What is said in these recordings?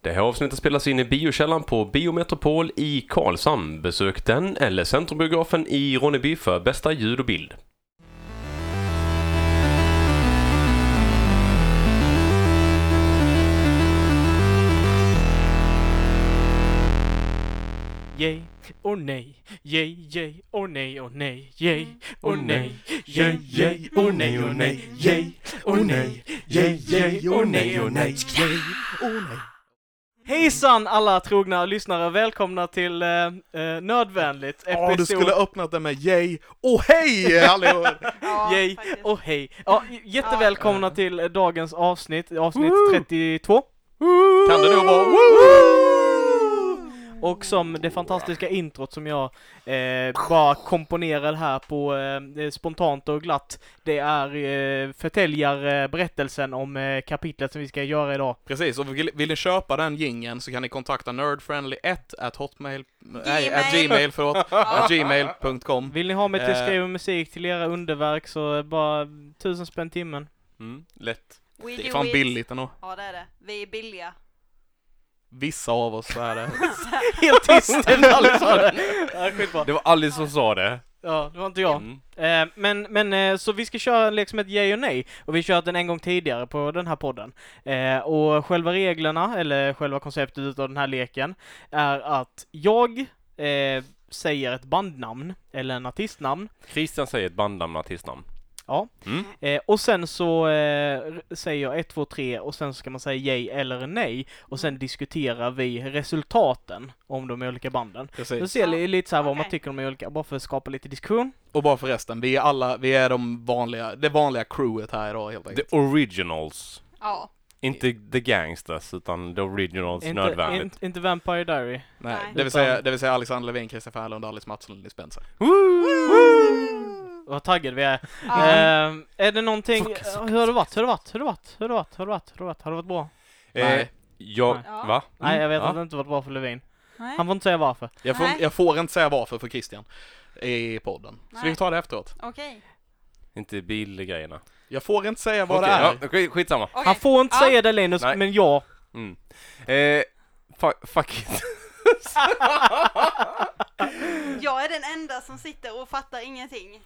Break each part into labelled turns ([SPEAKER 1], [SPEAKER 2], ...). [SPEAKER 1] Det här avsnittet spelas in i biokällaren på Biometropol i Karlshamn. Besök den eller Centrumbiografen i Ronneby för bästa ljud och bild.
[SPEAKER 2] Yay och nej, yay, yay och nej och nej, yay och nej, Mm. yay, yay och nej och nej, yay och nej, Mm. yay, yay och nej och nej, yay och nej. Hejsan alla trogna lyssnare, välkomna till eh, eh, Nödvändigt
[SPEAKER 3] Ja, du
[SPEAKER 2] episod
[SPEAKER 3] skulle ha öppnat den med yay och hej allihop!
[SPEAKER 4] Ja,
[SPEAKER 2] Yay
[SPEAKER 4] faktiskt.
[SPEAKER 2] och hej! Ja, j- jättevälkomna till eh, dagens avsnitt, avsnitt 32.
[SPEAKER 1] Kan det då vara?
[SPEAKER 2] Och som det fantastiska introt som jag eh, bara komponerar här på eh, spontant och glatt, det är eh, förtäljer eh, berättelsen om eh, kapitlet som vi ska göra idag.
[SPEAKER 3] Precis, och vill, vill ni köpa den gingen så kan ni kontakta nerdfriendly1 at hotmail... Nej, at
[SPEAKER 4] Gmail.
[SPEAKER 3] gmail, förlåt. at gmail.com.
[SPEAKER 2] Vill ni ha mig till att
[SPEAKER 3] Eh.
[SPEAKER 2] skriva musik till era underverk så eh, bara tusen spänn timmen.
[SPEAKER 1] Mm, lätt.
[SPEAKER 4] We
[SPEAKER 3] Det är
[SPEAKER 4] do
[SPEAKER 3] fan
[SPEAKER 4] it.
[SPEAKER 3] billigt ändå.
[SPEAKER 4] Ja det är det. Vi är billiga.
[SPEAKER 3] Vissa av oss är det.
[SPEAKER 2] Helt tyst! Alice sa det. Ja, skitbra.
[SPEAKER 1] Det var Alice som sa det.
[SPEAKER 2] Ja, det var inte jag.
[SPEAKER 1] Mm.
[SPEAKER 2] Eh, men, men eh, så vi ska köra liksom ett yay och nej och vi har kört den en gång tidigare på den här podden. Eh, och själva reglerna, eller själva konceptet utav den här leken, är att jag eh, säger ett bandnamn eller en artistnamn
[SPEAKER 1] Christian säger ett bandnamn och artistnamn.
[SPEAKER 2] Ja.
[SPEAKER 1] Mm.
[SPEAKER 2] eh, och sen så eh, r- säger jag 1, 2, 3 och sen så ska man säga yay eller nej och sen diskuterar vi resultaten om de olika banden. Så
[SPEAKER 3] Precis.
[SPEAKER 2] ser li- lite så här vad man
[SPEAKER 4] Okej.
[SPEAKER 2] tycker om de olika, bara för att skapa lite diskussion.
[SPEAKER 3] Och bara förresten, vi är alla, vi är de vanliga, det vanliga crewet här idag helt enkelt.
[SPEAKER 1] The originals.
[SPEAKER 4] Ja.
[SPEAKER 1] Inte the gangsters, utan the originals
[SPEAKER 2] Inte,
[SPEAKER 1] nödvändigt.
[SPEAKER 2] inte, inte Vampire Diary.
[SPEAKER 3] Nej,
[SPEAKER 4] Nej.
[SPEAKER 3] det vill säga, det vill säga Alexander Levin, Christian Färlund, Alice Mattsson och Linus Spencer.
[SPEAKER 2] Vad taggade vi är.
[SPEAKER 4] ja.
[SPEAKER 2] Ehm, är det någonting, hur har det varit, hur har det varit, hur har det varit, hur har det varit, hur har det varit, hur har det varit, har det varit bra?
[SPEAKER 1] Eh,
[SPEAKER 3] Nej.
[SPEAKER 1] jag,
[SPEAKER 4] Mm. Ja.
[SPEAKER 1] va? Mm.
[SPEAKER 2] Nej jag vet
[SPEAKER 1] ja.
[SPEAKER 2] att det inte varit bra för Levin.
[SPEAKER 4] Nej.
[SPEAKER 2] Han får inte säga varför.
[SPEAKER 3] Jag får,
[SPEAKER 4] Nej.
[SPEAKER 3] jag får inte säga varför för Christian i podden. Så
[SPEAKER 4] Nej.
[SPEAKER 3] vi tar det efteråt.
[SPEAKER 4] Okej.
[SPEAKER 1] Inte bilgrejerna.
[SPEAKER 3] Jag får inte säga vad
[SPEAKER 1] Okej,
[SPEAKER 3] det är.
[SPEAKER 1] Ja, okej, skitsamma.
[SPEAKER 4] Okej.
[SPEAKER 2] Han får inte
[SPEAKER 4] Ja.
[SPEAKER 2] säga det Linus,
[SPEAKER 1] Nej.
[SPEAKER 2] men jag.
[SPEAKER 1] Mm. Eh, fuck, fuck it.
[SPEAKER 4] Jag är den enda som sitter och fattar ingenting.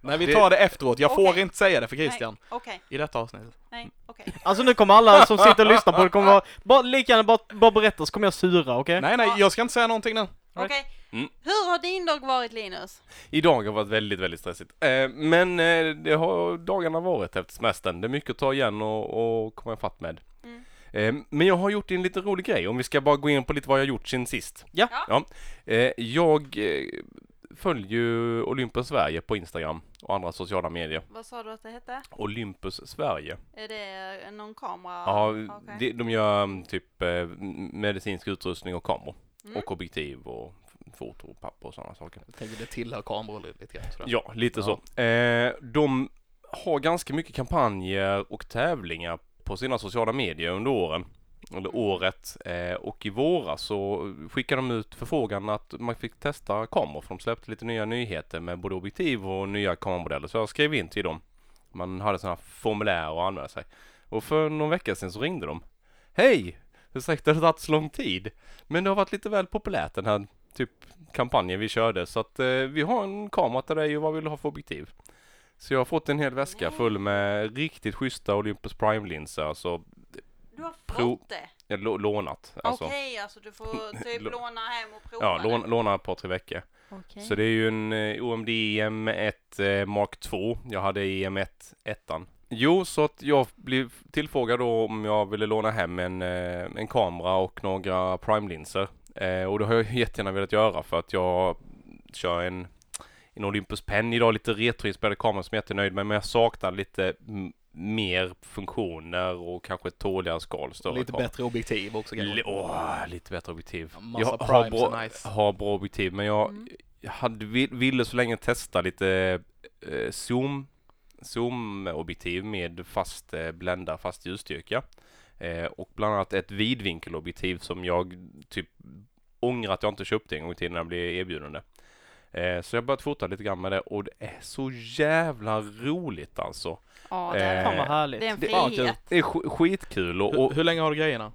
[SPEAKER 3] Nej, vi
[SPEAKER 1] Det-
[SPEAKER 3] tar det efteråt. Jag får
[SPEAKER 4] Okej.
[SPEAKER 3] inte säga det för Christian.
[SPEAKER 4] Nej. Okej.
[SPEAKER 3] I detta avsnittet.
[SPEAKER 4] Nej. Okej.
[SPEAKER 1] Mm.
[SPEAKER 2] Alltså nu kommer alla som sitter och lyssnar på det kommer vara, bara, lika gärna bara, bara berätta så kommer jag sura, okej?
[SPEAKER 3] Nej, nej, jag ska inte säga någonting nu.
[SPEAKER 2] Right.
[SPEAKER 4] Okej.
[SPEAKER 1] Mm.
[SPEAKER 4] Hur har din dag varit Linus?
[SPEAKER 1] Idag har varit väldigt, väldigt stressigt. Eh, men eh, det har dagarna varit efter semestern. Det är mycket att ta igen och, och komma ifatt med.
[SPEAKER 4] Mm.
[SPEAKER 1] Eh, men jag har gjort en liten rolig grej, om vi ska bara gå in på lite vad jag har gjort sen sist.
[SPEAKER 2] Ja.
[SPEAKER 1] ja. Eh, jag eh, följer ju Olympus Sverige på Instagram och andra sociala medier.
[SPEAKER 4] Vad sa du att det hette?
[SPEAKER 1] Olympus Sverige.
[SPEAKER 4] Är det eh, någon kamera?
[SPEAKER 1] Ja,
[SPEAKER 4] okej.
[SPEAKER 1] det- de gör mm, typ eh, m- medicinsk utrustning och kameror.
[SPEAKER 4] Mm.
[SPEAKER 1] Och objektiv och f- foto och papper och sådana saker.
[SPEAKER 3] Jag tänker det tillhör kameror lite grann. tror jag.
[SPEAKER 1] Ja, lite så. Eh, de har ganska mycket kampanjer och tävlingar på sina sociala medier under åren. Eller året. Eh, och i våras så skickade de ut förfrågan att man fick testa kameror. För de släppte lite nya nyheter med både objektiv och nya kameramodeller. Så jag skrev in till dem. Man hade sådana här formulär och använda sig. Och för någon vecka sedan så ringde de. Hej! Ursäkta att det har tagit så lång tid. Men det har varit lite väl populärt den här typ kampanjen vi körde så att eh, vi har en kamera till dig och vad vill du ha för objektiv? Så jag har fått en hel väska full med riktigt schyssta Olympus Prime-linser, alltså
[SPEAKER 4] Du har fått
[SPEAKER 1] Pro-
[SPEAKER 4] det?
[SPEAKER 1] jag lå- lånat. Alltså,
[SPEAKER 4] Okej, alltså du får typ
[SPEAKER 1] Lå-
[SPEAKER 4] låna hem och prova
[SPEAKER 1] ja,
[SPEAKER 4] det.
[SPEAKER 1] lån, låna ett par tre veckor.
[SPEAKER 4] Okej.
[SPEAKER 1] Så det är ju en eh, OMD EM1 eh, Mark 2. Jag hade EM1 ettan. Jo, så att jag blev tillfrågad då om jag ville låna hem en, eh, en kamera och några prime-linser. Eh, och det har jag jättegärna velat göra för att jag kör en, en Olympus Pen idag, lite retroinspelad kamera som jag är jättenöjd med, men jag saknar lite m- mer funktioner och kanske ett tåligare skal, större
[SPEAKER 3] Lite
[SPEAKER 1] kamera.
[SPEAKER 3] bättre objektiv också kanske.
[SPEAKER 1] Li- åh, lite bättre objektiv.
[SPEAKER 3] Massa
[SPEAKER 1] Jag har
[SPEAKER 3] primes
[SPEAKER 1] bra,
[SPEAKER 3] är nice.
[SPEAKER 1] har bra objektiv, men jag
[SPEAKER 4] Mm.
[SPEAKER 1] jag hade, vill- ville så länge testa lite eh, zoom, zoom-objektiv med fast eh, blända, fast ljusstyrka. Eh, och bland annat ett vidvinkelobjektiv som jag typ ångrar att jag inte köpte en gång i tiden när jag blev erbjuden det. Eh, så jag har börjat fota lite grann med det och det är så jävla roligt alltså.
[SPEAKER 4] Ja, det är
[SPEAKER 1] Eh,
[SPEAKER 2] Fan vad
[SPEAKER 4] det.
[SPEAKER 2] härligt.
[SPEAKER 4] Det är en
[SPEAKER 1] Det,
[SPEAKER 4] frihet.
[SPEAKER 1] det är sk- skitkul och, och
[SPEAKER 3] hur, hur länge har du grejerna?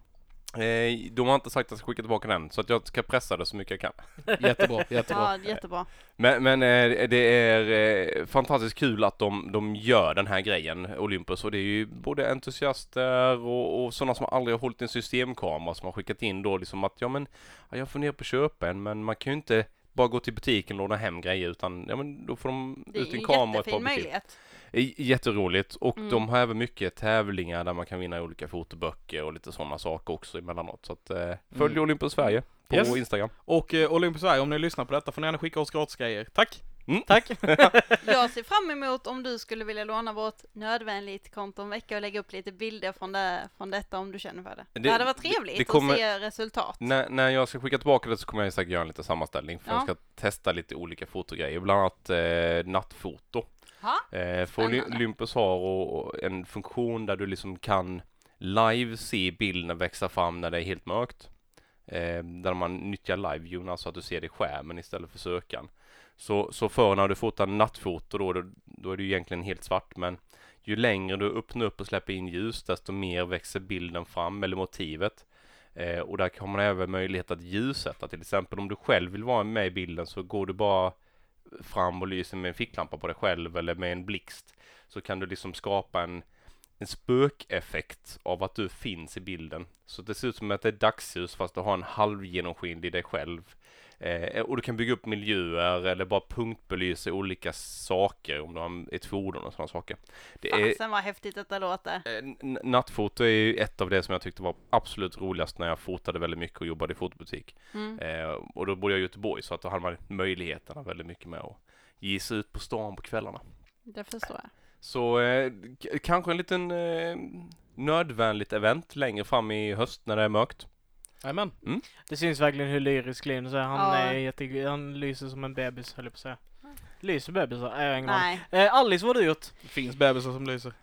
[SPEAKER 1] Eh, de har inte sagt att jag ska skicka tillbaka den, så att jag ska pressa det så mycket jag kan.
[SPEAKER 3] Jättebra, jättebra.
[SPEAKER 4] Ja, jättebra.
[SPEAKER 1] Men, men eh, det är eh, fantastiskt kul att de, de gör den här grejen, Olympus, och det är ju både entusiaster och, och sådana som aldrig har hållit en systemkamera som har skickat in då liksom att ja men, ja, jag funderar på att köpa en, men man kan ju inte bara gå till butiken och låna hem grejer utan, ja men då får de
[SPEAKER 4] Det är
[SPEAKER 1] ut en
[SPEAKER 4] en
[SPEAKER 1] kamera och ett par
[SPEAKER 4] jättefin
[SPEAKER 1] butiker.
[SPEAKER 4] möjlighet.
[SPEAKER 1] J- Jätteroligt och
[SPEAKER 4] Mm.
[SPEAKER 1] de har även mycket tävlingar där man kan vinna olika fotoböcker och lite sådana saker också emellanåt. Så att, eh, följ
[SPEAKER 3] Mm.
[SPEAKER 1] Olympus Sverige på
[SPEAKER 3] Yes.
[SPEAKER 1] Instagram.
[SPEAKER 3] Och eh, Olympus Sverige, om ni lyssnar på detta får ni gärna skicka oss gratisgrejer. Tack!
[SPEAKER 1] Tack!
[SPEAKER 4] Jag ser fram emot om du skulle vilja låna vårt nödvändigt konto en vecka och lägga upp lite bilder från, det, från detta om du känner för det. Det,
[SPEAKER 1] Det-
[SPEAKER 4] hade varit
[SPEAKER 1] det-
[SPEAKER 4] trevligt
[SPEAKER 1] det kommer- Mm.
[SPEAKER 4] att se resultat.
[SPEAKER 1] när, när jag ska skicka tillbaka det så kommer jag säkert göra en liten sammanställning för
[SPEAKER 4] Ja.
[SPEAKER 1] jag ska testa lite olika fotogrejer, bland annat eh, nattfoto.
[SPEAKER 4] Ha?
[SPEAKER 1] Eh, för Oly-
[SPEAKER 4] Spännande.
[SPEAKER 1] Olympus har och, och en funktion där du liksom kan live se bilden växa fram när det är helt mörkt. Eh, där man nyttjar live view, alltså att du ser det i skärmen istället för sökan. Så, så för när du fotar nattfoto då, då, då är det ju egentligen helt svart men ju längre du öppnar upp och släpper in ljus desto mer växer bilden fram eller motivet. Eh, och där har man även möjlighet att ljussätta till exempel om du själv vill vara med i bilden så går du bara fram och lyser med en ficklampa på dig själv eller med en blixt så kan du liksom skapa en, en spökeffekt av att du finns i bilden. Så det ser ut som att det är dagsljus fast du har en halvgenomskinlig dig själv. Eh, och du kan bygga upp miljöer eller bara punktbelysa olika saker om du har en- ett fordon och sådana saker. Det är,
[SPEAKER 4] Fasen vad häftigt detta låter.
[SPEAKER 1] eh, n- nattfoto är ju ett av det som jag tyckte var absolut roligast när jag fotade väldigt mycket och jobbade i fotobutik.
[SPEAKER 4] Mm.
[SPEAKER 1] Eh, och då bodde jag i Göteborg så att då hade man möjligheterna väldigt mycket med att ge sig ut på stan på kvällarna.
[SPEAKER 4] Det förstår jag.
[SPEAKER 1] Så eh, k- kanske en liten eh, nödvändigt event längre fram i höst när det är mörkt.
[SPEAKER 3] Jajamän.
[SPEAKER 2] Det syns verkligen hur lyrisk Linus är. Han,
[SPEAKER 4] Ja. Mm.
[SPEAKER 2] är jätte, han lyser som en bebis höll jag på att säga. Lyser bebisar? Äh, jag har ingen aning.
[SPEAKER 4] Nej.
[SPEAKER 2] Eh, Alice, vad har du gjort?
[SPEAKER 3] Det finns bebisar som lyser.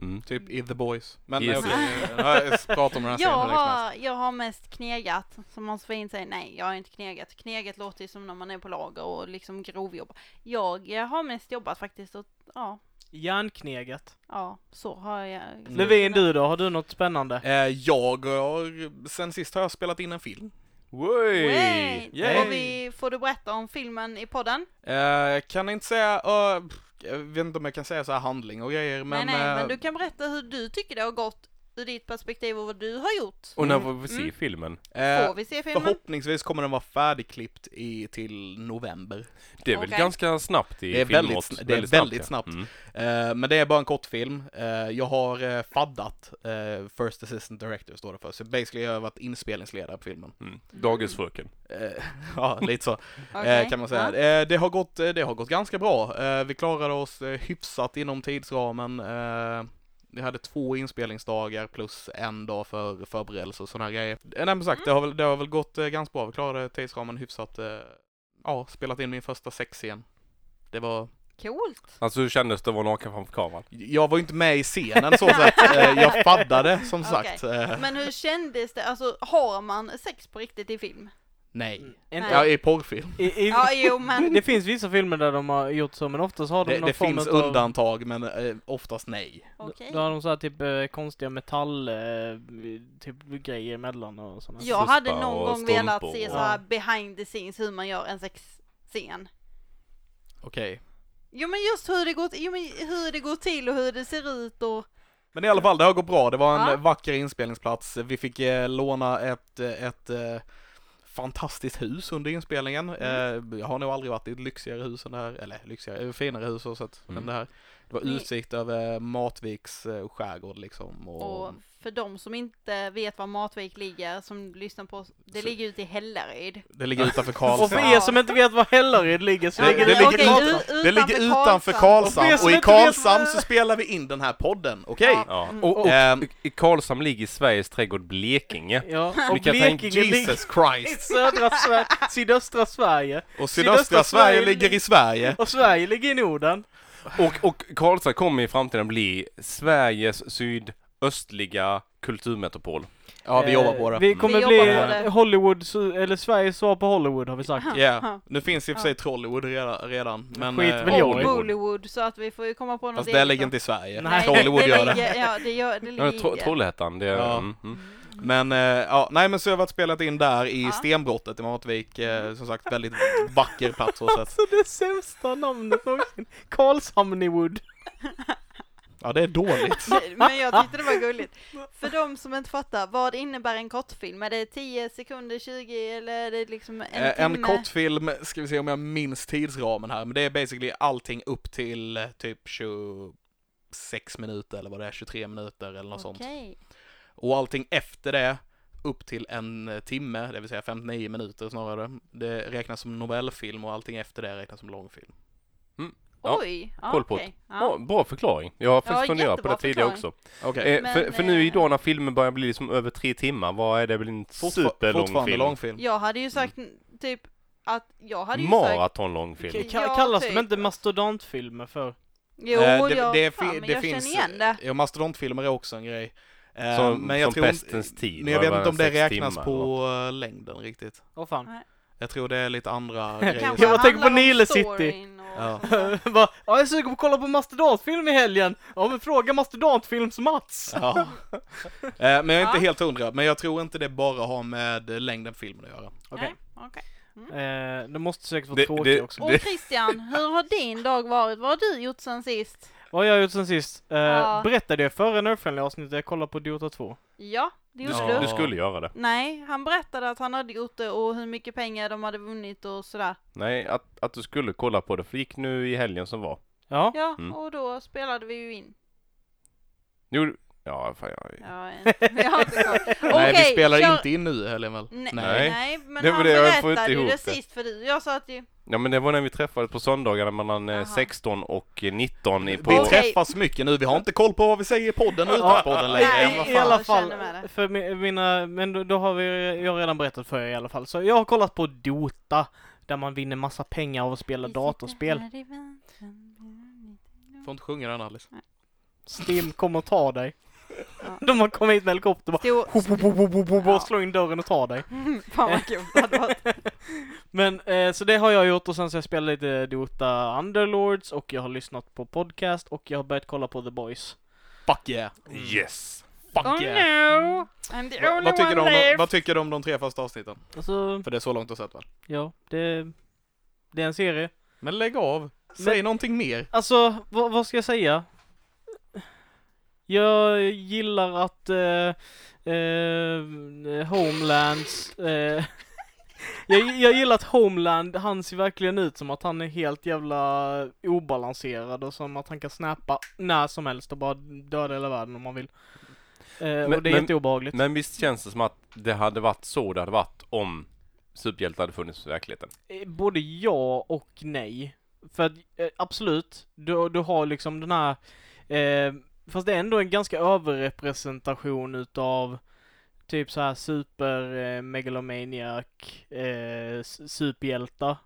[SPEAKER 1] Mm.
[SPEAKER 3] Typ i The Boys. Men
[SPEAKER 1] Yes.
[SPEAKER 3] yes. okej, nu har jag pratat om den här
[SPEAKER 4] Jag
[SPEAKER 3] serien hur länge som helst.
[SPEAKER 4] har, jag har mest knegat, som man så fint säger. Nej, jag har inte knegat. Kneget låter ju som när man är på lager och liksom grovjobbar. Jag eh, har mest jobbat faktiskt och ja,
[SPEAKER 2] Järnknegat.
[SPEAKER 4] ja, så har jag.
[SPEAKER 2] Levin, du då? Har du något spännande?
[SPEAKER 3] Eh, Jag har, sen sist har jag spelat in en film.
[SPEAKER 1] Wey!
[SPEAKER 4] Yay!
[SPEAKER 3] Yay!
[SPEAKER 4] Och vi, får du berätta om filmen i podden?
[SPEAKER 3] Eh, Jag kan inte säga, eh, jag vet inte om jag kan säga så här handling och grejer men...
[SPEAKER 4] nej, nej,
[SPEAKER 3] eh,
[SPEAKER 4] men du kan berätta hur du tycker det har gått ur ditt perspektiv och vad du har gjort.
[SPEAKER 1] Och när får
[SPEAKER 4] Mm.
[SPEAKER 1] vi se
[SPEAKER 4] Mm.
[SPEAKER 1] filmen?
[SPEAKER 3] eh,
[SPEAKER 4] Får vi se filmen?
[SPEAKER 3] Förhoppningsvis kommer den vara färdigklippt i, till november.
[SPEAKER 1] Det är väl
[SPEAKER 4] Okej.
[SPEAKER 1] ganska snabbt i
[SPEAKER 3] Det är
[SPEAKER 1] filmåt.
[SPEAKER 3] väldigt sn- det är väldigt snabbt.
[SPEAKER 1] ja. Mm.
[SPEAKER 3] Eh, men det är bara en kortfilm. Eh, jag har eh, faddat eh, First Assistant Director står det för. Så basically jag har varit inspelningsledare på filmen.
[SPEAKER 1] Mm. Dagisfröken.
[SPEAKER 3] Eh, ja, lite så
[SPEAKER 4] Okej.
[SPEAKER 3] eh, kan man säga.
[SPEAKER 4] Ja.
[SPEAKER 3] Eh, det, har gått, eh, det har gått ganska bra. Eh, vi klarade oss eh, hyfsat inom tidsramen. Eh, vi hade två inspelningsdagar plus en dag för förberedelse och sådana här grejer. Eh, nej men
[SPEAKER 4] Mm.
[SPEAKER 3] sagt, det, har väl, det har väl gått eh, ganska bra. Vi klarade tidsramen hyfsat. Eh, ja, spelat in min första sexscen. Det var
[SPEAKER 4] Coolt!
[SPEAKER 1] Alltså hur kändes det att vara naken framför kameran?
[SPEAKER 3] Jag var ju inte med i scenen så sett, Eh, jag faddade som
[SPEAKER 4] Okej.
[SPEAKER 3] sagt. Eh,
[SPEAKER 4] Men hur kändes det? Alltså, har man sex på riktigt i film?
[SPEAKER 3] Nej.
[SPEAKER 2] Inte-
[SPEAKER 4] Nej.
[SPEAKER 3] Ja, i porrfilm.
[SPEAKER 2] I, i,
[SPEAKER 4] Ja, jo, men...
[SPEAKER 2] Det finns vissa filmer där de har gjort så, men oftast har de
[SPEAKER 3] Det,
[SPEAKER 2] någon
[SPEAKER 3] det
[SPEAKER 2] form
[SPEAKER 3] finns
[SPEAKER 2] utav-
[SPEAKER 3] undantag men eh, oftast nej.
[SPEAKER 4] Okej.
[SPEAKER 2] Då har de så här typ eh, konstiga metall, eh, typ grejer emellan och sådana.
[SPEAKER 4] Jag hade
[SPEAKER 1] Suspa
[SPEAKER 4] någon
[SPEAKER 1] och
[SPEAKER 4] gång velat
[SPEAKER 1] strumpor.
[SPEAKER 4] se så här behind the scenes hur man gör en sexscen.
[SPEAKER 3] Okej.
[SPEAKER 4] Jo men just hur det går, jo, men hur det går till och hur det ser ut och
[SPEAKER 3] Men i alla fall, det har gått bra. Det var en
[SPEAKER 4] Ja.
[SPEAKER 3] vacker inspelningsplats. Vi fick eh, låna ett, eh, ett eh, fantastiskt hus under inspelningen. Eh, jag har nog aldrig varit i ett lyxigare hus än det här. Eller lyxigare, eh, finare hus så sett
[SPEAKER 1] Mm.
[SPEAKER 3] än det här. Det var
[SPEAKER 4] Ni-
[SPEAKER 3] utsikt över Matviks eh, skärgård liksom. Och,
[SPEAKER 4] Och för de som inte vet var Matvik ligger, som lyssnar på oss, det
[SPEAKER 3] Så-
[SPEAKER 4] ligger ute i Hällaryd.
[SPEAKER 3] Det ligger utanför Karlstad.
[SPEAKER 2] Och för er som inte vet var Hällaryd ligger så
[SPEAKER 3] Det,
[SPEAKER 4] Ja,
[SPEAKER 2] ligger det...
[SPEAKER 4] men-
[SPEAKER 3] ligger,
[SPEAKER 4] okej,
[SPEAKER 3] utanför-
[SPEAKER 4] ut-
[SPEAKER 3] det ligger utanför Karlshamn
[SPEAKER 2] Och för er som
[SPEAKER 3] och i
[SPEAKER 2] inte vet vad-
[SPEAKER 3] Karlshamn så spelar vi in den här podden, okej?
[SPEAKER 4] Ja.
[SPEAKER 1] Ja.
[SPEAKER 4] Mm.
[SPEAKER 1] Och, och
[SPEAKER 3] Ehm,
[SPEAKER 1] i Karlshamn ligger Sveriges trädgård Blekinge.
[SPEAKER 2] Ja, och
[SPEAKER 1] Vi kan
[SPEAKER 2] Blekinge
[SPEAKER 1] tänka-
[SPEAKER 2] ligger
[SPEAKER 3] Jesus
[SPEAKER 2] i
[SPEAKER 3] Christ!
[SPEAKER 2] södra Sverige, sydöstra Sverige.
[SPEAKER 3] Och
[SPEAKER 2] Sydöstra
[SPEAKER 3] sydöstra Sverige
[SPEAKER 2] Sverige
[SPEAKER 3] ligger i Sverige.
[SPEAKER 2] Och Sverige ligger i Norden.
[SPEAKER 1] Och, och Karlstad kommer i framtiden bli Sveriges sydöstliga kulturmetropol.
[SPEAKER 4] Mm.
[SPEAKER 3] Ja, vi
[SPEAKER 2] Eh,
[SPEAKER 3] jobbar på det.
[SPEAKER 2] Vi kommer
[SPEAKER 4] Vi
[SPEAKER 2] bli
[SPEAKER 4] jobbar på det.
[SPEAKER 2] eh, Hollywood, su- eller Sveriges svar på Hollywood har vi sagt.
[SPEAKER 3] Ja, nu finns i och för sig Trollywood redan, redan men...
[SPEAKER 2] Skit
[SPEAKER 3] eh,
[SPEAKER 2] väl jag i.
[SPEAKER 4] Och Bollywood, så att vi får ju komma på något
[SPEAKER 3] Fast det ligger inte i Sverige.
[SPEAKER 2] Nej.
[SPEAKER 3] Trollywood
[SPEAKER 4] det
[SPEAKER 3] gör det.
[SPEAKER 4] ligger, Ja, det gör det
[SPEAKER 1] Ja, tro,
[SPEAKER 4] ligger.
[SPEAKER 1] Trollhättan, det är...
[SPEAKER 3] Ja.
[SPEAKER 1] Mm, mm.
[SPEAKER 3] Men eh, ja, nej men så har jag varit spelat in där i
[SPEAKER 4] Ja.
[SPEAKER 3] stenbrottet i Matvik,
[SPEAKER 2] Mm.
[SPEAKER 3] eh, som sagt väldigt vacker plats och så att,
[SPEAKER 2] Alltså det sämsta namnet någonsin. Karlshamnywood.
[SPEAKER 3] ja det är dåligt.
[SPEAKER 4] Men jag tyckte det var gulligt. För de som inte fattar, vad innebär en kortfilm? Är det 10 sekunder, 20 eller är det liksom en
[SPEAKER 3] Eh, En,
[SPEAKER 4] timme?
[SPEAKER 3] en kortfilm, ska vi se om jag minns tidsramen här, men det är basically allting upp till eh, typ 26 minuter eller vad det är, 23 minuter eller något sånt.
[SPEAKER 4] Okej.
[SPEAKER 3] Och allting efter det, upp till en eh, timme, det vill säga 59 minuter snarare, det räknas som novellfilm och allting efter det räknas som långfilm.
[SPEAKER 1] Ja.
[SPEAKER 4] Oj, ja,
[SPEAKER 1] Koll på
[SPEAKER 4] okej.
[SPEAKER 1] Bra,
[SPEAKER 4] Ja.
[SPEAKER 1] bra förklaring. Jag har faktiskt funderat på det
[SPEAKER 4] jättebra
[SPEAKER 1] tidigare
[SPEAKER 4] förklaring.
[SPEAKER 1] också.
[SPEAKER 3] Okej.
[SPEAKER 1] Eh,
[SPEAKER 4] Men,
[SPEAKER 1] för, för nu
[SPEAKER 4] eh,
[SPEAKER 1] idag när filmen börjar bli liksom över tre timmar, vad är det väl en
[SPEAKER 3] Fortfar-
[SPEAKER 1] superlång
[SPEAKER 3] fortfarande
[SPEAKER 1] film?
[SPEAKER 3] långfilm.
[SPEAKER 4] Jag hade ju sagt typ att jag hade ju sagt...
[SPEAKER 1] Maratonlång film.
[SPEAKER 4] Okej.
[SPEAKER 2] Ka-
[SPEAKER 4] Ja,
[SPEAKER 2] kallas
[SPEAKER 4] typ.
[SPEAKER 2] de inte mastodontfilmer för?
[SPEAKER 4] Jo,
[SPEAKER 3] Eh, det,
[SPEAKER 4] jag,
[SPEAKER 3] det, fi-
[SPEAKER 4] fan, men
[SPEAKER 3] det
[SPEAKER 4] jag
[SPEAKER 3] finns, eh,
[SPEAKER 4] känner igen det.
[SPEAKER 3] Ja, mastodontfilmer är också en grej. Eh,
[SPEAKER 1] Som,
[SPEAKER 3] men jag
[SPEAKER 1] som
[SPEAKER 3] tror,
[SPEAKER 1] Pestens tid.
[SPEAKER 3] Men jag
[SPEAKER 1] var
[SPEAKER 3] vet inte om det
[SPEAKER 1] sex
[SPEAKER 3] räknas
[SPEAKER 1] timmar eller något.
[SPEAKER 3] på eh, längden riktigt.
[SPEAKER 2] Åh fan.
[SPEAKER 3] Jag tror det är lite andra grejer.
[SPEAKER 4] Kanske
[SPEAKER 2] Jag bara tänker på
[SPEAKER 4] handlar om
[SPEAKER 2] Nile City.
[SPEAKER 4] storyn och
[SPEAKER 3] Ja.
[SPEAKER 4] sånt där.
[SPEAKER 2] Bara, ja, jag är sugen på att kolla på mastodontfilm i helgen. Ja, men fråga mastodontfilms-Mats.
[SPEAKER 3] Ja. Eh, Men jag är inte
[SPEAKER 4] Ja.
[SPEAKER 3] helt hundra, men jag tror inte det bara har med eh, längden filmen att göra.
[SPEAKER 2] Okej.
[SPEAKER 4] Nej, okej. Mm.
[SPEAKER 2] Eh, de måste säkert vara
[SPEAKER 1] Det-
[SPEAKER 2] tråkiga
[SPEAKER 1] det-
[SPEAKER 2] också.
[SPEAKER 4] Och Christian, hur har din dag varit? Vad har du gjort sen sist?
[SPEAKER 2] Vad har jag gjort sen sist? Eh,
[SPEAKER 4] Ja.
[SPEAKER 2] Berättade jag förra Nerdfriendly avsnittet jag kollade på Dota 2?
[SPEAKER 4] Ja, det gjorde
[SPEAKER 3] Ja.
[SPEAKER 1] Du
[SPEAKER 4] du.
[SPEAKER 1] skulle göra det.
[SPEAKER 4] Nej, han berättade att han hade gjort det och hur mycket pengar de hade vunnit och sådär.
[SPEAKER 1] Nej, att, att du skulle kolla på det, för det gick nu i helgen som var.
[SPEAKER 2] Ja.
[SPEAKER 4] Ja,
[SPEAKER 1] Mm.
[SPEAKER 4] och då spelade vi ju in.
[SPEAKER 1] Jo, ja, fan, jag...
[SPEAKER 4] Ja, eh, jag har inte koll.
[SPEAKER 3] Nej, vi
[SPEAKER 4] Okej,
[SPEAKER 3] spelar
[SPEAKER 4] kör-
[SPEAKER 3] inte in nu i helgen väl?
[SPEAKER 4] Nej,
[SPEAKER 1] Nej.
[SPEAKER 4] nej. men
[SPEAKER 1] Det var
[SPEAKER 4] han
[SPEAKER 1] det, jag får
[SPEAKER 4] berättade
[SPEAKER 1] inte
[SPEAKER 4] ju
[SPEAKER 1] ihop
[SPEAKER 4] det
[SPEAKER 1] det.
[SPEAKER 4] sist för dig. Jag sa att ju...
[SPEAKER 1] ja, men det var när vi träffades på söndagarna mellan eh,
[SPEAKER 4] Aha.
[SPEAKER 1] 16 och eh, 19 i på...
[SPEAKER 3] Vi
[SPEAKER 4] Okej.
[SPEAKER 3] träffas mycket nu, vi har inte koll på vad vi säger i podden och
[SPEAKER 2] Ja.
[SPEAKER 3] utan podden längre.
[SPEAKER 4] Nej,
[SPEAKER 3] än vad
[SPEAKER 2] I
[SPEAKER 3] fan.
[SPEAKER 2] alla
[SPEAKER 4] jag
[SPEAKER 2] fall,
[SPEAKER 4] känner med det.
[SPEAKER 2] för mi- mina, men då, då har vi, jag har redan berättat för er i alla fall. Så jag har kollat på Dota, där man vinner massa pengar av att spela datorspel.
[SPEAKER 3] Får inte sjunga den Alice.
[SPEAKER 2] Steam kommer och tar dig.
[SPEAKER 4] Ja.
[SPEAKER 2] De har kommit hit med helikopter och bara
[SPEAKER 4] Stor...
[SPEAKER 2] hop, hop, hop, hop, hop, hop,
[SPEAKER 4] Ja.
[SPEAKER 2] och slår in dörren och tar dig.
[SPEAKER 4] Fan vad kul det hade varit.
[SPEAKER 2] Men eh, så det har jag gjort och sen så har jag spelat lite Dota Underlords och jag har lyssnat på podcast och jag har börjat kolla på The Boys.
[SPEAKER 3] Fuck yeah!
[SPEAKER 1] Yes!
[SPEAKER 3] Fuck
[SPEAKER 4] Oh
[SPEAKER 3] yeah!
[SPEAKER 4] no! I'm the
[SPEAKER 3] Va,
[SPEAKER 4] only
[SPEAKER 3] vad, tycker du
[SPEAKER 4] one
[SPEAKER 3] om de,
[SPEAKER 4] left!
[SPEAKER 3] vad tycker du om de tre första avsnitten?
[SPEAKER 2] Alltså,
[SPEAKER 3] För det är så långt du har sett väl?
[SPEAKER 2] ja, det, det är en serie.
[SPEAKER 3] Men lägg av! Säg någonting mer!
[SPEAKER 2] Alltså, vad, vad ska jag säga? Jag gillar att eh, eh, Homelands... Eh, jag, jag gillar att Homeland, han ser verkligen ut som att han är helt jävla obalanserad och som att han kan snappa när som helst och bara döda hela världen om man vill. Eh, och det
[SPEAKER 1] men-
[SPEAKER 2] är jätteobehagligt.
[SPEAKER 1] Men visst känns det som att det hade varit så det hade varit om superhjältar hade funnits i verkligheten?
[SPEAKER 2] Eh, Både ja och nej. För att, eh, absolut, du, du har liksom den här, eh, fast det är ändå en ganska överrepresentation utav typ så här super eh, megalomaniac eh, s- superhjältar.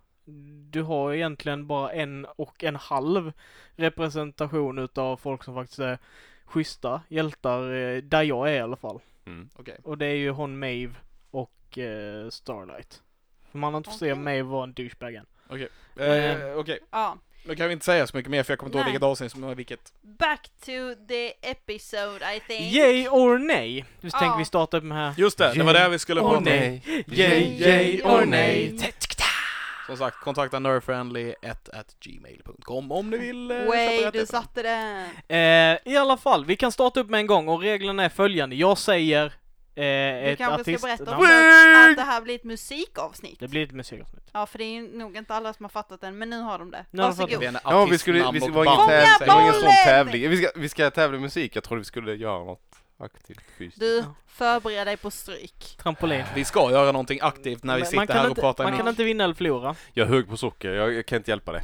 [SPEAKER 2] Du har egentligen bara en och en halv representation utav folk som faktiskt är schyssta hjältar, eh, där jag är i alla fall.
[SPEAKER 1] Mm.
[SPEAKER 3] Okej.
[SPEAKER 2] Och det är ju hon Maeve och eh, Starlight. För man har inte fått se
[SPEAKER 4] Okej.
[SPEAKER 2] Maeve vara en douchebag än.
[SPEAKER 3] Eh, Okej,
[SPEAKER 2] Eh.
[SPEAKER 4] Ja.
[SPEAKER 3] nu kan vi inte säga så mycket mer för jag kommer inte ihåg
[SPEAKER 4] Nej.
[SPEAKER 3] vilket avsnitt som är vilket.
[SPEAKER 4] Back to the episode I think.
[SPEAKER 2] Yay or nej? Nu
[SPEAKER 4] Ja.
[SPEAKER 2] tänker vi starta med här.
[SPEAKER 3] Just det, det var där vi skulle
[SPEAKER 2] Åh,
[SPEAKER 3] prata
[SPEAKER 2] Åh,
[SPEAKER 3] om.
[SPEAKER 2] nej.
[SPEAKER 4] Yay, yay or nej.
[SPEAKER 3] Som sagt, kontakta nerfriendly1gmail.com om ni vill eh,
[SPEAKER 4] Way, du
[SPEAKER 3] berättelser.
[SPEAKER 4] satte den!
[SPEAKER 2] Eh, I alla fall, vi kan starta upp med en gång och reglerna är följande. Jag säger eh,
[SPEAKER 4] Du
[SPEAKER 2] ett
[SPEAKER 4] kanske
[SPEAKER 2] artist...
[SPEAKER 4] ska berätta om
[SPEAKER 2] namn.
[SPEAKER 4] att, att det här blir ett musikavsnitt.
[SPEAKER 2] Det blir ett musikavsnitt.
[SPEAKER 4] Ja, för det är ju nog inte alla som har fattat den, men nu har de det.
[SPEAKER 2] Nu har de
[SPEAKER 4] Varsågod.
[SPEAKER 2] fattat
[SPEAKER 3] Vi är en
[SPEAKER 1] Ja, vi
[SPEAKER 3] artist,
[SPEAKER 1] skulle,
[SPEAKER 3] namn
[SPEAKER 1] vi,
[SPEAKER 3] och
[SPEAKER 1] det var ingen,
[SPEAKER 3] band,
[SPEAKER 4] Fånga
[SPEAKER 1] täv-
[SPEAKER 3] säger
[SPEAKER 1] det var ingen
[SPEAKER 3] vi.
[SPEAKER 1] sån
[SPEAKER 4] bollen!
[SPEAKER 1] tävling. Vi ska, vi ska tävla i musik, jag trodde vi skulle göra något aktivt fysiskt.
[SPEAKER 4] Du,
[SPEAKER 2] Ja.
[SPEAKER 4] förbered dig på stryk.
[SPEAKER 2] Trampolin.
[SPEAKER 3] Vi ska göra någonting aktivt när vi
[SPEAKER 2] Men
[SPEAKER 3] sitter
[SPEAKER 2] kan
[SPEAKER 3] här och
[SPEAKER 2] inte,
[SPEAKER 3] pratar
[SPEAKER 2] Man
[SPEAKER 3] i
[SPEAKER 2] kan
[SPEAKER 3] mick.
[SPEAKER 2] inte vinna eller förlora.
[SPEAKER 1] Jag är hög på socker, jag, jag kan inte hjälpa det.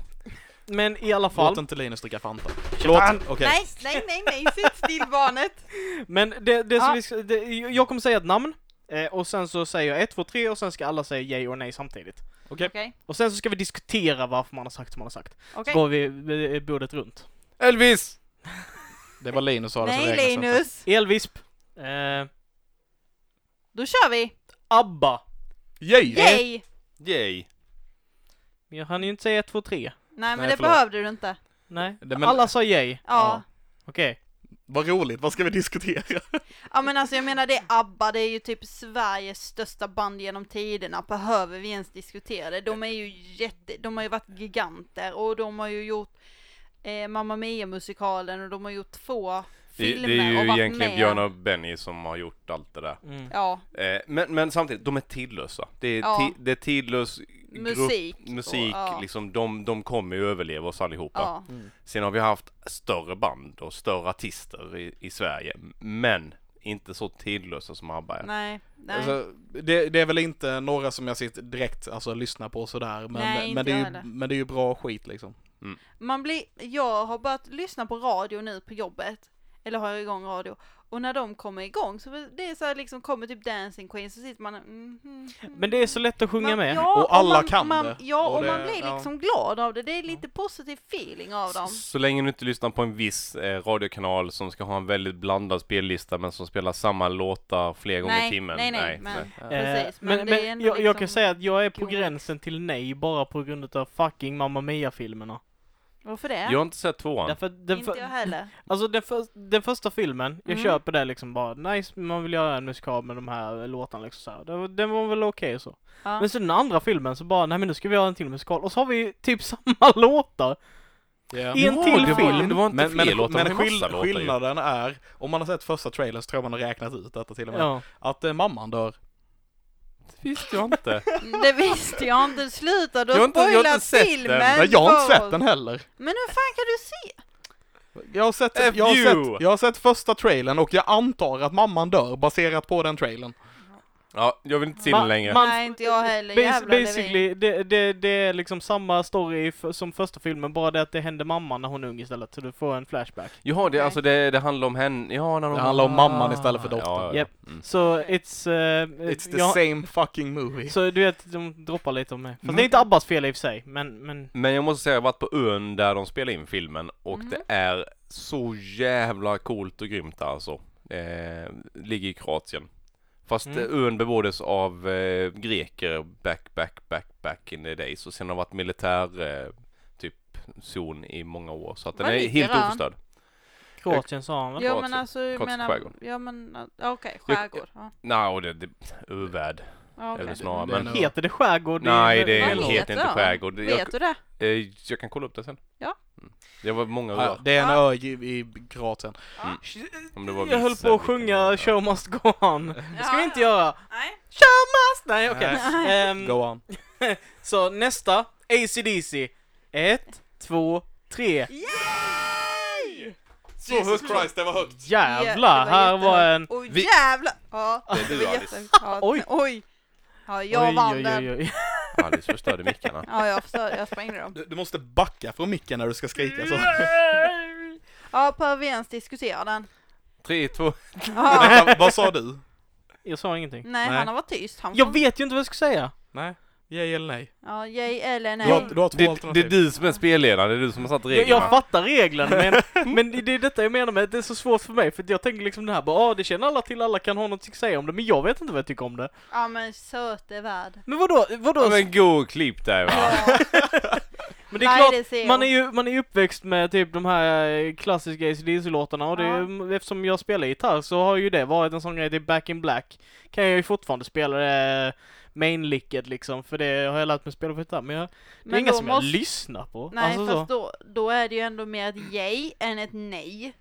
[SPEAKER 2] Men i alla fall.
[SPEAKER 3] Låt inte Linus dricka Fanta. Låt, okej.
[SPEAKER 4] Nej, nej, nej, nej, sitt still barnet!
[SPEAKER 2] Men det, det
[SPEAKER 4] Ja.
[SPEAKER 2] som vi ska, det, jag kommer säga ett namn. Eh, och sen så säger jag ett, två, tre och sen ska alla säga yay och nej samtidigt.
[SPEAKER 4] Okej,
[SPEAKER 2] Och sen så ska vi diskutera varför man har sagt som man har sagt. Så
[SPEAKER 4] okej.
[SPEAKER 2] går vi eh, bordet runt.
[SPEAKER 1] Elvis!
[SPEAKER 3] Det var Linus som sa det som
[SPEAKER 4] Nej
[SPEAKER 3] räknas inte.
[SPEAKER 2] alltså.
[SPEAKER 4] Linus,
[SPEAKER 2] Elvisp. Eh,
[SPEAKER 4] då kör vi!
[SPEAKER 2] ABBA.
[SPEAKER 3] Yay!
[SPEAKER 4] Yay!
[SPEAKER 1] Yay!
[SPEAKER 2] Men jag hann ju inte säga 1, 2, 3.
[SPEAKER 4] Nej men
[SPEAKER 3] Nej,
[SPEAKER 4] det
[SPEAKER 3] förlåt.
[SPEAKER 4] behövde du inte.
[SPEAKER 2] Nej.
[SPEAKER 3] Det men-
[SPEAKER 2] Alla sa yay.
[SPEAKER 4] Ja.
[SPEAKER 2] Okej.
[SPEAKER 3] Vad roligt, vad ska vi diskutera?
[SPEAKER 4] Ja men alltså jag menar det är ABBA, det är ju typ Sveriges största band genom tiderna, behöver vi ens diskutera det? De är ju jätte, de har ju varit giganter och de har ju gjort eh, Mamma Mia-musikalen och de har gjort två
[SPEAKER 1] Det,
[SPEAKER 4] filmer
[SPEAKER 1] det är
[SPEAKER 4] och
[SPEAKER 1] ju
[SPEAKER 4] varit
[SPEAKER 1] egentligen
[SPEAKER 4] med.
[SPEAKER 1] Björn och Benny som har gjort allt det där.
[SPEAKER 2] Mm.
[SPEAKER 4] Ja,
[SPEAKER 1] Eh, men, men samtidigt, de är tidlösa. Det är,
[SPEAKER 4] Ja.
[SPEAKER 1] ti, det är tidlös grupp,
[SPEAKER 4] musik. och-
[SPEAKER 1] musik
[SPEAKER 4] ja,
[SPEAKER 1] liksom, de, de kommer ju överleva oss allihopa.
[SPEAKER 4] ja.
[SPEAKER 3] Mm.
[SPEAKER 1] Sen har vi haft större band och större artister i, i Sverige, men inte så tidlösa som ABBA är.
[SPEAKER 4] Nej, nej.
[SPEAKER 3] Alltså, det, det är väl inte några som jag sitter direkt alltså, lyssnar på sådär, men,
[SPEAKER 4] Nej, inte
[SPEAKER 3] men, det
[SPEAKER 4] jag
[SPEAKER 3] är ju,
[SPEAKER 4] heller.
[SPEAKER 3] men det är ju bra skit liksom.
[SPEAKER 4] Man blir, jag har börjat lyssna på radio nu på jobbet, eller har igång radio, och när de kommer igång så det är så här liksom, kommer typ Dancing Queen så sitter man mm, mm, mm.
[SPEAKER 2] Men det är så lätt att sjunga
[SPEAKER 4] Man-
[SPEAKER 2] med.
[SPEAKER 4] Ja,
[SPEAKER 3] Och alla
[SPEAKER 4] man,
[SPEAKER 3] kan
[SPEAKER 4] man,
[SPEAKER 3] det.
[SPEAKER 4] Ja,
[SPEAKER 3] Och
[SPEAKER 4] och,
[SPEAKER 3] det-
[SPEAKER 4] man blir
[SPEAKER 3] ja.
[SPEAKER 4] liksom glad av det. Det är lite positiv feeling av dem.
[SPEAKER 1] Så länge du inte lyssnar på en viss eh, radiokanal som ska ha en väldigt blandad spellista men som spelar samma låtar fler gånger i
[SPEAKER 4] Nej,
[SPEAKER 1] timmen.
[SPEAKER 4] nej, nej, men- precis, men
[SPEAKER 2] men men,
[SPEAKER 4] det är ändå
[SPEAKER 2] jag, jag kan
[SPEAKER 4] liksom
[SPEAKER 2] säga att jag är på
[SPEAKER 4] coolt.
[SPEAKER 2] gränsen till nej bara på grund av fucking Mamma Mia-filmerna.
[SPEAKER 4] Varför det?
[SPEAKER 1] Jag har inte sett tvåan.
[SPEAKER 2] Därför att den,
[SPEAKER 4] inte
[SPEAKER 2] för,
[SPEAKER 4] jag heller.
[SPEAKER 2] alltså den, för, den första filmen, jag
[SPEAKER 4] Mm.
[SPEAKER 2] köper det liksom bara, nice, man vill göra en musikal med de här låtarna liksom så här. Det var- Den var väl okej och så.
[SPEAKER 4] Ja.
[SPEAKER 2] Men så den andra filmen så bara, nej men nu ska vi göra en till musikal och så har vi typ samma låtar. I en
[SPEAKER 1] Ja,
[SPEAKER 2] till
[SPEAKER 1] det var,
[SPEAKER 2] film.
[SPEAKER 1] det var inte
[SPEAKER 3] Men, men,
[SPEAKER 1] fler låtar,
[SPEAKER 3] men
[SPEAKER 1] det var massa
[SPEAKER 3] skill-
[SPEAKER 1] låtar ju.
[SPEAKER 3] skillnaden är, om man har sett första trailern så tror jag man har räknat ut detta till och med,
[SPEAKER 2] Ja.
[SPEAKER 3] att eh, mamman dör.
[SPEAKER 1] Det visste jag inte.
[SPEAKER 4] Mm, Det visste jag inte. Sluta, du
[SPEAKER 1] Jag har
[SPEAKER 4] har
[SPEAKER 1] inte- jag har inte
[SPEAKER 4] spoilat
[SPEAKER 1] sett den.
[SPEAKER 4] filmen
[SPEAKER 3] Nej, jag har
[SPEAKER 4] för
[SPEAKER 3] inte
[SPEAKER 4] oss.
[SPEAKER 3] sett den heller.
[SPEAKER 4] Men hur fan kan du se?
[SPEAKER 3] Jag har, sett,
[SPEAKER 1] F
[SPEAKER 3] jag, har
[SPEAKER 1] you.
[SPEAKER 3] sett, jag har sett första trailern och jag antar att mamman dör baserat på den trailern.
[SPEAKER 1] Ja, jag vill inte se
[SPEAKER 2] Ma-
[SPEAKER 1] den längre.
[SPEAKER 2] Man-
[SPEAKER 4] Nej, inte jag heller.
[SPEAKER 2] Bas-
[SPEAKER 4] Jävlar, det
[SPEAKER 2] basically, det, det, det är liksom samma story f- som första filmen, bara det att det händer mamman när hon är ung istället, så du får en flashback.
[SPEAKER 1] Jaha, det,
[SPEAKER 4] Nej.
[SPEAKER 1] alltså det, det handlar om henne. Ja, när de...
[SPEAKER 3] Det handlar om mamman istället för dottern.
[SPEAKER 1] Ja, ja, ja.
[SPEAKER 2] Japp.
[SPEAKER 1] Mm.
[SPEAKER 2] Så it's... eh,
[SPEAKER 3] It's the
[SPEAKER 2] jag-
[SPEAKER 3] same fucking movie.
[SPEAKER 2] Så du vet, de droppar lite om mig. Fast
[SPEAKER 3] Mm.
[SPEAKER 2] det är inte Abbas fel i och för sig, men, men
[SPEAKER 1] Men jag måste säga, jag har varit på ön där de spelar in filmen och det är så jävla coolt och grymt där alltså. Eh, ligger i Kroatien. Fast
[SPEAKER 2] Mm.
[SPEAKER 1] eh, ön bebåddes av eh, greker back, back, back, back in the days och sen har varit militär eh, typ zon i många år så att den
[SPEAKER 4] Var
[SPEAKER 1] är
[SPEAKER 4] ligger
[SPEAKER 1] helt
[SPEAKER 4] den?
[SPEAKER 1] oförstörd.
[SPEAKER 2] Kroatien sa han
[SPEAKER 4] blir.
[SPEAKER 2] väl?
[SPEAKER 4] Ja
[SPEAKER 1] Kroatien.
[SPEAKER 4] men alltså, jag
[SPEAKER 1] Kroatiska
[SPEAKER 4] menar,
[SPEAKER 1] skärgården.
[SPEAKER 4] ja men, ja, okej,
[SPEAKER 1] Jag-
[SPEAKER 4] skärgård. Ja,
[SPEAKER 1] Nej, och det, det övärld
[SPEAKER 4] ja,
[SPEAKER 1] är
[SPEAKER 4] okej.
[SPEAKER 1] det snarare.
[SPEAKER 3] Det är
[SPEAKER 1] Men,
[SPEAKER 3] nog-
[SPEAKER 2] Heter det skärgård? i-
[SPEAKER 1] nej, det
[SPEAKER 4] Vad
[SPEAKER 1] heter
[SPEAKER 4] heter
[SPEAKER 1] inte
[SPEAKER 4] den?
[SPEAKER 1] skärgård. Jag,
[SPEAKER 4] Vet du det?
[SPEAKER 1] eh, jag kan kolla upp det sen.
[SPEAKER 4] Ja.
[SPEAKER 1] Mm. Det var många
[SPEAKER 3] Ja,
[SPEAKER 1] år.
[SPEAKER 3] det är en
[SPEAKER 4] Ja.
[SPEAKER 3] ö i, i Kroatien.
[SPEAKER 1] Om det var
[SPEAKER 2] Jag höll
[SPEAKER 1] vitsar,
[SPEAKER 2] på att
[SPEAKER 1] vilken-
[SPEAKER 2] sjunga
[SPEAKER 1] ja.
[SPEAKER 2] Show must go on. Det ska vi
[SPEAKER 4] Ja,
[SPEAKER 2] inte
[SPEAKER 4] ja.
[SPEAKER 2] göra.
[SPEAKER 4] Nej.
[SPEAKER 2] Nej, okej. Ehm,
[SPEAKER 3] Go on.
[SPEAKER 2] så nästa, ACDC. Ett, två, tre.
[SPEAKER 4] Yay!
[SPEAKER 3] Så högt Christ, det var högt.
[SPEAKER 2] Jävlar, här var en...
[SPEAKER 4] Oj
[SPEAKER 1] Vi-
[SPEAKER 4] jävlar! Ja,
[SPEAKER 1] Det är du,
[SPEAKER 4] var
[SPEAKER 1] Alice.
[SPEAKER 4] jätte- ja,
[SPEAKER 2] Oj.
[SPEAKER 4] Oj! Ja, jag
[SPEAKER 2] Oj,
[SPEAKER 4] vann
[SPEAKER 2] oj,
[SPEAKER 4] den.
[SPEAKER 2] oj, oj.
[SPEAKER 1] Alice förstörde mickarna.
[SPEAKER 4] Ja, jag förstår, jag sprängde dem.
[SPEAKER 3] Du, du måste backa från micken när du ska skrika så.
[SPEAKER 2] Mm.
[SPEAKER 4] Ja, behöver vi ens diskutera den?
[SPEAKER 1] Tre, två,
[SPEAKER 4] Ja.
[SPEAKER 3] Vänta, vad sa du?
[SPEAKER 2] Jag sa ingenting.
[SPEAKER 4] Nej,
[SPEAKER 3] Nej.
[SPEAKER 4] han har varit tyst. Han
[SPEAKER 2] Jag vet ju inte vad jag ska säga.
[SPEAKER 3] Nej, yay eller nej?
[SPEAKER 4] Ja, yay eller
[SPEAKER 3] Du har,
[SPEAKER 4] nej.
[SPEAKER 3] du har två
[SPEAKER 1] Det, det
[SPEAKER 3] alternativ.
[SPEAKER 1] är du som är spelledaren, det är du som har satt
[SPEAKER 2] Jag,
[SPEAKER 1] reglerna.
[SPEAKER 2] jag fattar reglerna men, men det- det är detta jag menar med att det är så svårt för mig för att jag tänker liksom det här bara ah, det känner alla till, alla kan ha något att säga om det men jag vet inte vad jag tycker om det.
[SPEAKER 4] Ja, men söte värld.
[SPEAKER 2] Men vadå, vadå?
[SPEAKER 1] Ja,
[SPEAKER 2] men,
[SPEAKER 1] men gå och klipp dig va.
[SPEAKER 4] Ja,
[SPEAKER 2] det är
[SPEAKER 4] nej,
[SPEAKER 2] klart,
[SPEAKER 4] det ser jag.
[SPEAKER 2] man är ju man är ju uppväxt med typ de här eh, klassiska ACDC-låtarna och det, är ju- mm, eftersom jag spelar gitarr så har ju det varit en sån grej, typ Back in Black kan jag ju fortfarande spela det eh, mainlicket liksom för det har jag lärt mig spela på gitarr men jag, det är
[SPEAKER 4] Men
[SPEAKER 2] inga
[SPEAKER 4] då
[SPEAKER 2] som
[SPEAKER 4] måste-
[SPEAKER 2] jag lyssnar på.
[SPEAKER 4] Nej,
[SPEAKER 2] alltså, så.
[SPEAKER 4] fast då, då är det ju ändå mer ett yay än ett nej.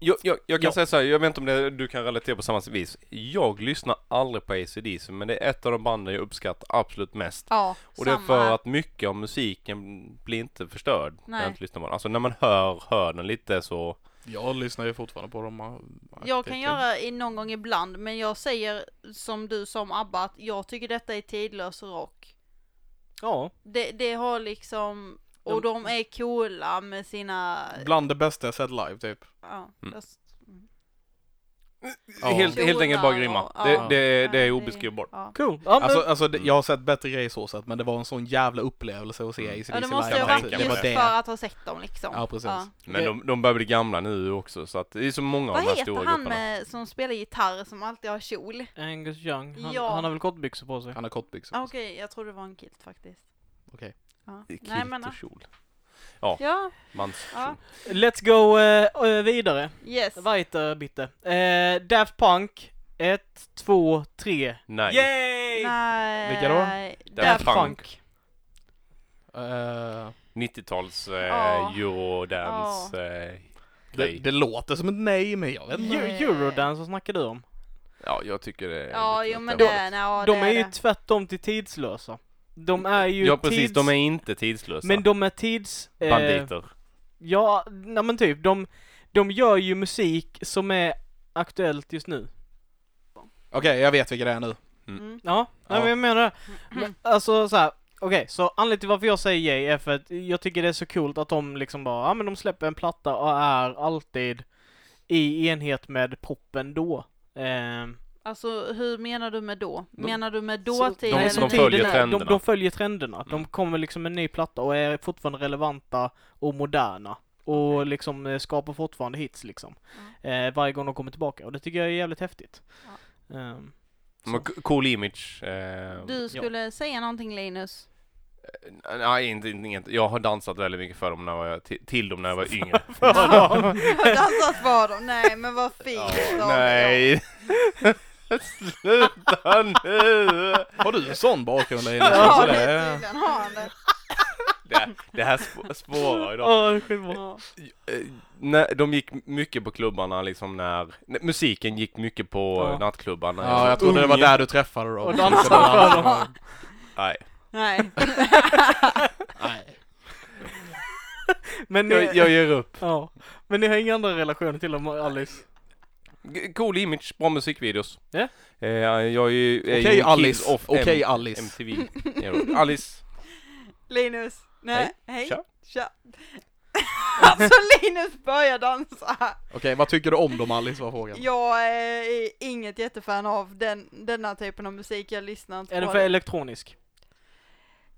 [SPEAKER 1] Jag, jag, jag kan
[SPEAKER 2] Ja.
[SPEAKER 1] säga så här, jag vet inte om det, du kan relatera på samma vis. Jag lyssnar aldrig på ACDC men det är ett av de banden jag uppskattar absolut mest.
[SPEAKER 4] Ja,
[SPEAKER 1] Och det
[SPEAKER 4] samma.
[SPEAKER 1] är för att mycket av musiken blir inte förstörd när
[SPEAKER 4] Nej.
[SPEAKER 1] jag inte lyssnar på den. Alltså när man hör, hör den lite så...
[SPEAKER 3] Jag lyssnar ju fortfarande på dem. aktivt.
[SPEAKER 4] Jag kan göra i någon gång ibland, men jag säger som du som ABBA att jag tycker detta är tidlös rock.
[SPEAKER 2] Ja.
[SPEAKER 4] Det, det har liksom, och de, är coola med sina...
[SPEAKER 3] Bland det bästa jag sett live typ.
[SPEAKER 4] Ja,
[SPEAKER 1] Mm.
[SPEAKER 4] just-
[SPEAKER 3] Ja.
[SPEAKER 1] Helt, helt enkelt bara grymma.
[SPEAKER 4] Ja.
[SPEAKER 1] Det, det, det är
[SPEAKER 4] Ja,
[SPEAKER 1] obeskrivbart.
[SPEAKER 4] Ja.
[SPEAKER 2] Cool. Ja, men,
[SPEAKER 3] Alltså, alltså det- jag har sett bättre grejer så sett, men det var en sån jävla upplevelse att se
[SPEAKER 1] Mm.
[SPEAKER 3] ACDC
[SPEAKER 4] ja, det
[SPEAKER 3] live.
[SPEAKER 4] måste ju
[SPEAKER 1] jag
[SPEAKER 4] ha
[SPEAKER 3] hela
[SPEAKER 4] varit
[SPEAKER 1] tänka
[SPEAKER 3] tiden.
[SPEAKER 1] mig.
[SPEAKER 4] just
[SPEAKER 3] det.
[SPEAKER 4] för att ha sett dem liksom.
[SPEAKER 3] Ja, precis.
[SPEAKER 1] Men de, de börjar bli gamla nu också så att det är så många av de här
[SPEAKER 4] Vad
[SPEAKER 1] stora
[SPEAKER 4] heter
[SPEAKER 1] grupperna.
[SPEAKER 4] han med, som spelar gitarr som alltid har kjol?
[SPEAKER 2] Angus Young, han,
[SPEAKER 4] Ja.
[SPEAKER 2] han har väl kortbyxor på sig?
[SPEAKER 3] Han har kortbyxor.
[SPEAKER 4] Ah, Okej, jag tror det var en kilt faktiskt.
[SPEAKER 3] Okej.
[SPEAKER 4] Ja.
[SPEAKER 1] Kilt
[SPEAKER 4] Nej men
[SPEAKER 1] och kjol.
[SPEAKER 4] Ja,
[SPEAKER 1] Mans...
[SPEAKER 4] Ja.
[SPEAKER 2] Let's go eh, eh, vidare.
[SPEAKER 4] yes.
[SPEAKER 2] Weiter bitte. Eh, Daft Punk. Ett, två, tre.
[SPEAKER 1] Nej.
[SPEAKER 2] Yay!
[SPEAKER 4] Nej.
[SPEAKER 3] Vilka då?
[SPEAKER 4] Daft
[SPEAKER 1] Punk.
[SPEAKER 2] Punk.
[SPEAKER 3] Eh,
[SPEAKER 1] 90-tals eh,
[SPEAKER 4] Ja.
[SPEAKER 1] eurodance eh,
[SPEAKER 3] det,
[SPEAKER 1] grej.
[SPEAKER 3] det låter som ett nej, men jag vet inte.
[SPEAKER 2] Eu- Eurodance, vad snackar du om?
[SPEAKER 1] Ja, jag tycker det är
[SPEAKER 4] Ja,
[SPEAKER 1] lite
[SPEAKER 4] jo
[SPEAKER 1] åt
[SPEAKER 4] men
[SPEAKER 1] det
[SPEAKER 4] det,
[SPEAKER 1] hållet.
[SPEAKER 4] nej, ja,
[SPEAKER 2] De
[SPEAKER 4] det
[SPEAKER 2] är ju typ-
[SPEAKER 4] det.
[SPEAKER 2] tvärtom till tidslösa. De är ju
[SPEAKER 1] Ja, precis.
[SPEAKER 2] tids...
[SPEAKER 1] De är inte tidslösa.
[SPEAKER 2] Men de är tids... eh,
[SPEAKER 1] Banditer.
[SPEAKER 2] Ja, nej men typ, de, de gör ju musik som är aktuellt just nu.
[SPEAKER 3] Okej, jag vet vilka det är nu.
[SPEAKER 4] Mm.
[SPEAKER 2] Ja, nej,
[SPEAKER 3] Ja.
[SPEAKER 2] men jag menar det. Men, Alltså så här. okej, så anledningen till varför jag säger yay är för att jag tycker det är så coolt att de liksom bara, ja men de släpper en platta och är alltid i enhet med poppen då. Ehm,
[SPEAKER 4] Alltså hur menar du med då? typ-
[SPEAKER 1] De-
[SPEAKER 4] Menar du med
[SPEAKER 2] så-
[SPEAKER 4] dåtid?
[SPEAKER 1] de
[SPEAKER 4] eller
[SPEAKER 1] som
[SPEAKER 4] nutid?
[SPEAKER 1] följer
[SPEAKER 2] är-
[SPEAKER 1] trenderna.
[SPEAKER 2] De, de följer trenderna. De
[SPEAKER 1] Mm.
[SPEAKER 2] kommer liksom med en ny platta och är fortfarande relevanta och moderna. Och
[SPEAKER 1] Mm.
[SPEAKER 2] liksom eh, skapar fortfarande hits liksom. Eh, varje gång de kommer tillbaka. Och det tycker jag är jävligt häftigt. Ehm,
[SPEAKER 1] De har co- cool image. Eh,
[SPEAKER 4] Du skulle säga någonting Linus?
[SPEAKER 1] Nej, inte, inte, inte. Jag har dansat väldigt mycket för dem när jag, var- till, till dem när jag var yngre.
[SPEAKER 4] Dansat var de? Nej men vad fint
[SPEAKER 1] Ja,
[SPEAKER 4] av er.
[SPEAKER 1] nej. Sluta nu!
[SPEAKER 3] Har du en sån bakgrund Linus?
[SPEAKER 4] Ja,
[SPEAKER 3] Alltså,
[SPEAKER 4] det
[SPEAKER 3] det
[SPEAKER 4] är
[SPEAKER 3] är-
[SPEAKER 4] tydligen har han det.
[SPEAKER 1] Det, det här sp- spårar idag.
[SPEAKER 2] åh, det är skitbra.
[SPEAKER 4] Ja.
[SPEAKER 1] Eh, när, de gick mycket på klubbarna liksom när, när musiken gick mycket på
[SPEAKER 2] Ja.
[SPEAKER 1] ja. nattklubbarna.
[SPEAKER 3] Ja, jag trodde det var
[SPEAKER 1] Ungen.
[SPEAKER 3] där du träffade dem.
[SPEAKER 2] Och dansade för
[SPEAKER 3] dem.
[SPEAKER 1] Nej.
[SPEAKER 4] Nej.
[SPEAKER 2] Men ni,
[SPEAKER 1] Jag, jag ger upp.
[SPEAKER 2] ja. Men ni har inga andra relationer till dem Alice?
[SPEAKER 1] G- Cool image, bra musikvideos.
[SPEAKER 2] Ja.
[SPEAKER 1] Eh, jag är ju, är ju
[SPEAKER 3] Okej
[SPEAKER 1] kids
[SPEAKER 3] Alice,
[SPEAKER 1] off
[SPEAKER 3] okej
[SPEAKER 1] M-
[SPEAKER 3] Alice.
[SPEAKER 1] MTV. Ja, Alice,
[SPEAKER 4] Linus. Nej. Hej.
[SPEAKER 1] Tja.
[SPEAKER 4] Tja. Alltså Linus börjar dansa.
[SPEAKER 3] Okej, vad tycker du om dem Alice var frågan?
[SPEAKER 4] Jag eh, är inget jättefan av den, denna typen av musik, jag lyssnar inte
[SPEAKER 2] Är den
[SPEAKER 4] på
[SPEAKER 2] för
[SPEAKER 4] det.
[SPEAKER 2] elektronisk?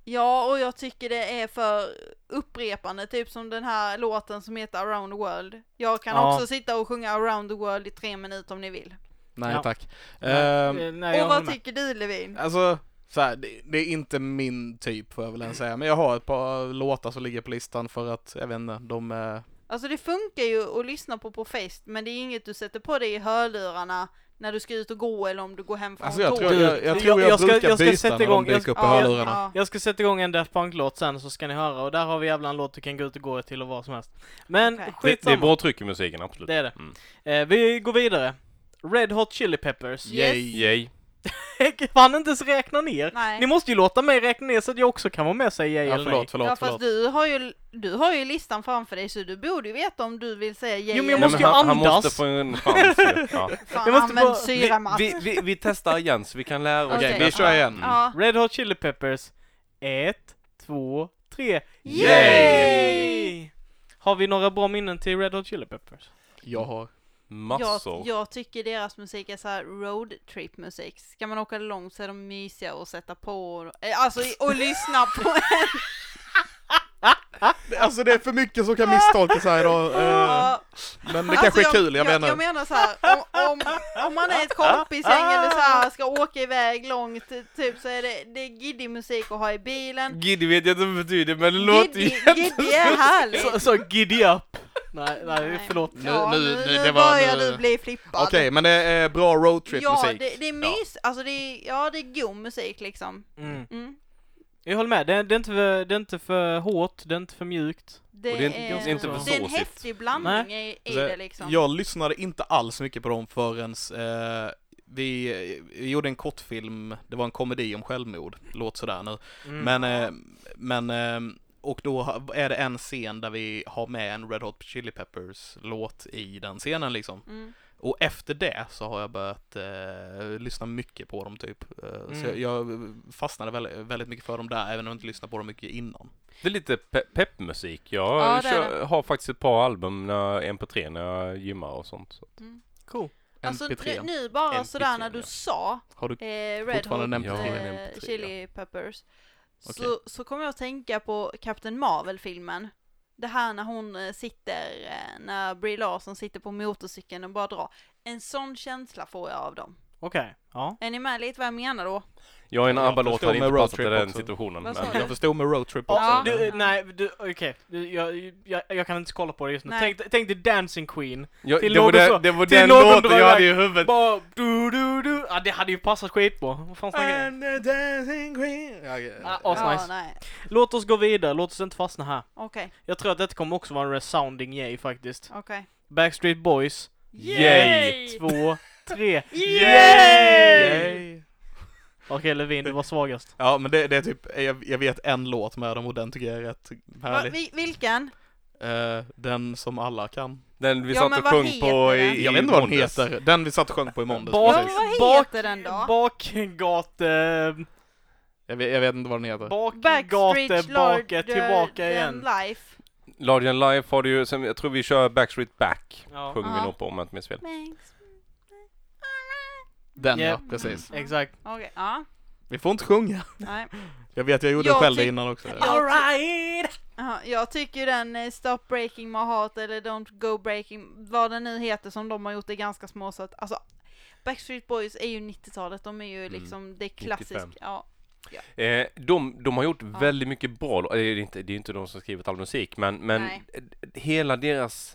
[SPEAKER 4] Ja, och jag tycker det är för upprepande, typ som den här låten som heter Around the World. Jag kan
[SPEAKER 2] Ja.
[SPEAKER 4] också sitta och sjunga Around the World i tre minuter om ni vill.
[SPEAKER 3] Nej
[SPEAKER 2] Ja.
[SPEAKER 3] tack.
[SPEAKER 2] Nej,
[SPEAKER 3] Ehm,
[SPEAKER 2] eh, nej, jag håller
[SPEAKER 4] och vad
[SPEAKER 2] med.
[SPEAKER 4] tycker du Levin?
[SPEAKER 3] Alltså, så här, det, det är inte min typ får jag väl ens säga, men jag har ett par låtar som ligger på listan för att, jag vet inte, de är...
[SPEAKER 4] Alltså det funkar ju att lyssna på på fest, men det är inget du sätter på dig i hörlurarna när du ska ut och gå eller om du går hem från
[SPEAKER 3] Alltså jag tror
[SPEAKER 4] tåget.
[SPEAKER 3] jag, jag,
[SPEAKER 2] Jag-
[SPEAKER 3] tror jag,
[SPEAKER 2] jag ska-
[SPEAKER 3] brukar
[SPEAKER 2] jag ska
[SPEAKER 3] byta
[SPEAKER 2] sätta
[SPEAKER 3] när
[SPEAKER 2] igång-
[SPEAKER 3] de
[SPEAKER 2] jag
[SPEAKER 3] dyker upp i
[SPEAKER 2] ska- ja,
[SPEAKER 3] hörlurarna.
[SPEAKER 2] Jag ska sätta igång en Daft Punk-låt sen så ska ni höra och där har vi jävla en låt du kan gå ut och gå till och vad som helst. Men
[SPEAKER 4] Okej.
[SPEAKER 1] det, det
[SPEAKER 2] skitsamma.
[SPEAKER 1] är bra tryck i musiken, absolut.
[SPEAKER 2] Det är det.
[SPEAKER 1] Mm.
[SPEAKER 2] Eh, vi går vidare. Red Hot Chili Peppers.
[SPEAKER 4] Ja. Yes.
[SPEAKER 3] Yay.
[SPEAKER 1] Yay.
[SPEAKER 2] Jag kan inte ens räkna ner.
[SPEAKER 4] Nej.
[SPEAKER 2] Ni måste ju låta mig räkna ner så att jag också kan vara med och säga yay
[SPEAKER 3] Ja,
[SPEAKER 2] eller
[SPEAKER 3] förlåt,
[SPEAKER 4] ja,
[SPEAKER 3] förlåt,
[SPEAKER 4] fast
[SPEAKER 3] förlåt.
[SPEAKER 4] Du, har ju, du har ju listan framför dig så du borde ju veta om du vill säga yay
[SPEAKER 2] Jo, men jag
[SPEAKER 4] eller
[SPEAKER 1] Nej,
[SPEAKER 2] måste
[SPEAKER 1] men
[SPEAKER 2] ju
[SPEAKER 1] han, han
[SPEAKER 2] andas.
[SPEAKER 1] måste få en chans. ju. Ja.
[SPEAKER 4] fan,
[SPEAKER 2] jag måste
[SPEAKER 4] använd
[SPEAKER 2] bara-
[SPEAKER 4] syra Mats.
[SPEAKER 1] Vi, vi, vi testar igen så vi kan lära oss.
[SPEAKER 3] Okej,
[SPEAKER 4] Okej.
[SPEAKER 3] vi kör igen.
[SPEAKER 4] Ja.
[SPEAKER 2] nej. Red Hot Chili Peppers. Ett, två, tre.
[SPEAKER 4] Yay!
[SPEAKER 2] Har vi några bra minnen till Red Hot Chili Peppers?
[SPEAKER 3] Jag har...
[SPEAKER 1] Massor.
[SPEAKER 4] Jag, jag tycker deras musik är så här road trip musik. Ska man åka långt så är de mysiga och sätta på, eh, alltså i- och lyssna på.
[SPEAKER 3] Alltså det är för mycket som kan misstolkas här idag. eh,
[SPEAKER 4] Ja.
[SPEAKER 3] Men det kanske är
[SPEAKER 4] Alltså,
[SPEAKER 3] kul, jag
[SPEAKER 4] jag, jag
[SPEAKER 3] menar.
[SPEAKER 4] menar så här, om, om, om man är ett kompisgäng eller så här, ska åka iväg långt, typ så är det, det är giddy musik att ha i bilen.
[SPEAKER 1] Giddy vet jag inte vad det betyder men det låter
[SPEAKER 4] Giddy,
[SPEAKER 1] ju...
[SPEAKER 4] giddy är härligt.
[SPEAKER 2] Så, så giddy up. Nej, nej,
[SPEAKER 4] Nej.
[SPEAKER 2] förlåt.
[SPEAKER 4] Ja,
[SPEAKER 3] Nu-
[SPEAKER 4] nu,
[SPEAKER 3] nu-
[SPEAKER 4] nu,
[SPEAKER 3] det- det var-
[SPEAKER 4] börjar
[SPEAKER 3] nu-
[SPEAKER 4] du bli flippad.
[SPEAKER 3] Okej, men det är bra
[SPEAKER 4] ja,
[SPEAKER 3] roadtrip-musik.
[SPEAKER 4] det, det är mys, alltså det är, ja det är god musik liksom.
[SPEAKER 2] Mm.
[SPEAKER 4] Mm.
[SPEAKER 2] Jag håller med, det, det, är inte för, det är inte för hårt, det är inte för mjukt.
[SPEAKER 4] Det,
[SPEAKER 1] Och det är inte-
[SPEAKER 2] det är inte för
[SPEAKER 4] det är en
[SPEAKER 1] såsigt.
[SPEAKER 4] häftig blandning i, i
[SPEAKER 3] Så
[SPEAKER 4] det liksom.
[SPEAKER 3] Jag lyssnade inte alls mycket på dem förrän eh, vi, vi gjorde en kortfilm, det var en komedi om självmord, låt sådär nu.
[SPEAKER 2] Mm.
[SPEAKER 3] Men, eh, men eh, och då ha- är det en scen där vi har med en Red Hot Chili Peppers låt i den scenen liksom.
[SPEAKER 4] Mm.
[SPEAKER 3] Och efter det så har jag börjat eh, lyssna mycket på dem typ. Eh, Så
[SPEAKER 2] Mm.
[SPEAKER 3] jag, jag fastnade väldigt, väldigt mycket för dem där, även om jag inte lyssnade på dem mycket innan.
[SPEAKER 1] Det är lite pe peppmusik. Jag
[SPEAKER 4] Ja, det är
[SPEAKER 1] kör, har faktiskt ett par album, när, MP3, när jag gymmar och sånt. Så.
[SPEAKER 2] Cool.
[SPEAKER 4] Alltså
[SPEAKER 3] MP3.
[SPEAKER 4] nu, nu bara
[SPEAKER 3] MP3,
[SPEAKER 4] sådär när du
[SPEAKER 3] ja.
[SPEAKER 4] sa
[SPEAKER 3] Har du...
[SPEAKER 4] eh, Red Hot
[SPEAKER 3] Fortfarande en
[SPEAKER 1] MP3. Ja,
[SPEAKER 4] eh,
[SPEAKER 1] en MP3,
[SPEAKER 4] Chili Peppers
[SPEAKER 3] Okej.
[SPEAKER 4] så, så kommer jag att tänka på Captain Marvel-filmen. Det här när hon eh, sitter, eh, när Brie Larson sitter på motorcykeln och bara drar. En sån känsla får jag av dem.
[SPEAKER 2] Okej, ja.
[SPEAKER 4] Är ni med lite vad jag menar då?
[SPEAKER 1] Jag är en
[SPEAKER 3] Jag
[SPEAKER 1] ABBA-låt
[SPEAKER 3] förstår
[SPEAKER 1] hade inte
[SPEAKER 3] med
[SPEAKER 1] passat i
[SPEAKER 3] roadtrip
[SPEAKER 1] den
[SPEAKER 3] också.
[SPEAKER 1] situationen.
[SPEAKER 4] Vad
[SPEAKER 1] Men
[SPEAKER 4] sa
[SPEAKER 1] jag
[SPEAKER 4] du?
[SPEAKER 3] Jag förstod med roadtrip också.
[SPEAKER 2] Ja,
[SPEAKER 4] Ja.
[SPEAKER 2] du, eh, nej, du, okej. Du, jag, jag, jag kan inte kolla på det just nu.
[SPEAKER 4] Nej.
[SPEAKER 2] Tänk, tänk dig Dancing Queen.
[SPEAKER 1] Ja,
[SPEAKER 2] Till
[SPEAKER 1] det, var
[SPEAKER 2] någon
[SPEAKER 1] den,
[SPEAKER 2] så-
[SPEAKER 1] det var
[SPEAKER 2] till
[SPEAKER 1] den
[SPEAKER 2] någon du
[SPEAKER 1] låten
[SPEAKER 2] var
[SPEAKER 1] jag hade i
[SPEAKER 2] iväg.
[SPEAKER 1] huvudet.
[SPEAKER 2] Bara du, du, du. Ja, det hade ju passat skitbra. Vad fan snackar jag?
[SPEAKER 3] the dancing queen. Ja,
[SPEAKER 2] Ah,
[SPEAKER 3] ja.
[SPEAKER 2] as-
[SPEAKER 4] Ja,
[SPEAKER 2] nice.
[SPEAKER 4] nej.
[SPEAKER 2] Låt oss gå vidare, låt oss inte fastna här.
[SPEAKER 4] Okej,
[SPEAKER 2] Jag tror att detta kommer också vara en resounding yay faktiskt.
[SPEAKER 4] okej.
[SPEAKER 2] Backstreet Boys.
[SPEAKER 1] Yay!
[SPEAKER 2] Två, tre.
[SPEAKER 4] Yay!
[SPEAKER 3] Yay.
[SPEAKER 2] Okej Levin, du var svagast.
[SPEAKER 3] Ja, men det, det är typ, jag, jag vet en låt med dem och den tycker jag är rätt
[SPEAKER 4] Va,
[SPEAKER 3] härlig.
[SPEAKER 4] vi- Vilken?
[SPEAKER 3] Eh, den som alla kan.
[SPEAKER 1] Den vi
[SPEAKER 4] Ja,
[SPEAKER 1] satt
[SPEAKER 4] men
[SPEAKER 1] och
[SPEAKER 4] vad
[SPEAKER 1] sjöng
[SPEAKER 4] heter
[SPEAKER 1] på
[SPEAKER 4] den?
[SPEAKER 1] i
[SPEAKER 3] Jag vet inte vad den
[SPEAKER 1] måndags.
[SPEAKER 3] heter. Den vi satt och sjöng på i måndags.
[SPEAKER 2] Bak-
[SPEAKER 4] Ja,
[SPEAKER 3] precis.
[SPEAKER 4] vad heter den då?
[SPEAKER 2] Bakgate...
[SPEAKER 3] Jag, vet, jag vet inte vad den heter.
[SPEAKER 2] Bakgate,
[SPEAKER 4] Backstreet
[SPEAKER 2] baka,
[SPEAKER 4] Lord eh,
[SPEAKER 2] tillbaka
[SPEAKER 4] than
[SPEAKER 2] igen.
[SPEAKER 4] Life.
[SPEAKER 1] Lardian Life har du ju, sen, jag tror vi kör Backstreet Back.
[SPEAKER 2] Ja,
[SPEAKER 1] Sjöng vi
[SPEAKER 4] Ja.
[SPEAKER 1] nog på om jag inte minns fel.
[SPEAKER 4] Thanks.
[SPEAKER 3] Den
[SPEAKER 2] Ja.
[SPEAKER 3] ja, precis.
[SPEAKER 2] exakt.
[SPEAKER 4] Okej, ja.
[SPEAKER 3] Vi får inte sjunga.
[SPEAKER 4] Nej.
[SPEAKER 3] Jag vet, jag gjorde
[SPEAKER 4] Jag
[SPEAKER 3] det själv
[SPEAKER 4] tyck-
[SPEAKER 3] innan också.
[SPEAKER 4] typ. Ja.
[SPEAKER 2] Alright!
[SPEAKER 4] Ja, jag tycker ju den eh, Stop Breaking My Heart eller Don't Go Breaking, vad den nu heter som de har gjort är ganska små så att alltså Backstreet Boys är ju 90-talet, de är ju
[SPEAKER 1] Mm.
[SPEAKER 4] liksom, det är klassiskt.
[SPEAKER 1] 95.
[SPEAKER 4] Ja.
[SPEAKER 1] Eh, de, de har gjort väldigt mycket bra lå- eh, Det är inte, det är inte de som skrivit all musik, men, men
[SPEAKER 4] Nej.
[SPEAKER 1] eh, hela deras...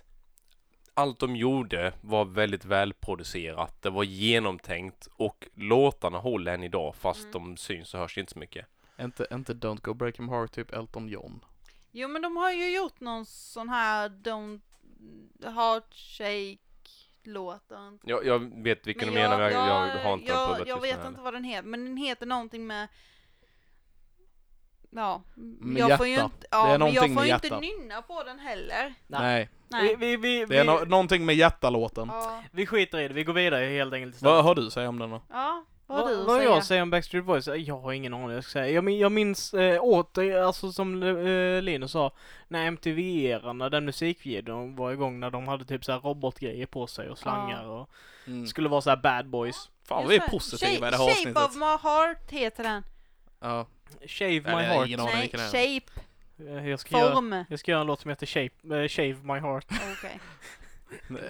[SPEAKER 1] Allt de gjorde var väldigt välproducerat. Det var genomtänkt och låtarna håller än idag fast
[SPEAKER 4] Mm.
[SPEAKER 1] de syns och hörs inte så mycket.
[SPEAKER 3] Inte, inte Don't Go Break Him Heart, typ Elton John.
[SPEAKER 4] Jo men de har ju gjort någon sån här Don't Heartshake låt. Men
[SPEAKER 1] Jag, jag vet vilken du menar, men jag, jag, har inte den på
[SPEAKER 4] jag,
[SPEAKER 1] huvudet
[SPEAKER 4] jag
[SPEAKER 1] just nu
[SPEAKER 4] vet
[SPEAKER 1] heller.
[SPEAKER 4] inte vad den heter, men den heter någonting med Ja,
[SPEAKER 3] Med
[SPEAKER 4] jag får ju
[SPEAKER 3] hjärta.
[SPEAKER 4] inte, ja,
[SPEAKER 3] Det är
[SPEAKER 4] men jag
[SPEAKER 3] någonting
[SPEAKER 4] får
[SPEAKER 3] med
[SPEAKER 4] ju inte
[SPEAKER 3] hjärta.
[SPEAKER 4] nynna på den heller.
[SPEAKER 1] Eh,
[SPEAKER 2] Nej.
[SPEAKER 3] Nej.
[SPEAKER 2] Vi, vi,
[SPEAKER 4] Nej.
[SPEAKER 2] vi,
[SPEAKER 3] Det är no-
[SPEAKER 2] vi,
[SPEAKER 3] någonting med jättalåten.
[SPEAKER 4] Ja,
[SPEAKER 2] vi skiter i det, vi går vidare helt enkelt istället.
[SPEAKER 3] Vad har du att säga om den då?
[SPEAKER 4] ja vad har
[SPEAKER 2] Vad,
[SPEAKER 4] du att
[SPEAKER 2] vad
[SPEAKER 4] säga?
[SPEAKER 2] jag säger om Backstreet Boys? Eh, Jag har ingen aning vad jag ska säga. Jag, min, jag minns eh, åter, alltså som eh, Linus sa, när MTV-eran, när den musikvideon var igång, när de hade typ så här robotgrejer på sig och slangar och
[SPEAKER 3] Mm.
[SPEAKER 2] skulle vara så här bad boys.
[SPEAKER 3] Fan,
[SPEAKER 4] Just
[SPEAKER 3] vi är
[SPEAKER 4] det.
[SPEAKER 3] positiva i det här
[SPEAKER 4] shape, Shape of
[SPEAKER 3] avsnittet.
[SPEAKER 4] my heart heter den.
[SPEAKER 3] Ja.
[SPEAKER 2] Shave my
[SPEAKER 3] Ja, det är
[SPEAKER 2] heart.
[SPEAKER 3] ingen aning
[SPEAKER 4] Nej,
[SPEAKER 3] vilken det är.
[SPEAKER 4] shape,
[SPEAKER 2] Eh, Jag ska, göra,
[SPEAKER 4] form.
[SPEAKER 2] jag ska göra en låt som heter Shape, eh, Shave my heart.
[SPEAKER 4] Okej.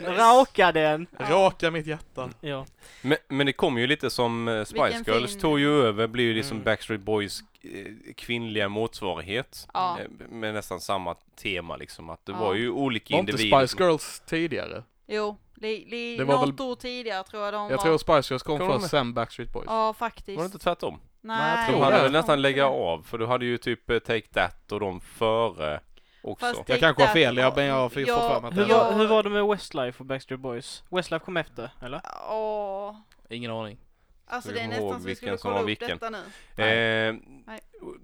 [SPEAKER 3] Eh,
[SPEAKER 2] Raka den!
[SPEAKER 3] Raka Mm. mitt hjärta.
[SPEAKER 2] Ja.
[SPEAKER 1] Men, men det kom ju lite som eh, Spice
[SPEAKER 4] Vilken
[SPEAKER 1] Girls
[SPEAKER 4] fin-
[SPEAKER 1] tog ju över, blev ju liksom
[SPEAKER 2] Mm.
[SPEAKER 1] Backstreet Boys eh, kvinnliga motsvarighet.
[SPEAKER 4] Ja.
[SPEAKER 1] Eh, Med nästan samma tema liksom, att det
[SPEAKER 4] Ja.
[SPEAKER 1] var ju olika
[SPEAKER 3] Var inte
[SPEAKER 1] individer.
[SPEAKER 3] Spice Girls tidigare?
[SPEAKER 4] Jo, det, det,
[SPEAKER 3] Det var
[SPEAKER 4] något år tidigare tror jag de
[SPEAKER 3] Jag
[SPEAKER 4] var.
[SPEAKER 3] tror Spice Girls kom
[SPEAKER 1] Kom de
[SPEAKER 3] först, sen Backstreet Boys.
[SPEAKER 4] Ja, faktiskt.
[SPEAKER 1] Var det inte tvärtom?
[SPEAKER 4] Nej,
[SPEAKER 3] jag
[SPEAKER 1] De
[SPEAKER 3] tror
[SPEAKER 1] hade
[SPEAKER 3] det.
[SPEAKER 1] väl nästan lägga
[SPEAKER 4] av
[SPEAKER 1] av, för du hade ju typ eh, Take That och de före också.
[SPEAKER 4] Fast det-
[SPEAKER 3] Jag kanske har
[SPEAKER 4] Där-
[SPEAKER 3] fel, jag, men jag har fått
[SPEAKER 4] Ja,
[SPEAKER 3] för mig att
[SPEAKER 2] Hur,
[SPEAKER 3] det
[SPEAKER 4] ja.
[SPEAKER 3] var...
[SPEAKER 2] var, hur var det med Westlife och Backstreet Boys? Westlife kom efter, eller?
[SPEAKER 4] Åh.
[SPEAKER 3] Ingen aning.
[SPEAKER 4] Alltså
[SPEAKER 1] Jag
[SPEAKER 4] det är
[SPEAKER 1] kommer
[SPEAKER 4] nästan
[SPEAKER 1] ihåg
[SPEAKER 4] så vi
[SPEAKER 1] vilken
[SPEAKER 4] skulle
[SPEAKER 1] som
[SPEAKER 4] kolla
[SPEAKER 1] var
[SPEAKER 4] upp
[SPEAKER 1] vilken.
[SPEAKER 4] detta nu.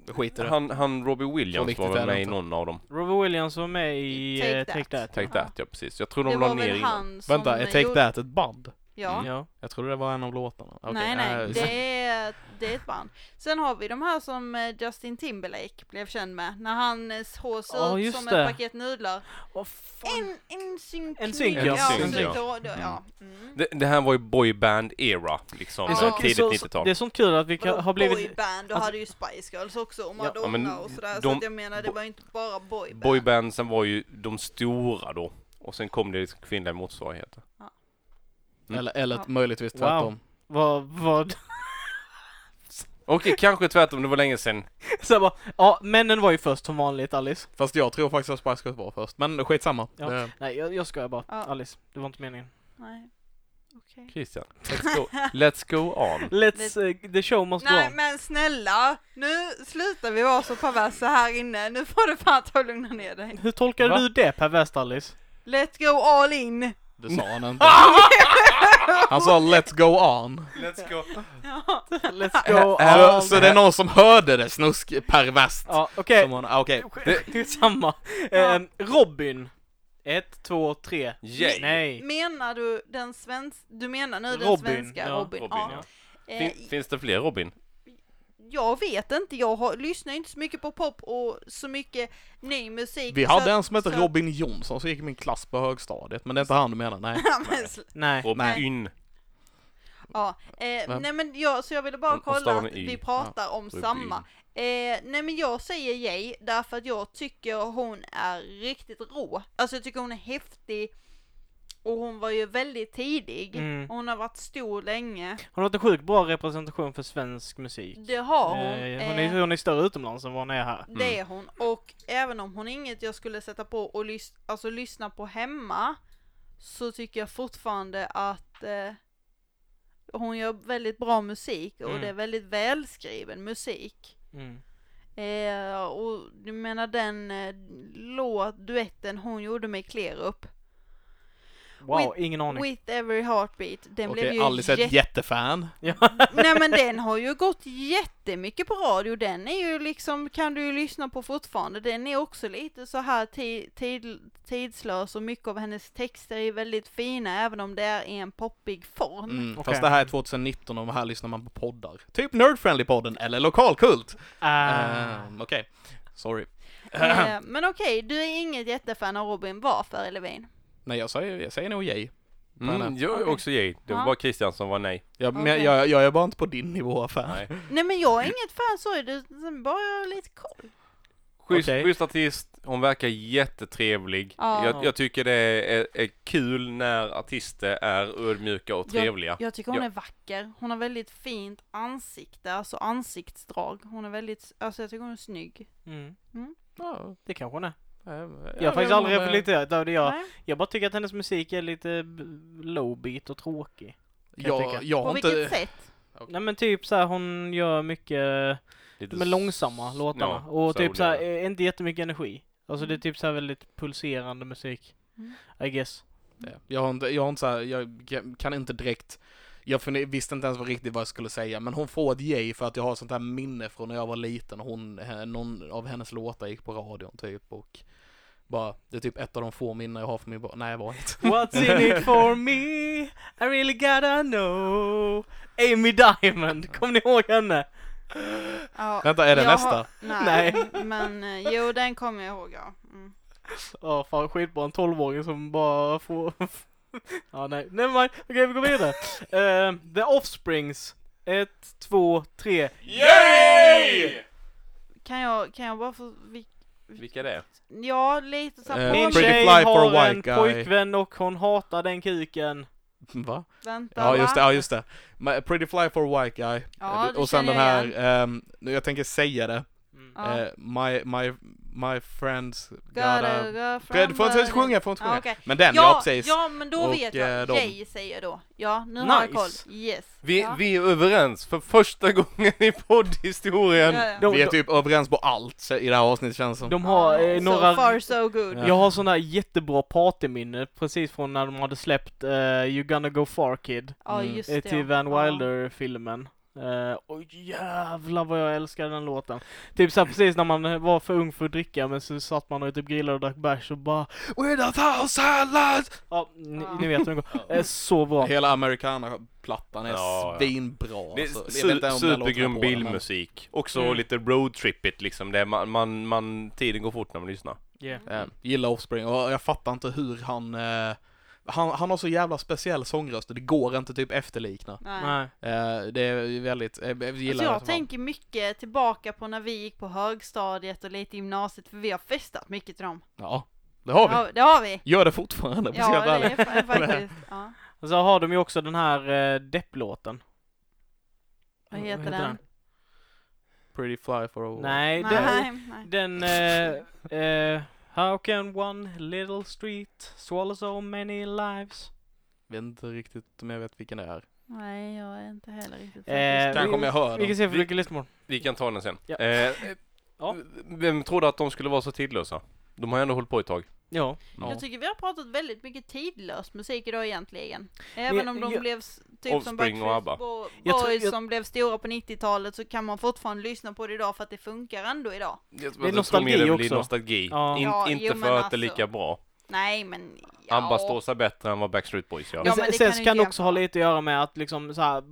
[SPEAKER 1] Eh,
[SPEAKER 3] Skit i det.
[SPEAKER 1] han, han Robbie Williams
[SPEAKER 3] viktigt
[SPEAKER 1] var
[SPEAKER 3] är
[SPEAKER 1] väl
[SPEAKER 3] det
[SPEAKER 1] med i
[SPEAKER 3] inte.
[SPEAKER 1] någon av dem.
[SPEAKER 2] Robbie Williams var med i
[SPEAKER 4] Take
[SPEAKER 2] eh,
[SPEAKER 4] That.
[SPEAKER 2] Take That.
[SPEAKER 1] Take
[SPEAKER 4] Ja.
[SPEAKER 1] That, ja precis. Jag tror de
[SPEAKER 4] Det
[SPEAKER 1] la
[SPEAKER 4] var
[SPEAKER 1] ner
[SPEAKER 4] väl
[SPEAKER 1] innan.
[SPEAKER 4] han som
[SPEAKER 3] Vänta, är Take
[SPEAKER 4] gjorde-
[SPEAKER 3] That ett band?
[SPEAKER 4] Ja.
[SPEAKER 2] Ja.
[SPEAKER 3] Jag trodde det var en av låtarna. Okej,
[SPEAKER 4] nej, nej,
[SPEAKER 3] eh,
[SPEAKER 4] det är, det är ett band. Sen har vi de här som eh, Justin Timberlake blev känd med, när hans hår
[SPEAKER 2] Ja,
[SPEAKER 4] ser ut
[SPEAKER 2] just
[SPEAKER 4] som
[SPEAKER 2] det.
[SPEAKER 4] ett paket nudlar.
[SPEAKER 2] Åh, fan.
[SPEAKER 4] En, en synk.
[SPEAKER 2] En synk,
[SPEAKER 1] ja.
[SPEAKER 4] ja.
[SPEAKER 1] En synk,
[SPEAKER 4] så
[SPEAKER 1] ja.
[SPEAKER 4] Då, då,
[SPEAKER 1] Mm.
[SPEAKER 4] ja. Mm.
[SPEAKER 1] Det, det här var ju boyband-era, liksom.
[SPEAKER 2] Det är,
[SPEAKER 4] Ja.
[SPEAKER 1] eh,
[SPEAKER 2] så, det, är
[SPEAKER 1] Tidigt
[SPEAKER 2] så,
[SPEAKER 1] 90-tal.
[SPEAKER 2] det är så kul att vi kan,
[SPEAKER 4] Vadå,
[SPEAKER 2] har blivit...
[SPEAKER 4] boyband, då
[SPEAKER 2] alltså-
[SPEAKER 4] hade ju Spice Girls också och
[SPEAKER 2] Ja,
[SPEAKER 4] Madonna
[SPEAKER 1] men
[SPEAKER 4] och sådär.
[SPEAKER 1] de-
[SPEAKER 4] så att jag menar det
[SPEAKER 1] bo-
[SPEAKER 4] var ju inte bara boyband.
[SPEAKER 1] Boybandsen var ju de stora då. Och sen kom det liksom kvinnliga motsvarigheter. Mm.
[SPEAKER 3] Eller, eller
[SPEAKER 4] Ja.
[SPEAKER 3] möjligtvis
[SPEAKER 2] Wow.
[SPEAKER 3] tvärtom.
[SPEAKER 2] Vad, vad?
[SPEAKER 1] Okej, kanske tvärtom, det var länge sedan.
[SPEAKER 2] Så jag bara, ja, männen var ju först som vanligt Alice.
[SPEAKER 3] Fast jag tror faktiskt att Spice Girls var först. Men skitsamma. Eh,
[SPEAKER 2] Ja.
[SPEAKER 3] Det-
[SPEAKER 2] Nej, jag, jag skojar bara.
[SPEAKER 4] Ja.
[SPEAKER 2] Alice, det var inte meningen.
[SPEAKER 4] Nej. Okej.
[SPEAKER 1] Christian, let's go, let's go on.
[SPEAKER 2] Let's, eh, the show must
[SPEAKER 4] Nej
[SPEAKER 2] go on.
[SPEAKER 4] men snälla, nu slutar vi vara så perversa här inne. Nu får du fan ta och lugna ner dig.
[SPEAKER 2] Hur tolkade
[SPEAKER 1] Va?
[SPEAKER 2] du det perverst Alice?
[SPEAKER 4] Let's go all in!
[SPEAKER 3] Det sa han inte. Han sa Let's go on.
[SPEAKER 1] Let's go.
[SPEAKER 4] Ja.
[SPEAKER 2] Let's go
[SPEAKER 3] Så-
[SPEAKER 2] on.
[SPEAKER 3] Så det är någon som hörde det snusk perverst.
[SPEAKER 2] Ja, okej.
[SPEAKER 3] Som hon- ah, Okej.
[SPEAKER 2] Det är samma.
[SPEAKER 4] Ja.
[SPEAKER 2] Ehm, Robin. Ett, två, tre.
[SPEAKER 1] Yay.
[SPEAKER 2] Nej.
[SPEAKER 4] Menar du den svenska, du menar nu den
[SPEAKER 2] Robin,
[SPEAKER 4] svenska
[SPEAKER 2] ja.
[SPEAKER 4] Robin?
[SPEAKER 1] Robin, ja.
[SPEAKER 4] Eh,
[SPEAKER 1] Fin, finns det fler Robin?
[SPEAKER 4] jag vet inte, jag har, lyssnar inte så mycket på pop och så mycket ny musik.
[SPEAKER 3] Vi
[SPEAKER 4] så
[SPEAKER 3] hade
[SPEAKER 4] att-
[SPEAKER 3] en som hette
[SPEAKER 4] så att-
[SPEAKER 3] Robin Jonsson som gick i min klass på högstadiet, men det är inte han du menar, nej.
[SPEAKER 4] Ja, men sl-
[SPEAKER 2] Nej.
[SPEAKER 1] Robin.
[SPEAKER 4] ja, eh,
[SPEAKER 3] Vem?
[SPEAKER 4] nej men jag, så jag ville bara
[SPEAKER 1] Hon- hon
[SPEAKER 4] kolla
[SPEAKER 1] stavar
[SPEAKER 4] att
[SPEAKER 1] med Y.
[SPEAKER 4] vi pratar om
[SPEAKER 1] Robin.
[SPEAKER 4] samma. Eh, nej men jag säger Jay därför att jag tycker hon är riktigt rå. Alltså jag tycker hon är häftig. Och hon var ju väldigt tidig.
[SPEAKER 2] Mm.
[SPEAKER 4] Och hon har varit stor länge.
[SPEAKER 2] Hon har haft en sjukt bra representation för svensk musik.
[SPEAKER 4] Det har hon.
[SPEAKER 2] Eh, hon,
[SPEAKER 4] eh,
[SPEAKER 2] är, hon är större utomlands än vad hon är här.
[SPEAKER 4] Det är hon. Och även om hon är inget jag skulle sätta på och lys- alltså, lyssna på hemma så tycker jag fortfarande att eh, hon gör väldigt bra musik och
[SPEAKER 2] Mm.
[SPEAKER 4] det är väldigt välskriven musik.
[SPEAKER 2] Mm.
[SPEAKER 4] Eh, och du menar den eh, låt, duetten hon gjorde med Klerup,
[SPEAKER 2] Wow, ingen aning.
[SPEAKER 4] With Every Heartbeat, den blev
[SPEAKER 3] Okej,
[SPEAKER 4] ju
[SPEAKER 3] Alice är ett jättefan.
[SPEAKER 4] Nej men den har ju gått jättemycket på radio, den är ju liksom, kan du ju lyssna på fortfarande, den är också lite så här ti- tid, tidslös och mycket av hennes texter är väldigt fina även om det är i en poppig form.
[SPEAKER 3] Mm,
[SPEAKER 2] Okej.
[SPEAKER 3] Fast det här är 2019 och här lyssnar man på poddar. Typ Nerdfriendly-podden eller Lokalkult.
[SPEAKER 2] Ah.
[SPEAKER 3] Ehm, Okej, sorry.
[SPEAKER 4] Eh, men okej, du är inget jättefan av Robin, varför Levin?
[SPEAKER 3] Nej, jag säger, jag säger nog yay.
[SPEAKER 1] Mm, jag är
[SPEAKER 4] Okej.
[SPEAKER 1] också gay. Det var
[SPEAKER 4] Ja.
[SPEAKER 1] bara Christian som var nej.
[SPEAKER 3] Jag, men
[SPEAKER 4] Okej.
[SPEAKER 3] jag, jag är bara inte på din nivå, affär.
[SPEAKER 1] nej.
[SPEAKER 4] Nej men jag är inget fan, sorry, du, sen bara jag har lite koll.
[SPEAKER 1] Schysst,
[SPEAKER 3] Okej.
[SPEAKER 1] schysst artist, hon verkar jättetrevlig.
[SPEAKER 4] Ja.
[SPEAKER 1] Jag, jag tycker det är, är kul när artister är ödmjuka och trevliga.
[SPEAKER 4] Jag tycker hon
[SPEAKER 1] Ja.
[SPEAKER 4] är vacker, hon har väldigt fint ansikte, alltså ansiktsdrag. Hon är väldigt, alltså jag tycker hon är snygg.
[SPEAKER 2] Mm.
[SPEAKER 3] Ja,
[SPEAKER 2] Det kanske hon är.
[SPEAKER 3] eh,
[SPEAKER 2] Jag har faktiskt
[SPEAKER 3] men-
[SPEAKER 2] aldrig reflekterat över det. Jag,
[SPEAKER 4] Nej.
[SPEAKER 2] jag bara tycker att hennes musik är lite b- lowbeat och tråkig. jag
[SPEAKER 3] Jag,
[SPEAKER 2] tycka.
[SPEAKER 3] jag
[SPEAKER 4] På
[SPEAKER 3] har
[SPEAKER 4] vilket
[SPEAKER 3] inte...
[SPEAKER 4] sätt?
[SPEAKER 2] Nej men typ såhär, hon gör mycket
[SPEAKER 1] Lite
[SPEAKER 2] De är långsamma
[SPEAKER 1] s-
[SPEAKER 2] låtarna
[SPEAKER 1] ja,
[SPEAKER 2] och typ såhär,
[SPEAKER 1] soliga.
[SPEAKER 2] eh, inte jättemycket energi. Alltså det är typ såhär väldigt pulserande musik.
[SPEAKER 4] Mm.
[SPEAKER 2] I guess.
[SPEAKER 3] Jag har inte, jag har inte så här, jag jag kan inte direkt... Jag funder, visste inte ens vad riktigt vad jag skulle säga, men hon får ett yay för att jag har sånt här minne från när jag var liten och hon, eh, någon av hennes låtar gick på radion typ och bara, det är typ ett av de få minnen jag har från min barn. Nej, jag var inte.
[SPEAKER 2] What's in it for me? I really gotta know. Amy Diamond, kommer ni ihåg henne?
[SPEAKER 4] Ja.
[SPEAKER 3] Vänta, är det
[SPEAKER 4] Jag
[SPEAKER 3] nästa?
[SPEAKER 4] har- Nej, men eh, jo den kommer jag ihåg ja. Mm.
[SPEAKER 2] Ja fan skitbra, en 12-åring som bara får... ja nej, nevermind. Okej vi går vidare. Eh, The Offsprings. Ett, två, tre.
[SPEAKER 1] Yay!
[SPEAKER 4] Kan jag, kan jag bara få, vi,
[SPEAKER 1] Vilka det är?
[SPEAKER 4] ja lite så
[SPEAKER 3] Eh,
[SPEAKER 4] här
[SPEAKER 2] Min
[SPEAKER 4] på,
[SPEAKER 3] Pretty
[SPEAKER 2] tjej
[SPEAKER 3] fly for
[SPEAKER 2] har
[SPEAKER 3] a white
[SPEAKER 2] en
[SPEAKER 3] guy.
[SPEAKER 2] pojkvän och hon hatar den kuken.
[SPEAKER 3] Va?
[SPEAKER 4] vänta
[SPEAKER 3] Ja,
[SPEAKER 4] va?
[SPEAKER 3] just det, ja, just det. Ma- Pretty fly for a white guy.
[SPEAKER 4] Ja,
[SPEAKER 3] Eh,
[SPEAKER 4] det
[SPEAKER 3] och sen
[SPEAKER 4] känner
[SPEAKER 3] den
[SPEAKER 4] jag
[SPEAKER 3] här, ehm, nu jag tänker säga det.
[SPEAKER 2] Mm.
[SPEAKER 4] Ja.
[SPEAKER 3] Eh, my, my, my friends
[SPEAKER 4] Gotta
[SPEAKER 3] gotta...
[SPEAKER 4] go from
[SPEAKER 3] Fred, får jag inte
[SPEAKER 4] Berlin.
[SPEAKER 3] sjunga, får jag inte
[SPEAKER 4] Ja,
[SPEAKER 3] sjunga.
[SPEAKER 4] okej.
[SPEAKER 3] Men den, ja,
[SPEAKER 4] Ja,
[SPEAKER 3] precis.
[SPEAKER 4] ja men då
[SPEAKER 3] Och,
[SPEAKER 4] vet
[SPEAKER 3] eh,
[SPEAKER 4] jag,
[SPEAKER 3] de.
[SPEAKER 4] Jay säger jag då. Ja, nu har jag
[SPEAKER 2] Nice.
[SPEAKER 4] koll. Yes.
[SPEAKER 1] Vi,
[SPEAKER 4] ja.
[SPEAKER 1] vi är överens för första gången i poddhistorien.
[SPEAKER 4] Ja, ja.
[SPEAKER 2] De-
[SPEAKER 3] Vi är typ överens på allt i det här avsnittet känns som.
[SPEAKER 2] De har eh, några...
[SPEAKER 4] Oh, So far so good.
[SPEAKER 3] Ja.
[SPEAKER 2] Jag har sådana jättebra partyminnen precis från när de hade släppt eh, You gonna go far kid
[SPEAKER 4] Ja,
[SPEAKER 3] Mm.
[SPEAKER 4] just
[SPEAKER 2] eh,
[SPEAKER 4] det.
[SPEAKER 2] till Van Wilder-filmen. Eh, och jävlar vad jag älskar den låten. Typ såhär precis när man var för ung för att dricka men så satt man och typ grillade och drack bärs och bara
[SPEAKER 3] With a thousand lights!
[SPEAKER 2] Ja, ni,
[SPEAKER 4] Ja.
[SPEAKER 2] ni vet hur den går. Eh, så bra.
[SPEAKER 3] Hela americana-plattan är
[SPEAKER 1] Ja, ja.
[SPEAKER 3] svinbra.
[SPEAKER 1] Det är
[SPEAKER 3] alltså. Jag vet inte
[SPEAKER 1] su-
[SPEAKER 3] om den här låten är
[SPEAKER 1] supergrym
[SPEAKER 3] på den, men-
[SPEAKER 1] bilmusik. Också
[SPEAKER 2] Mm.
[SPEAKER 1] lite roadtrippigt liksom. Det är man, man, man, tiden går fort när man lyssnar.
[SPEAKER 2] Yeah.
[SPEAKER 3] Eh, gillar Offspring och jag fattar inte hur han, eh, han... Han har så jävla speciell sångröst och det går inte typ efterlikna.
[SPEAKER 4] Nej.
[SPEAKER 2] Nej.
[SPEAKER 3] Eh, det är väldigt... eh, Jag gillar
[SPEAKER 4] Alltså
[SPEAKER 3] det
[SPEAKER 4] jag
[SPEAKER 3] som fan.
[SPEAKER 4] tänker mycket tillbaka på när vi gick på högstadiet och lite gymnasiet, för vi har festat mycket till dem.
[SPEAKER 3] Ja, det har vi.
[SPEAKER 4] Ja, det har vi.
[SPEAKER 3] Gör det fortfarande, på
[SPEAKER 4] Ja,
[SPEAKER 3] ja,
[SPEAKER 4] det är fa- faktiskt. Ja.
[SPEAKER 2] Och så har de ju också den här eh, depplåten.
[SPEAKER 4] Vad heter den?
[SPEAKER 3] Pretty fly for a
[SPEAKER 2] Nej, den,
[SPEAKER 4] Nej, nej.
[SPEAKER 2] Den... Eh, eh, how can one little street swallow so many lives?
[SPEAKER 3] Jag vet inte riktigt om jag vet vilken det är.
[SPEAKER 4] nej, jag är inte heller riktigt
[SPEAKER 2] Eh,
[SPEAKER 4] säker.
[SPEAKER 3] Kanske om jag hör
[SPEAKER 2] Vi
[SPEAKER 3] den.
[SPEAKER 2] kan se för mycket lyssnar på.
[SPEAKER 1] Vi kan ta den sen.
[SPEAKER 2] Ja.
[SPEAKER 1] Eh,
[SPEAKER 2] Ja.
[SPEAKER 1] Vem trodde att de skulle vara så tidlösa? De har ändå hållit på ett tag.
[SPEAKER 2] Ja.
[SPEAKER 3] Ja.
[SPEAKER 4] Jag tycker vi har pratat väldigt mycket tidlös musik idag egentligen. Även om de
[SPEAKER 2] jag-
[SPEAKER 4] blev s- typ som
[SPEAKER 1] Offspring och
[SPEAKER 4] Backstreet
[SPEAKER 1] ABBA.
[SPEAKER 4] Bo-
[SPEAKER 2] Jag tror-
[SPEAKER 4] Boys
[SPEAKER 2] jag-
[SPEAKER 4] som blev stora på 90-talet så kan man fortfarande lyssna på det idag för att det funkar ändå idag.
[SPEAKER 1] Jag
[SPEAKER 2] är
[SPEAKER 1] tror mer det
[SPEAKER 2] nostalgi
[SPEAKER 1] blir
[SPEAKER 2] också.
[SPEAKER 1] nostalgi.
[SPEAKER 2] Ja.
[SPEAKER 1] In,
[SPEAKER 4] Ja,
[SPEAKER 1] inte
[SPEAKER 4] jo,
[SPEAKER 1] för
[SPEAKER 4] men
[SPEAKER 1] att det är
[SPEAKER 4] alltså.
[SPEAKER 1] lika bra.
[SPEAKER 4] Nej men ja.
[SPEAKER 1] ABBA står sig bättre än vad Backstreet Boys gör.
[SPEAKER 4] Ja,
[SPEAKER 2] Men
[SPEAKER 4] men
[SPEAKER 2] sen sen
[SPEAKER 4] det kan
[SPEAKER 2] kan
[SPEAKER 4] du
[SPEAKER 2] det
[SPEAKER 4] inte
[SPEAKER 2] också ha
[SPEAKER 4] jämföra.
[SPEAKER 2] lite att göra med att liksom så här,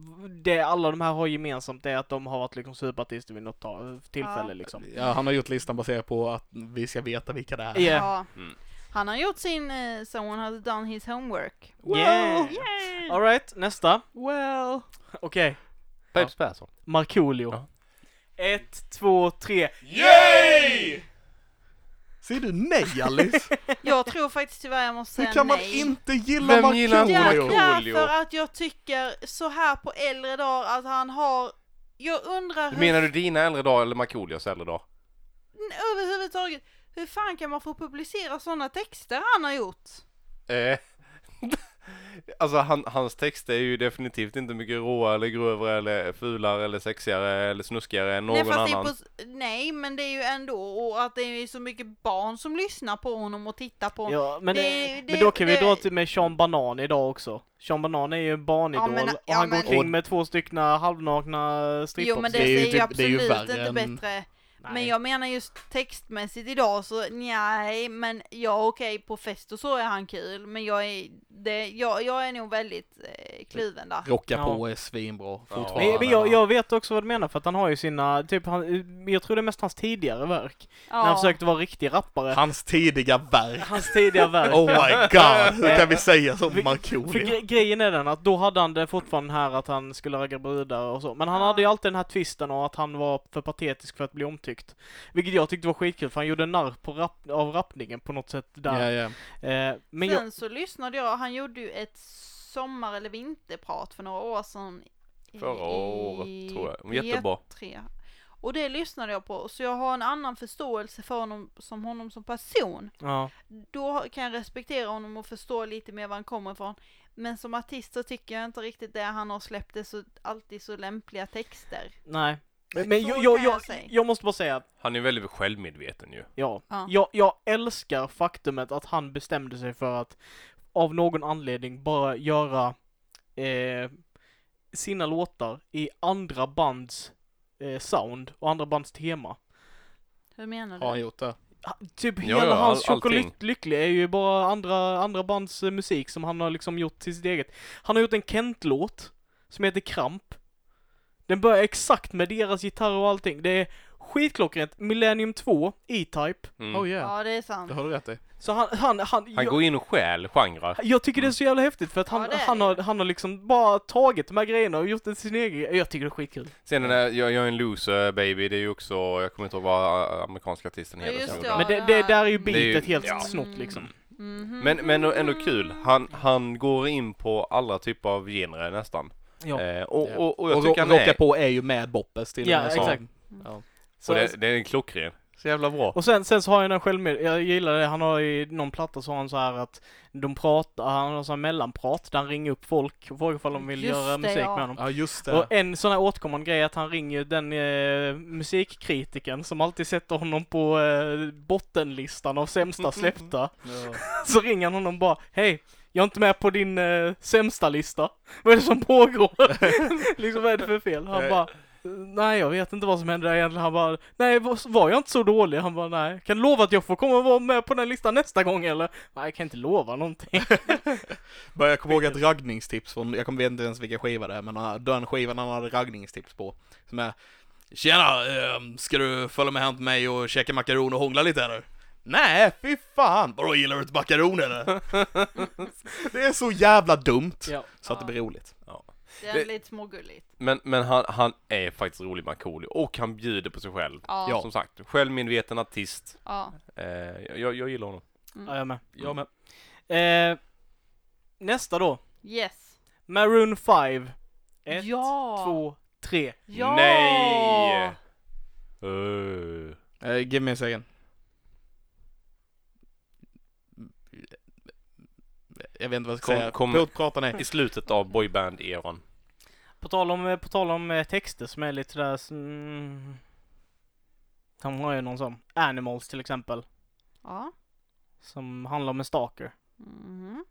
[SPEAKER 2] det alla de här har gemensamt är att de har varit liksom superartister vid något ta- tillfälle
[SPEAKER 4] Ja.
[SPEAKER 2] liksom.
[SPEAKER 3] Ja, han har gjort listan baserat på att vi ska veta vilka det är.
[SPEAKER 2] Ja.
[SPEAKER 4] Ja.
[SPEAKER 1] Mm.
[SPEAKER 4] Han har gjort sin eh, Someone has done his homework.
[SPEAKER 2] Yeah. Alright, nästa.
[SPEAKER 3] Well...
[SPEAKER 2] Okej.
[SPEAKER 1] Babs Persson.
[SPEAKER 2] Markoolio.
[SPEAKER 1] Ja.
[SPEAKER 2] Ett, två, tre.
[SPEAKER 1] Yay!
[SPEAKER 3] Säger du nej Alice?
[SPEAKER 4] Jag tror faktiskt tyvärr jag måste säga
[SPEAKER 3] Hur kan man
[SPEAKER 4] nej.
[SPEAKER 3] inte gilla
[SPEAKER 1] Vem gillar inte
[SPEAKER 3] Markoolio?
[SPEAKER 1] Markoolio?
[SPEAKER 4] Ja, därför att jag tycker så här på äldre dagar att han har jag undrar hur,
[SPEAKER 1] Menar du dina äldre dagar eller Markoolios äldre dag?
[SPEAKER 4] n- överhuvudtaget, hur fan kan man få publicera sådana texter han har gjort?
[SPEAKER 1] Eh. Alltså han, hans text är ju definitivt inte mycket råare eller grövre eller fulare eller sexigare eller snuskigare än någon
[SPEAKER 4] nej, fast
[SPEAKER 1] annan.
[SPEAKER 4] Det är på, nej, men det är ju ändå, och att det är så mycket barn som lyssnar på honom och tittar på honom.
[SPEAKER 2] Ja, men,
[SPEAKER 4] Det-
[SPEAKER 2] det,
[SPEAKER 4] det-
[SPEAKER 2] men då kan vi
[SPEAKER 4] det-
[SPEAKER 2] dra till med Sean Banan idag också. Sean Banan är ju en barnidol
[SPEAKER 4] Ja, men-
[SPEAKER 2] och
[SPEAKER 4] ja,
[SPEAKER 2] han går
[SPEAKER 4] men-
[SPEAKER 2] omkring med två stycken halvnakna strippor.
[SPEAKER 4] Jo men det,
[SPEAKER 2] på sig.
[SPEAKER 3] är ju
[SPEAKER 4] är ju
[SPEAKER 3] typ- det är ju
[SPEAKER 4] absolut
[SPEAKER 3] värre
[SPEAKER 4] inte
[SPEAKER 3] än-
[SPEAKER 4] bättre. Men
[SPEAKER 2] Nej.
[SPEAKER 4] jag menar just textmässigt idag så nej, men ja okej på fest och så är han kul. Men jag är, det, jag, jag är nog väldigt eh, kluven där.
[SPEAKER 3] Rocka
[SPEAKER 2] Ja.
[SPEAKER 3] på är svinbra fortfarande.
[SPEAKER 2] Men, men jag, jag vet också vad du menar för att han har ju sina, typ han, jag tror det är mest hans tidigare verk. När han försökte vara riktig rappare.
[SPEAKER 3] Hans tidiga verk.
[SPEAKER 2] Hans tidiga verk.
[SPEAKER 3] Oh my god, hur kan vi säga som
[SPEAKER 2] Vi- För
[SPEAKER 3] Markoolio?
[SPEAKER 2] gre- grejen är den att då hade han det fortfarande här att han skulle ragga brudar och så. Men han
[SPEAKER 4] Ja.
[SPEAKER 2] hade ju alltid den här twisten och att han var för patetisk för att bli omtyckt. Vilket jag tyckte var skitkul för han gjorde narr på rapp- av rappningen på något sätt där.
[SPEAKER 3] Ja, ja.
[SPEAKER 2] Eh, men jag,
[SPEAKER 4] Sen så lyssnade jag, han gjorde ju ett sommar eller vinterprat för några år sedan. i-
[SPEAKER 1] Förra året tror jag. Jättebra.
[SPEAKER 4] P3. Och det lyssnade jag på, så jag har en annan förståelse för honom som, honom som person.
[SPEAKER 2] ja.
[SPEAKER 4] Då kan jag respektera honom och förstå lite mer var han kommer ifrån. Men som artist så tycker jag inte riktigt det han har släppt är så, alltid så lämpliga texter.
[SPEAKER 2] Nej. Men
[SPEAKER 4] Så
[SPEAKER 2] jag, jag,
[SPEAKER 4] kan jag
[SPEAKER 2] jag,
[SPEAKER 4] säga.
[SPEAKER 2] jag måste bara säga,
[SPEAKER 1] Han är väldigt självmedveten ju.
[SPEAKER 2] ja.
[SPEAKER 4] Ja.
[SPEAKER 2] Jag, jag älskar faktumet att han bestämde sig för att av någon anledning bara göra eh, sina låtar i andra bands eh, sound och andra bands tema.
[SPEAKER 4] Hur menar du?
[SPEAKER 3] Har han gjort det?
[SPEAKER 2] Ha- Typ
[SPEAKER 1] Ja,
[SPEAKER 2] hela
[SPEAKER 1] ja,
[SPEAKER 2] hans
[SPEAKER 1] all- allting.
[SPEAKER 2] Chocolat Lycklig är ju bara andra, andra bands eh, musik som han har liksom gjort till sitt eget. Han har gjort en Kent-låt som heter Kramp. Den börjar exakt med deras gitarr och allting. Det är skitklockrent. Millennium 2, E-Type.
[SPEAKER 1] Mm.
[SPEAKER 3] Oh yeah,
[SPEAKER 4] Ja, det är sant.
[SPEAKER 3] det har du rätt i.
[SPEAKER 2] Så han, han, han,
[SPEAKER 1] Han
[SPEAKER 2] jag,
[SPEAKER 1] går in och stjäl genrer.
[SPEAKER 2] jag tycker det är så jävla häftigt för att han,
[SPEAKER 4] Ja, det är
[SPEAKER 2] han,
[SPEAKER 4] det.
[SPEAKER 2] har, han har liksom bara tagit de här grejerna och gjort det till sin egen Jag tycker det är skitkul.
[SPEAKER 1] Sen den där jag, jag är en loser baby, det är ju också, jag kommer inte ihåg vad äh, amerikanska artisten
[SPEAKER 4] Ja,
[SPEAKER 1] heter.
[SPEAKER 4] just
[SPEAKER 1] som
[SPEAKER 4] det,
[SPEAKER 1] gjorde
[SPEAKER 4] ja.
[SPEAKER 1] den.
[SPEAKER 2] Men det,
[SPEAKER 4] det
[SPEAKER 2] det,
[SPEAKER 4] här-
[SPEAKER 2] där är ju
[SPEAKER 1] Det är ju-
[SPEAKER 2] beatet helt
[SPEAKER 1] ja.
[SPEAKER 2] snott liksom.
[SPEAKER 4] Mhm.
[SPEAKER 1] Men, men ändå kul,
[SPEAKER 4] Mm.
[SPEAKER 1] han, han går in på alla typer av genrer nästan.
[SPEAKER 2] Ja.
[SPEAKER 1] Eh, och,
[SPEAKER 3] Ja.
[SPEAKER 1] och, och jag
[SPEAKER 3] Och
[SPEAKER 1] tycker han
[SPEAKER 3] ro- Rocka
[SPEAKER 1] är,
[SPEAKER 3] på är ju med Boppes till
[SPEAKER 2] Ja,
[SPEAKER 3] den här sången.
[SPEAKER 2] exakt.
[SPEAKER 3] Ja.
[SPEAKER 2] Så-
[SPEAKER 1] och det, det är klockren. Så jävla bra.
[SPEAKER 2] Och sen, sen så har han en självmed... Jag gillar det, han har i någon platta så har han så här att de pratar, han har så här mellanprat där han ringer upp folk och frågar ifall de vill
[SPEAKER 4] Just
[SPEAKER 2] göra
[SPEAKER 4] det,
[SPEAKER 2] musik
[SPEAKER 4] ja.
[SPEAKER 2] med honom.
[SPEAKER 3] Ja, just det.
[SPEAKER 2] Och en sån här återkommande grej är att han ringer den eh, musikkritiken som alltid sätter honom på eh, bottenlistan av sämsta släppta.
[SPEAKER 3] Ja.
[SPEAKER 2] Så ringer han honom bara, hej, jag är inte med på din eh, sämsta lista. Vad är det som pågår? liksom vad är det för fel? Han
[SPEAKER 1] Eh.
[SPEAKER 2] bara, nej jag vet inte vad som hände där egentligen. Han bara, nej var var jag inte så dålig? Han bara, nej. Kan du lova att jag får komma och vara med på den listan nästa gång eller? Nej, jag kan inte lova någonting.
[SPEAKER 3] Men jag kommer ihåg ett raggningstips från, jag kommer inte ens vilken skiva det är, men han- den skivan han hade raggningstips på. Som är Tjena, ehm, ska du följa med hem till mig och käka makaroner och hångla lite eller? Nej, fy fan! Vadå, gillar du inte makaroner eller? det är så jävla dumt!
[SPEAKER 2] ja.
[SPEAKER 3] Så att det blir roligt.
[SPEAKER 4] Det är lite smågulligt.
[SPEAKER 1] Men, men han, han är faktiskt rolig Markoolio och han bjuder på sig själv.
[SPEAKER 4] Ja.
[SPEAKER 3] Ja.
[SPEAKER 1] Som sagt, självmedveten artist.
[SPEAKER 4] ja. Mm.
[SPEAKER 1] Eh, jag, jag gillar honom.
[SPEAKER 2] ja, jag med.
[SPEAKER 3] Jag med.
[SPEAKER 2] Eh, nästa då.
[SPEAKER 4] Yes.
[SPEAKER 2] Maroon 5. Ett,
[SPEAKER 4] ja.
[SPEAKER 2] två, tre.
[SPEAKER 4] Ja.
[SPEAKER 1] Nej! Eh,
[SPEAKER 3] Uh, give me a second. Jag vet inte vad jag ska
[SPEAKER 1] Kom-
[SPEAKER 3] säga.
[SPEAKER 1] kom-
[SPEAKER 3] Pr- Prata nej.
[SPEAKER 1] I slutet av boyband-eran.
[SPEAKER 2] På tal om, eh, på tal om eh, texter som är lite där... Mm, de har ju någon sån. Animals till exempel.
[SPEAKER 4] Ja.
[SPEAKER 2] Som handlar om en stalker.
[SPEAKER 4] Mhm.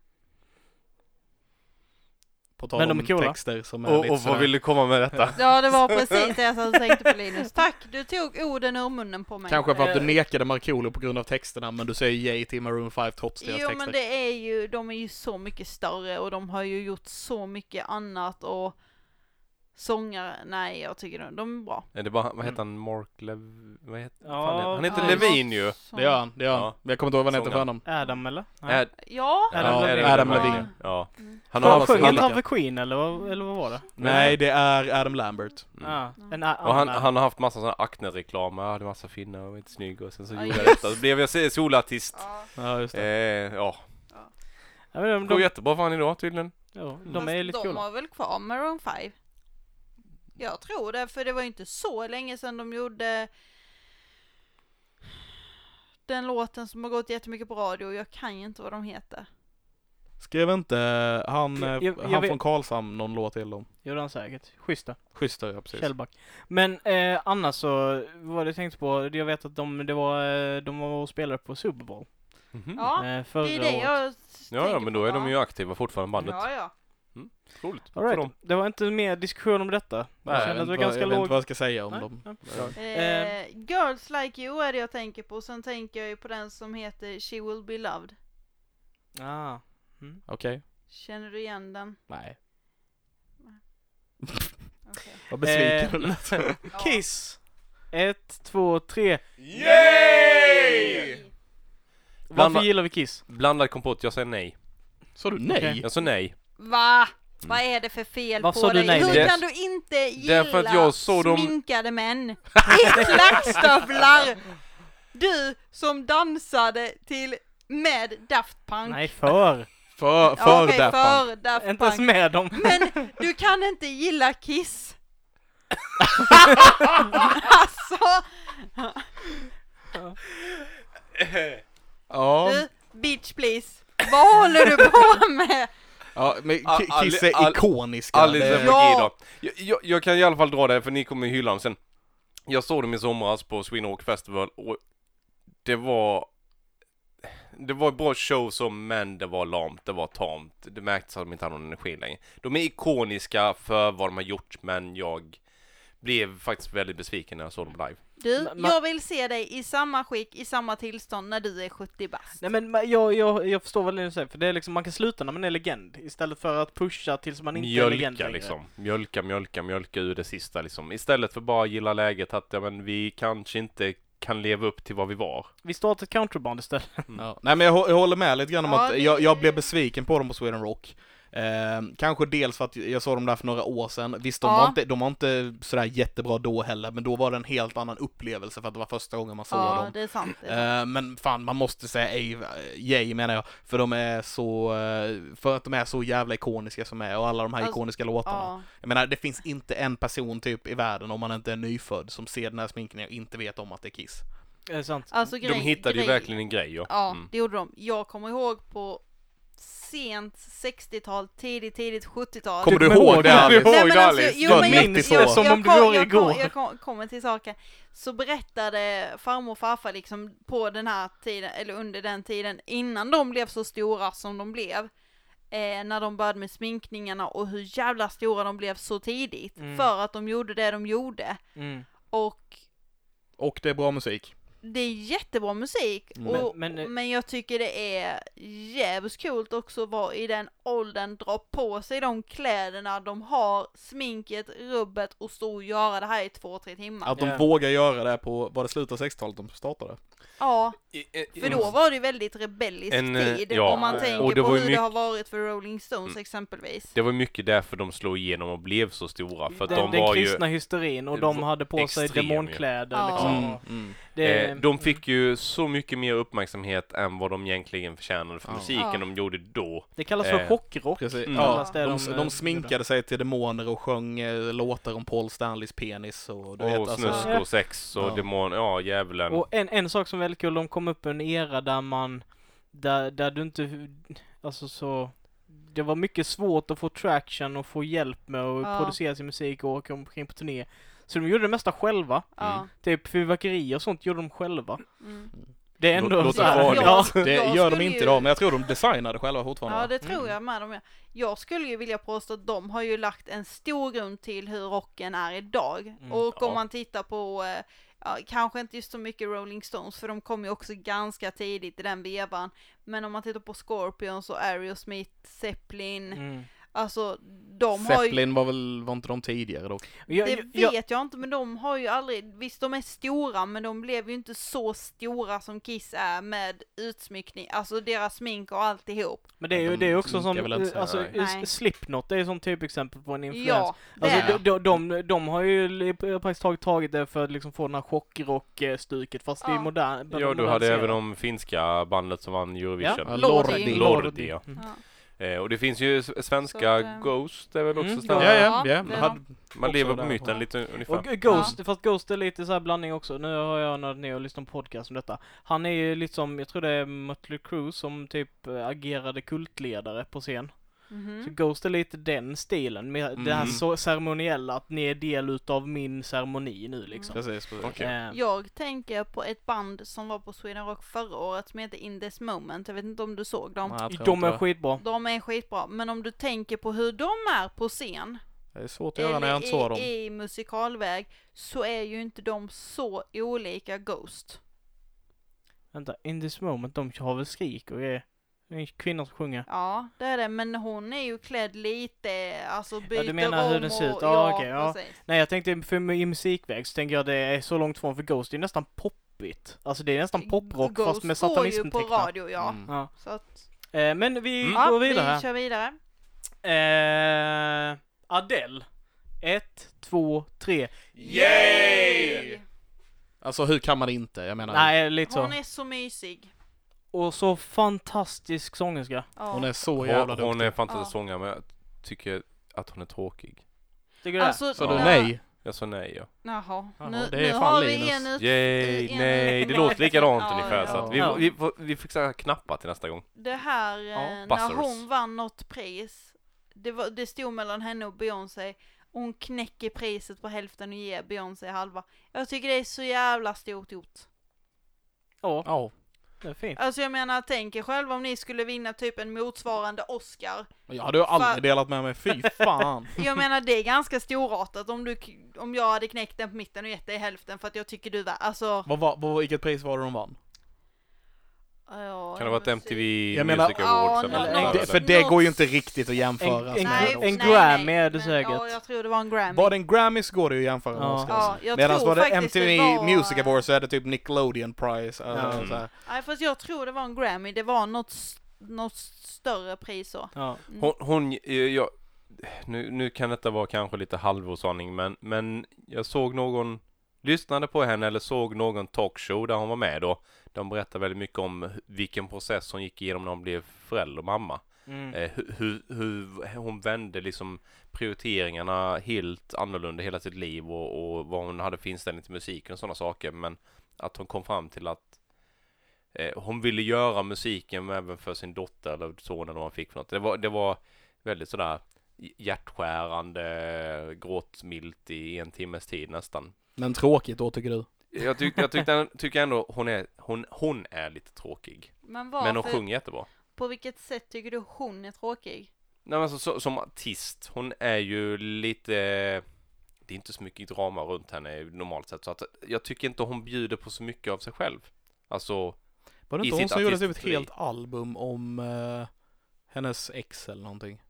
[SPEAKER 3] På tal
[SPEAKER 2] Men de
[SPEAKER 3] om
[SPEAKER 2] är coola.
[SPEAKER 3] texter som är
[SPEAKER 1] Och,
[SPEAKER 3] lite
[SPEAKER 1] och vad
[SPEAKER 3] sådär.
[SPEAKER 1] vill du komma med detta?
[SPEAKER 4] Ja, det var precis det jag satt och tänkte på Linus. Tack, du tog orden ur munnen på mig.
[SPEAKER 3] Kanske för att du
[SPEAKER 2] Eh.
[SPEAKER 3] nekade Markoolio på grund av texterna, men du säger yay till Maroon 5 trots deras
[SPEAKER 4] Jo,
[SPEAKER 3] texter.
[SPEAKER 4] men det är ju, de är ju så mycket större och de har ju gjort så mycket annat och sångare, nej jag tycker de, de är bra.
[SPEAKER 1] Är det bara, vad heter han, Mark Lev... Vad heter
[SPEAKER 2] Ja,
[SPEAKER 1] han? Han heter
[SPEAKER 2] ja.
[SPEAKER 1] Levin ju.
[SPEAKER 4] Sång-
[SPEAKER 3] Det gör han, det gör han.
[SPEAKER 1] Ja.
[SPEAKER 3] Men jag kommer inte ihåg vad han heter
[SPEAKER 1] Sångaren.
[SPEAKER 3] för honom.
[SPEAKER 2] Adam eller? Nej.
[SPEAKER 1] Ä-
[SPEAKER 4] Ja,
[SPEAKER 2] Adam
[SPEAKER 1] ja,
[SPEAKER 2] Levine.
[SPEAKER 3] Adam
[SPEAKER 1] Levine.
[SPEAKER 3] Levine.
[SPEAKER 1] Ja.
[SPEAKER 4] Mm.
[SPEAKER 1] Han har alltså
[SPEAKER 2] Han
[SPEAKER 1] alla
[SPEAKER 2] sjöng
[SPEAKER 1] sina...
[SPEAKER 2] inte han
[SPEAKER 3] olika.
[SPEAKER 2] för Queen eller vad, eller vad var det?
[SPEAKER 3] Nej, det är Adam Lambert.
[SPEAKER 1] Mm.
[SPEAKER 2] Ja,
[SPEAKER 4] Mm.
[SPEAKER 2] en a-
[SPEAKER 1] Och han,
[SPEAKER 2] annan.
[SPEAKER 1] han har haft massa sådana Acne-reklam, jag hade massa finnar och var inte snygg och sen så
[SPEAKER 4] Ja,
[SPEAKER 1] gjorde jag
[SPEAKER 4] just.
[SPEAKER 1] detta, så blev jag se- solartist.
[SPEAKER 4] ja.
[SPEAKER 3] Ja, just
[SPEAKER 1] Eh, ja,
[SPEAKER 2] Ja, men de,
[SPEAKER 1] det går
[SPEAKER 2] de,
[SPEAKER 1] jättebra för han idag tydligen.
[SPEAKER 2] ja, de
[SPEAKER 4] Fast
[SPEAKER 2] är lite
[SPEAKER 4] de
[SPEAKER 2] coola.
[SPEAKER 4] har väl kvar Maroon 5? Jag tror det, för det var ju inte så länge sedan de gjorde den låten som har gått jättemycket på radio, jag kan ju inte vad de heter.
[SPEAKER 3] Skrev inte han, eh,
[SPEAKER 2] Jag- jag- jag
[SPEAKER 3] han
[SPEAKER 2] vet-
[SPEAKER 3] från Karlshamn någon låt till dem?
[SPEAKER 2] Gjorde han säkert. Schyssta.
[SPEAKER 3] Schysst ja, precis.
[SPEAKER 2] Källback. Men eh, annars så, vad det jag tänkte på, jag vet att de, det var, eh, de var och spelade på Super Bowl.
[SPEAKER 1] Mhm.
[SPEAKER 4] Ja,
[SPEAKER 2] eh,
[SPEAKER 4] det
[SPEAKER 2] förra
[SPEAKER 4] är det
[SPEAKER 2] året.
[SPEAKER 4] jag
[SPEAKER 1] Ja, ja, men då är de ju aktiva fortfarande bandet.
[SPEAKER 4] Ja, ja.
[SPEAKER 1] Roligt
[SPEAKER 2] All
[SPEAKER 1] för
[SPEAKER 2] right.
[SPEAKER 1] dem.
[SPEAKER 2] Det var inte mer diskussion om detta.
[SPEAKER 3] Nej,
[SPEAKER 2] jag
[SPEAKER 3] jag
[SPEAKER 2] kände
[SPEAKER 3] vet,
[SPEAKER 2] att det
[SPEAKER 3] inte
[SPEAKER 2] var
[SPEAKER 3] vad,
[SPEAKER 2] ganska
[SPEAKER 3] jag vet
[SPEAKER 2] låg...
[SPEAKER 3] inte vad jag ska säga om
[SPEAKER 2] Nej,
[SPEAKER 3] dem.
[SPEAKER 2] nej.
[SPEAKER 3] Ja.
[SPEAKER 4] Eh,
[SPEAKER 2] Ehm.
[SPEAKER 4] Girls Like You är det jag tänker på, sen tänker jag ju på den som heter She Will Be Loved.
[SPEAKER 2] Ah.
[SPEAKER 3] Okej.
[SPEAKER 4] Känner du igen den?
[SPEAKER 3] Nej.
[SPEAKER 4] Okej.
[SPEAKER 3] Vad besviken
[SPEAKER 2] Eh,
[SPEAKER 3] du lät.
[SPEAKER 4] Ja.
[SPEAKER 2] Kiss! Ett, två, tre.
[SPEAKER 1] Yay!
[SPEAKER 2] Varför
[SPEAKER 1] Blanda-
[SPEAKER 2] gillar vi Kiss?
[SPEAKER 1] Blandad kompott, jag säger nej.
[SPEAKER 3] Sa du nej?
[SPEAKER 2] Okej.
[SPEAKER 1] Jag sa nej.
[SPEAKER 4] Va? Vad är det för fel
[SPEAKER 2] Vad sa
[SPEAKER 4] på
[SPEAKER 2] du
[SPEAKER 4] dig?
[SPEAKER 2] nej
[SPEAKER 4] Hur
[SPEAKER 1] till?
[SPEAKER 4] kan du inte gilla
[SPEAKER 1] Därför att jag såg dem-
[SPEAKER 4] sminkade män i klackstövlar? Du som dansade till med Daft Punk.
[SPEAKER 2] Nej, för.
[SPEAKER 3] För, för
[SPEAKER 4] Ja, okej,
[SPEAKER 3] Daft Punk.
[SPEAKER 4] för Daft
[SPEAKER 2] Inte ens
[SPEAKER 4] Punk.
[SPEAKER 2] med dem.
[SPEAKER 4] Men du kan inte gilla Kiss. alltså,
[SPEAKER 3] Ja.
[SPEAKER 4] du, bitch please. Vad håller du på med?
[SPEAKER 3] ja, men
[SPEAKER 1] Al-
[SPEAKER 3] Ki- Kiss
[SPEAKER 1] Ali-
[SPEAKER 3] är
[SPEAKER 1] Al-
[SPEAKER 3] ikoniska.
[SPEAKER 1] Alice
[SPEAKER 3] Det-
[SPEAKER 1] Apogee
[SPEAKER 4] Ja.
[SPEAKER 1] då. Jag, jag, jag kan i alla fall dra det för ni kommer hylla dem sen. Jag såg dem i somras på Sweden Rock Festival och det var det var ett bra show som men det var lamt, det var tamt. Det märktes att de inte hade någon energi längre. De är ikoniska för vad de har gjort men jag blev faktiskt väldigt besviken när jag såg dem live.
[SPEAKER 4] Du,
[SPEAKER 2] Men-
[SPEAKER 4] jag vill se dig i samma skick, i samma tillstånd när du är 70 bast.
[SPEAKER 2] Nej men man- jag, jag, jag förstår vad du säger, för det är liksom, man kan sluta när man är legend istället för att pusha tills man inte är legend
[SPEAKER 1] Mjölka
[SPEAKER 2] längre.
[SPEAKER 1] liksom. Mjölka, mjölka, mjölka ur det sista liksom. Istället för bara gilla läget att ja, men vi kanske inte kan leva upp till vad vi var.
[SPEAKER 2] Vi startar ett countryband istället.
[SPEAKER 3] Ja. Nej men jag, hå- jag håller med lite grann om
[SPEAKER 4] Ja,
[SPEAKER 3] att
[SPEAKER 4] det-
[SPEAKER 3] jag, jag blev besviken på dem på Sweden Rock. Eh, kanske dels för att jag såg dem där för några år sedan. Visst, de,
[SPEAKER 4] Ja.
[SPEAKER 3] var inte, de var inte sådär jättebra då heller, men då var det en helt annan upplevelse för att det var första gången man såg
[SPEAKER 4] Ja,
[SPEAKER 3] dem.
[SPEAKER 4] det är sant. Det är sant.
[SPEAKER 3] Eh, men fan, man måste säga ej- yay menar jag, för de är så, eh, för att de är så jävla ikoniska som är och alla de här
[SPEAKER 4] Alltså,
[SPEAKER 3] ikoniska låtarna.
[SPEAKER 4] Ja.
[SPEAKER 3] Jag menar, det finns inte en person typ i världen om man inte är nyfödd som ser den här sminkningen och inte vet om att det är Kiss.
[SPEAKER 2] Är det sant?
[SPEAKER 4] Alltså, grej,
[SPEAKER 1] De hittade
[SPEAKER 4] grej,
[SPEAKER 1] ju verkligen en grej ja.
[SPEAKER 4] Ja,
[SPEAKER 1] Mm.
[SPEAKER 4] det gjorde de. Jag kommer ihåg på sent 60-tal, tidigt, tidigt 70-tal.
[SPEAKER 3] Kommer du
[SPEAKER 2] kommer
[SPEAKER 3] ihåg
[SPEAKER 2] ihåg
[SPEAKER 3] det
[SPEAKER 2] det?
[SPEAKER 3] Alice?
[SPEAKER 1] ihåg
[SPEAKER 4] Nej, men
[SPEAKER 1] det,
[SPEAKER 4] alltså,
[SPEAKER 1] Alice?
[SPEAKER 4] jo,
[SPEAKER 3] Du har
[SPEAKER 4] men
[SPEAKER 3] ett
[SPEAKER 4] jag,
[SPEAKER 3] minne
[SPEAKER 4] jag,
[SPEAKER 3] så.
[SPEAKER 4] jag,
[SPEAKER 2] Som om det
[SPEAKER 4] kom-
[SPEAKER 2] vore
[SPEAKER 4] jag,
[SPEAKER 2] igår.
[SPEAKER 4] kom- jag kom- kommer till saken. Så berättade farmor och farfar liksom på den här tiden, eller under den tiden, innan de blev så stora som de blev. Eh, när de började med sminkningarna och hur jävla stora de blev så tidigt.
[SPEAKER 2] Mm.
[SPEAKER 4] För att de gjorde det de gjorde.
[SPEAKER 2] Mm.
[SPEAKER 4] Och
[SPEAKER 3] Och det är bra musik.
[SPEAKER 4] det är jättebra musik
[SPEAKER 3] Mm.
[SPEAKER 4] och,
[SPEAKER 2] Men- men, eh,
[SPEAKER 4] men, jag tycker det är jävligt coolt också att vara i den åldern, dra på sig de kläderna de har, sminket, rubbet och stå och göra det här i två, tre timmar.
[SPEAKER 3] Att de
[SPEAKER 2] Ja.
[SPEAKER 3] vågar göra det på, var det slutet av 60-talet de startade?
[SPEAKER 4] Ja,
[SPEAKER 1] I- i-
[SPEAKER 3] mm.
[SPEAKER 4] för
[SPEAKER 2] Mm.
[SPEAKER 4] då var det ju väldigt rebellisk
[SPEAKER 1] En, eh,
[SPEAKER 4] tid
[SPEAKER 1] ja.
[SPEAKER 4] om man
[SPEAKER 2] Och
[SPEAKER 4] tänker
[SPEAKER 1] det
[SPEAKER 4] på
[SPEAKER 1] var
[SPEAKER 4] hur
[SPEAKER 1] ju
[SPEAKER 4] det
[SPEAKER 1] mycket-
[SPEAKER 4] har varit för Rolling Stones
[SPEAKER 1] Mm.
[SPEAKER 4] exempelvis.
[SPEAKER 1] Det var mycket därför de slog igenom och blev så stora. För att
[SPEAKER 2] den,
[SPEAKER 1] de
[SPEAKER 2] den
[SPEAKER 1] var ju...
[SPEAKER 2] kristna hysterin och de
[SPEAKER 1] Det
[SPEAKER 2] hade på sig
[SPEAKER 1] extrem ju.
[SPEAKER 2] demonkläder
[SPEAKER 4] Ja.
[SPEAKER 3] Alltså,
[SPEAKER 2] liksom.
[SPEAKER 4] Mm.
[SPEAKER 2] Det,
[SPEAKER 1] Eh,
[SPEAKER 3] mm.
[SPEAKER 1] de fick ju så mycket mer uppmärksamhet än vad de egentligen förtjänade för
[SPEAKER 3] Ja.
[SPEAKER 1] musiken
[SPEAKER 4] Ja.
[SPEAKER 1] de gjorde då.
[SPEAKER 2] det kallas för
[SPEAKER 1] eh,
[SPEAKER 2] chockrock.
[SPEAKER 3] Precis.
[SPEAKER 1] Mm.
[SPEAKER 3] Ja,
[SPEAKER 2] Kallas
[SPEAKER 3] de,
[SPEAKER 2] det
[SPEAKER 3] de,
[SPEAKER 2] eh,
[SPEAKER 3] sminkade sig till demoner och sjöng eh, låtar om Paul Stanleys penis och du vet
[SPEAKER 1] Och
[SPEAKER 3] alltså.
[SPEAKER 1] snusk
[SPEAKER 2] Ja.
[SPEAKER 1] och sex och
[SPEAKER 3] Ja.
[SPEAKER 1] demon... Ja, djävulen.
[SPEAKER 2] Och en, en sak som är väldigt kul, de kom upp i en era där man, där, där du inte, alltså så, det var mycket svårt att få traction och få hjälp med att
[SPEAKER 4] Ja.
[SPEAKER 2] producera sin musik och åka omkring på turné. Så de gjorde det mesta själva,
[SPEAKER 4] Ja.
[SPEAKER 2] typ fyrverkerier och sånt gjorde de själva.
[SPEAKER 4] Mm.
[SPEAKER 2] Det är ändå
[SPEAKER 1] Låt- låt
[SPEAKER 2] så här,
[SPEAKER 1] det vara det.
[SPEAKER 2] ja.
[SPEAKER 3] Det
[SPEAKER 4] Jag
[SPEAKER 3] gör de
[SPEAKER 4] skulle
[SPEAKER 3] inte
[SPEAKER 4] ju-
[SPEAKER 3] idag, men jag tror de designade själva fortfarande.
[SPEAKER 4] Ja,
[SPEAKER 3] va?
[SPEAKER 4] det
[SPEAKER 2] Mm.
[SPEAKER 4] tror jag med dem gör. Jag skulle ju vilja påstå att de har ju lagt en stor grund till hur rocken är idag.
[SPEAKER 2] Mm,
[SPEAKER 4] och
[SPEAKER 1] ja.
[SPEAKER 4] om man tittar på, eh, ja, kanske inte just så mycket Rolling Stones, för de kom ju också ganska tidigt i den vevan. Men om man tittar på Scorpions och Aerosmith, Zeppelin,
[SPEAKER 2] Mm.
[SPEAKER 4] Alltså de har ju,
[SPEAKER 3] Zeppelin var väl, var inte de tidigare dock?
[SPEAKER 2] Jag,
[SPEAKER 4] det
[SPEAKER 2] jag, jag,
[SPEAKER 4] vet jag inte men de har ju aldrig, visst de är stora men de blev ju inte så stora som Kiss är med utsmyckning, alltså deras smink och alltihop.
[SPEAKER 2] men det är ju
[SPEAKER 3] De
[SPEAKER 2] det är också som,
[SPEAKER 3] sminkar väl inte
[SPEAKER 2] eh,
[SPEAKER 3] sig,
[SPEAKER 2] alltså
[SPEAKER 1] nej.
[SPEAKER 2] eh,
[SPEAKER 4] Nej.
[SPEAKER 2] Slipknot, det är som typexempel på en influens.
[SPEAKER 4] Ja, det är
[SPEAKER 2] Alltså
[SPEAKER 4] det.
[SPEAKER 2] de, de, de, de har ju li- praktiskt taget tagit det för att liksom få den här chockrock-stuket fast det är
[SPEAKER 4] Ja.
[SPEAKER 2] modern.
[SPEAKER 1] Ja, du hade även de finska bandet som vann Eurovision.
[SPEAKER 3] Ja,
[SPEAKER 4] Lordi.
[SPEAKER 1] Lordi, ja.
[SPEAKER 2] Mm.
[SPEAKER 4] Ja.
[SPEAKER 1] Eh, och det finns ju s- svenska
[SPEAKER 4] Så eh, det-
[SPEAKER 1] Ghost, det är väl också
[SPEAKER 2] Mm,
[SPEAKER 1] stämmer.
[SPEAKER 3] Ja, ja,
[SPEAKER 4] Ja,
[SPEAKER 3] ja.
[SPEAKER 4] det
[SPEAKER 3] Hade,
[SPEAKER 1] Man lever
[SPEAKER 3] också
[SPEAKER 1] på
[SPEAKER 3] där.
[SPEAKER 1] myten lite ungefär.
[SPEAKER 2] Och Ghost, fast Ghost är lite så här blandning också. Nu har jag nördat ner och lyssnat på podcast om detta. Han är ju liksom, jag tror det är Mötley Crüe som typ eh, agerade kultledare på scen.
[SPEAKER 4] Mhm.
[SPEAKER 2] Så Ghost är lite den stilen, med det här
[SPEAKER 1] Mm.
[SPEAKER 2] så ceremoniella, att ni är del utav min ceremoni nu liksom.
[SPEAKER 3] precis, precis.
[SPEAKER 1] Mm. Okej.
[SPEAKER 2] Eh,
[SPEAKER 4] Jag tänker på ett band som var på Sweden Rock förra året som heter In This Moment, jag vet inte om du såg dem.
[SPEAKER 3] Nej, jag tror
[SPEAKER 2] de är
[SPEAKER 3] inte-
[SPEAKER 2] skitbra.
[SPEAKER 4] De är skitbra, men om du tänker på hur de är på scen,
[SPEAKER 3] Det är svårt att göra när jag
[SPEAKER 4] eller
[SPEAKER 3] inte såg dem.
[SPEAKER 4] i, i musikalväg, så är ju inte de så olika Ghost.
[SPEAKER 2] Vänta, In this moment, de har väl skrik och grejer. Det är en kvinna som sjunger.
[SPEAKER 4] Ja, det är det, men hon är ju klädd lite, alltså byter
[SPEAKER 2] menar hur
[SPEAKER 4] om
[SPEAKER 2] den ser ut?
[SPEAKER 4] och,
[SPEAKER 2] Ja, okej, ja.
[SPEAKER 4] precis.
[SPEAKER 2] Nej, jag tänkte för i musikväg så tänker jag det är så långt från för Ghost, det är nästan poppigt. Alltså det är nästan poprock
[SPEAKER 4] Ghost
[SPEAKER 2] fast med
[SPEAKER 4] går ju
[SPEAKER 2] satanism
[SPEAKER 4] på
[SPEAKER 2] tecknat.
[SPEAKER 4] radio, ja.
[SPEAKER 3] Mm.
[SPEAKER 2] Ja.
[SPEAKER 4] Så att,
[SPEAKER 2] Eh, men vi
[SPEAKER 1] Mm.
[SPEAKER 2] går
[SPEAKER 4] ja,
[SPEAKER 2] vidare.
[SPEAKER 4] vi kör vidare.
[SPEAKER 2] Eh, Adele. Ett, två, tre.
[SPEAKER 1] Yay!
[SPEAKER 3] Alltså hur kan man inte? Jag menar,
[SPEAKER 2] Nej, lite så.
[SPEAKER 4] Hon är så mysig.
[SPEAKER 2] Och så fantastisk sångerska.
[SPEAKER 4] Ja.
[SPEAKER 3] hon är så jävla
[SPEAKER 1] Hon,
[SPEAKER 3] duktig.
[SPEAKER 1] hon är fantastisk
[SPEAKER 4] Ja.
[SPEAKER 1] sångare men jag tycker att hon är tråkig.
[SPEAKER 2] Tycker du det?
[SPEAKER 4] alltså,
[SPEAKER 3] Så du
[SPEAKER 1] Ja.
[SPEAKER 3] nej?
[SPEAKER 1] Jag sa nej ja.
[SPEAKER 4] Jaha,
[SPEAKER 3] Jaha,
[SPEAKER 4] nu,
[SPEAKER 3] det är
[SPEAKER 4] nu
[SPEAKER 3] fan
[SPEAKER 4] har vi
[SPEAKER 3] Linus.
[SPEAKER 4] en ut...
[SPEAKER 1] Yay,
[SPEAKER 4] i en-
[SPEAKER 1] nej, det låter likadant
[SPEAKER 4] Ja,
[SPEAKER 1] ungefär
[SPEAKER 4] ja.
[SPEAKER 1] så att vi,
[SPEAKER 2] Ja.
[SPEAKER 1] vi, får- vi fixar knappar till nästa gång.
[SPEAKER 4] Det här, eh, när
[SPEAKER 1] buzzers.
[SPEAKER 4] hon vann något pris, det, var, det stod mellan henne och Beyoncé, och hon knäcker priset på hälften och ger Beyoncé halva. Jag tycker det är så jävla stort gjort.
[SPEAKER 2] Ja,
[SPEAKER 3] Ja.
[SPEAKER 2] det är fint.
[SPEAKER 4] Alltså jag menar, tänk er själva om ni skulle vinna typ en motsvarande Oscar.
[SPEAKER 3] Jag hade ju aldrig
[SPEAKER 4] Fan.
[SPEAKER 3] delat med mig, fy fan.
[SPEAKER 4] Jag menar det är ganska storartat om, du, k- om jag hade knäckt den på mitten och gett dig hälften för att jag tycker du var, alltså.
[SPEAKER 3] vad, vad, vad, vilket pris var det de vann?
[SPEAKER 4] Ja,
[SPEAKER 1] Kan det vara ett MTV
[SPEAKER 3] Jag menar-
[SPEAKER 1] Music Awards
[SPEAKER 4] Ja,
[SPEAKER 1] eller
[SPEAKER 2] nå-
[SPEAKER 1] något
[SPEAKER 2] nå-
[SPEAKER 1] sånt där?
[SPEAKER 3] Det, för det
[SPEAKER 4] Något-
[SPEAKER 3] går ju inte riktigt att jämföra. alltså.
[SPEAKER 2] En- en-
[SPEAKER 3] med
[SPEAKER 2] en-
[SPEAKER 3] Oscar.
[SPEAKER 4] nej,
[SPEAKER 2] Grammy
[SPEAKER 4] nej,
[SPEAKER 2] är det
[SPEAKER 4] men,
[SPEAKER 2] säkert.
[SPEAKER 4] Ja, jag tror det var en Grammy.
[SPEAKER 3] Var det en Grammys går det ju att jämföra med
[SPEAKER 2] Ja.
[SPEAKER 3] Oscar.
[SPEAKER 4] Ja, jag
[SPEAKER 3] Medan
[SPEAKER 4] tror
[SPEAKER 3] var det
[SPEAKER 4] faktiskt
[SPEAKER 3] MTV
[SPEAKER 4] det var...
[SPEAKER 3] Music Awards så är det typ Nickelodeon Prize. Alltså,
[SPEAKER 1] Ja.
[SPEAKER 3] så här.
[SPEAKER 4] Nej, fast jag tror det var en Grammy. Det var något, s- något större pris så.
[SPEAKER 2] Ja.
[SPEAKER 4] Mm.
[SPEAKER 1] Hon, hon eh, jag, nu, nu kan detta vara kanske lite halvosanning men, men jag såg någon, lyssnade på henne eller såg någon talkshow där hon var med då. De berättade väldigt mycket om vilken process hon gick igenom när hon blev förälder och mamma.
[SPEAKER 2] Mm.
[SPEAKER 1] Eh, hu- hur, hur hon vände liksom prioriteringarna helt annorlunda hela sitt liv och, och vad hon hade för inställning till musiken och sådana saker. Men att hon kom fram till att eh, hon ville göra musiken men även för sin dotter eller son eller vad hon fick för något. Det var, det var väldigt sådär hjärtskärande, gråtmilt i en timmes tid nästan.
[SPEAKER 3] Men tråkigt då tycker du?
[SPEAKER 1] Jag, tyck, jag tyckte, tycker ändå hon är, hon, hon är lite tråkig.
[SPEAKER 4] Men
[SPEAKER 1] Men hon
[SPEAKER 4] varför,
[SPEAKER 1] sjunger jättebra.
[SPEAKER 4] på vilket sätt tycker du hon är tråkig?
[SPEAKER 1] Nej men alltså, så, som artist, hon är ju lite Det är inte så mycket drama runt henne normalt sett så att jag tycker inte hon bjuder på så mycket av sig själv Alltså,
[SPEAKER 3] Var det
[SPEAKER 1] I
[SPEAKER 3] inte hon
[SPEAKER 1] sitt
[SPEAKER 3] som gjorde typ ett
[SPEAKER 1] artisteri.
[SPEAKER 3] helt album om eh, hennes ex eller någonting?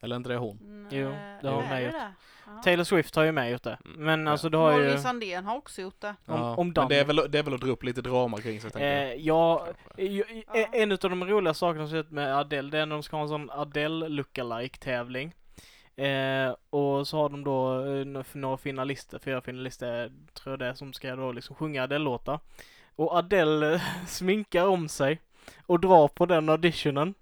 [SPEAKER 3] Eller inte det hon?
[SPEAKER 4] Mm,
[SPEAKER 2] Jo,
[SPEAKER 4] eh,
[SPEAKER 2] det har hon med gjort.
[SPEAKER 4] gjort.
[SPEAKER 2] Taylor Swift har ju med gjort det.
[SPEAKER 1] Mm.
[SPEAKER 2] Men alltså det har ju...
[SPEAKER 4] Molly Sandén har också gjort det.
[SPEAKER 2] Om- om
[SPEAKER 3] men det, är
[SPEAKER 2] Danmark.
[SPEAKER 3] väl, det är väl att dra upp lite drama kring sig tänker jag.
[SPEAKER 2] Eh, ja,
[SPEAKER 1] kanske.
[SPEAKER 2] ju- i- e,
[SPEAKER 4] Ja.
[SPEAKER 2] en av de roliga sakerna som jag sett med Adele, det är när de ska ha en sån Adele lookalike tävling. Eh, och så har de då eh, n- för några finalister, fyra finalister tror jag det är, som ska då liksom sjunga Adele-låtar. Och Adele eh, sminkar om sig och drar på den auditionen.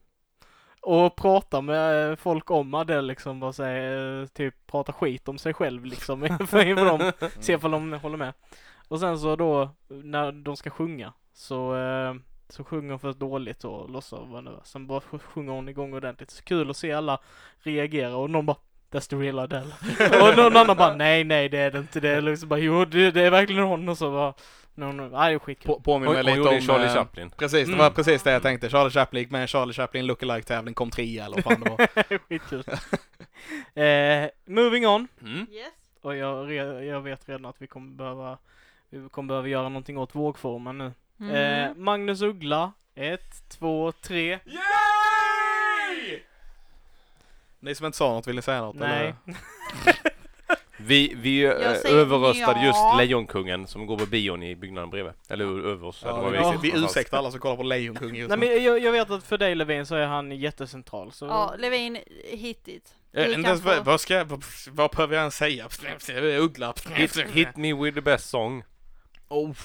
[SPEAKER 2] Och pratar med eh, folk om Adele liksom, bara säger, eh, typ pratar skit om sig själv liksom inför inför dem. Mm. Se ifall de håller med. Och sen så då, när de ska sjunga, så, eh, så sjunger hon först dåligt och låtsas vara nervös. Sen bara sj- sjunger hon igång ordentligt. Så kul att se alla reagera och någon bara That's the real Adele. och någon annan bara nej, nej det är det inte. Det är liksom bara jo, det, det är verkligen hon. Och så bara, no, no, nej det är skitkul.
[SPEAKER 3] På, påminner
[SPEAKER 1] Hon,
[SPEAKER 3] mig
[SPEAKER 1] hon
[SPEAKER 3] lite
[SPEAKER 1] gjorde
[SPEAKER 3] om...
[SPEAKER 1] ju Charlie
[SPEAKER 3] eh,
[SPEAKER 1] Chaplin
[SPEAKER 3] Precis, det
[SPEAKER 2] Mm.
[SPEAKER 3] var precis det jag tänkte. Charlie Chaplin gick med i en Charlie Chaplin lookalike tävling, kom trea eller vad fan det var.
[SPEAKER 2] Skitkul. eh, moving on.
[SPEAKER 1] mm.
[SPEAKER 4] Yes.
[SPEAKER 2] Och jag, re- jag vet redan att vi kommer behöva, vi kommer behöva göra någonting åt vågformen nu.
[SPEAKER 4] Mm.
[SPEAKER 2] Eh, Magnus Uggla, ett, två, tre.
[SPEAKER 3] Ni som inte sa något, vill ni säga något?
[SPEAKER 2] Nej.
[SPEAKER 3] Eller?
[SPEAKER 1] Vi, vi eh,
[SPEAKER 4] säger
[SPEAKER 1] överröstade
[SPEAKER 4] ja.
[SPEAKER 1] just Lejonkungen som går på bion i byggnaden bredvid. Eller ö- över oss. eller vad
[SPEAKER 3] vi,
[SPEAKER 2] ja.
[SPEAKER 1] sitter
[SPEAKER 3] vi
[SPEAKER 1] någonstans.
[SPEAKER 3] ursäktar alla som kollar på Lejonkungen just
[SPEAKER 2] Nej
[SPEAKER 3] nu.
[SPEAKER 2] men jag, jag vet att för dig Levin så är han jättecentral så...
[SPEAKER 4] Ja, Levin, hit dit.
[SPEAKER 3] Jag vet
[SPEAKER 4] Du
[SPEAKER 3] inte
[SPEAKER 4] kan
[SPEAKER 3] ens vad,
[SPEAKER 4] få-
[SPEAKER 3] vad ska jag, vad, vad behöver jag ens säga? Uggla.
[SPEAKER 1] Hit, hit me with the best song.
[SPEAKER 3] Oh,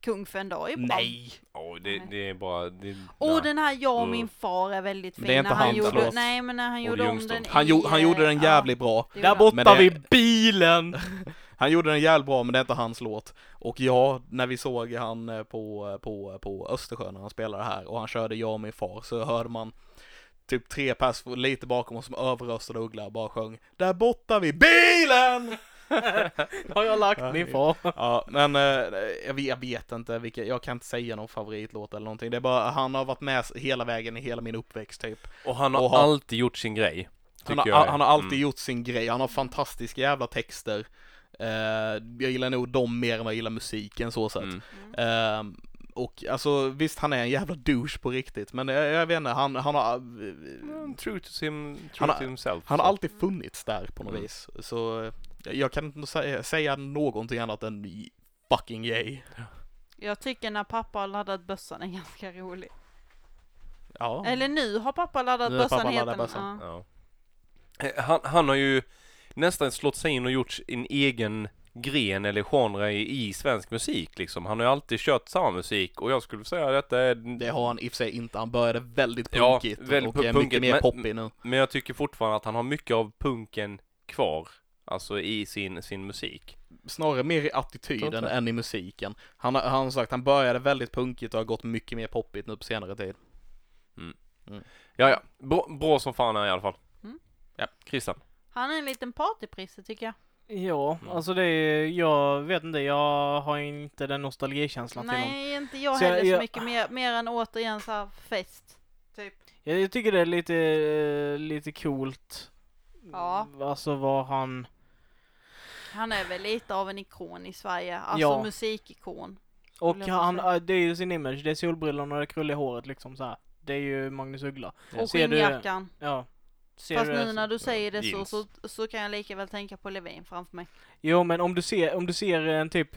[SPEAKER 4] Kung för en dag är bra.
[SPEAKER 3] nej.
[SPEAKER 1] Åh, det, det är bara... Det,
[SPEAKER 4] Och
[SPEAKER 1] nej.
[SPEAKER 4] den här Jag och min
[SPEAKER 1] Mm.
[SPEAKER 4] far är väldigt fin.
[SPEAKER 3] Det är inte
[SPEAKER 4] när han
[SPEAKER 3] hans
[SPEAKER 4] gjorde,
[SPEAKER 3] låt.
[SPEAKER 4] Nej, men när han
[SPEAKER 1] Olle
[SPEAKER 4] gjorde om
[SPEAKER 1] Ljungström.
[SPEAKER 4] den
[SPEAKER 3] Han,
[SPEAKER 4] i,
[SPEAKER 3] gjo, han
[SPEAKER 4] eh,
[SPEAKER 3] gjorde den
[SPEAKER 4] ja,
[SPEAKER 3] jävligt bra.
[SPEAKER 4] det gjorde
[SPEAKER 2] Där
[SPEAKER 4] han.
[SPEAKER 2] borta
[SPEAKER 3] Men det-
[SPEAKER 2] vid bilen!
[SPEAKER 3] Han gjorde den jävligt bra, men det är inte hans låt. Och ja, när vi såg han eh, på, på, på Östersjön när han spelade här och han körde Jag och min far så hörde man typ tre pers lite bakom oss som överröstade Uggla och bara sjöng Där borta vid bilen!
[SPEAKER 2] Har jag lagt min far?
[SPEAKER 3] Ja, men eh, jag, vet, jag vet inte vilka, jag kan inte säga någon favoritlåt eller någonting. Det är bara, han har varit med s- hela vägen i hela min uppväxt typ.
[SPEAKER 1] Och han har
[SPEAKER 3] Och ha-
[SPEAKER 1] alltid gjort sin grej.
[SPEAKER 3] Han
[SPEAKER 1] tycker
[SPEAKER 3] har,
[SPEAKER 1] jag.
[SPEAKER 3] han har alltid
[SPEAKER 1] Mm.
[SPEAKER 3] gjort sin grej, han har fantastiska jävla texter. Eh, jag gillar nog dem mer än vad jag gillar musiken så sett.
[SPEAKER 1] Mm.
[SPEAKER 4] Mm.
[SPEAKER 3] Ehm, och alltså visst, han är en jävla douche på riktigt, men jag, jag vet inte, han, han har...
[SPEAKER 1] Mm, True to, him, true
[SPEAKER 3] Han har-
[SPEAKER 1] to himself.
[SPEAKER 3] Han har
[SPEAKER 1] så.
[SPEAKER 3] alltid funnits där på något
[SPEAKER 1] Mm.
[SPEAKER 3] vis, så eh, jag kan inte säga, säga någonting annat än j- fucking yay.
[SPEAKER 4] Jag tycker när pappa har laddat bössan är ganska rolig.
[SPEAKER 3] Ja.
[SPEAKER 4] Eller nu har pappa laddat
[SPEAKER 3] Nu har
[SPEAKER 4] bössan
[SPEAKER 3] pappa
[SPEAKER 4] heter
[SPEAKER 3] laddat bössan.
[SPEAKER 4] den. Ja.
[SPEAKER 1] Ja. Eh, Han, han har ju nästan slått sig in och gjort en egen gren eller genre i, i svensk musik liksom. Han har ju alltid kört samma musik och jag skulle säga att detta är...
[SPEAKER 3] Det har han i och för sig inte, han började väldigt
[SPEAKER 1] Ja,
[SPEAKER 3] punkigt
[SPEAKER 1] väldigt
[SPEAKER 3] och är
[SPEAKER 1] punkigt,
[SPEAKER 3] mycket mer
[SPEAKER 1] men-
[SPEAKER 3] poppig nu.
[SPEAKER 1] Men jag tycker fortfarande att han har mycket av punken kvar. Alltså i sin, sin musik.
[SPEAKER 3] Snarare mer i
[SPEAKER 1] Tror
[SPEAKER 3] attityden
[SPEAKER 1] inte.
[SPEAKER 3] än i musiken. Han har, han har sagt, han började väldigt punkigt och har gått mycket mer poppigt nu på senare tid.
[SPEAKER 1] Ja, ja. Bra, bra som fan är i alla fall.
[SPEAKER 4] Mm.
[SPEAKER 1] Ja, Christian.
[SPEAKER 4] Han är en liten partyprisse tycker jag.
[SPEAKER 2] Ja,
[SPEAKER 1] Mm.
[SPEAKER 2] alltså det är, jag vet inte, jag har inte den nostalgikänslan till honom.
[SPEAKER 4] Nej, inte jag
[SPEAKER 2] Så jag-
[SPEAKER 4] heller så
[SPEAKER 2] jag-
[SPEAKER 4] mycket mer, mer än återigen så här fest. Typ.
[SPEAKER 2] Jag, jag tycker det är lite, eh, lite coolt.
[SPEAKER 4] Ja.
[SPEAKER 2] Alltså vad han...
[SPEAKER 4] Han är väl lite av en ikon i Sverige, alltså
[SPEAKER 2] Ja.
[SPEAKER 4] musikikon.
[SPEAKER 2] Och
[SPEAKER 4] jag
[SPEAKER 2] han,
[SPEAKER 4] säga.
[SPEAKER 2] eh, det är ju sin image, det är solbrillorna och det krulliga håret liksom så här. Det är ju Magnus Uggla.
[SPEAKER 4] Och
[SPEAKER 2] Ser du-
[SPEAKER 4] skinnjackan.
[SPEAKER 2] Ja. Ser
[SPEAKER 4] Fast
[SPEAKER 2] du det
[SPEAKER 4] nu när
[SPEAKER 2] som-
[SPEAKER 4] du säger det så,
[SPEAKER 1] Jeans.
[SPEAKER 4] så, så kan jag lika väl tänka på Levin framför mig.
[SPEAKER 2] Jo men om du ser, om du ser en typ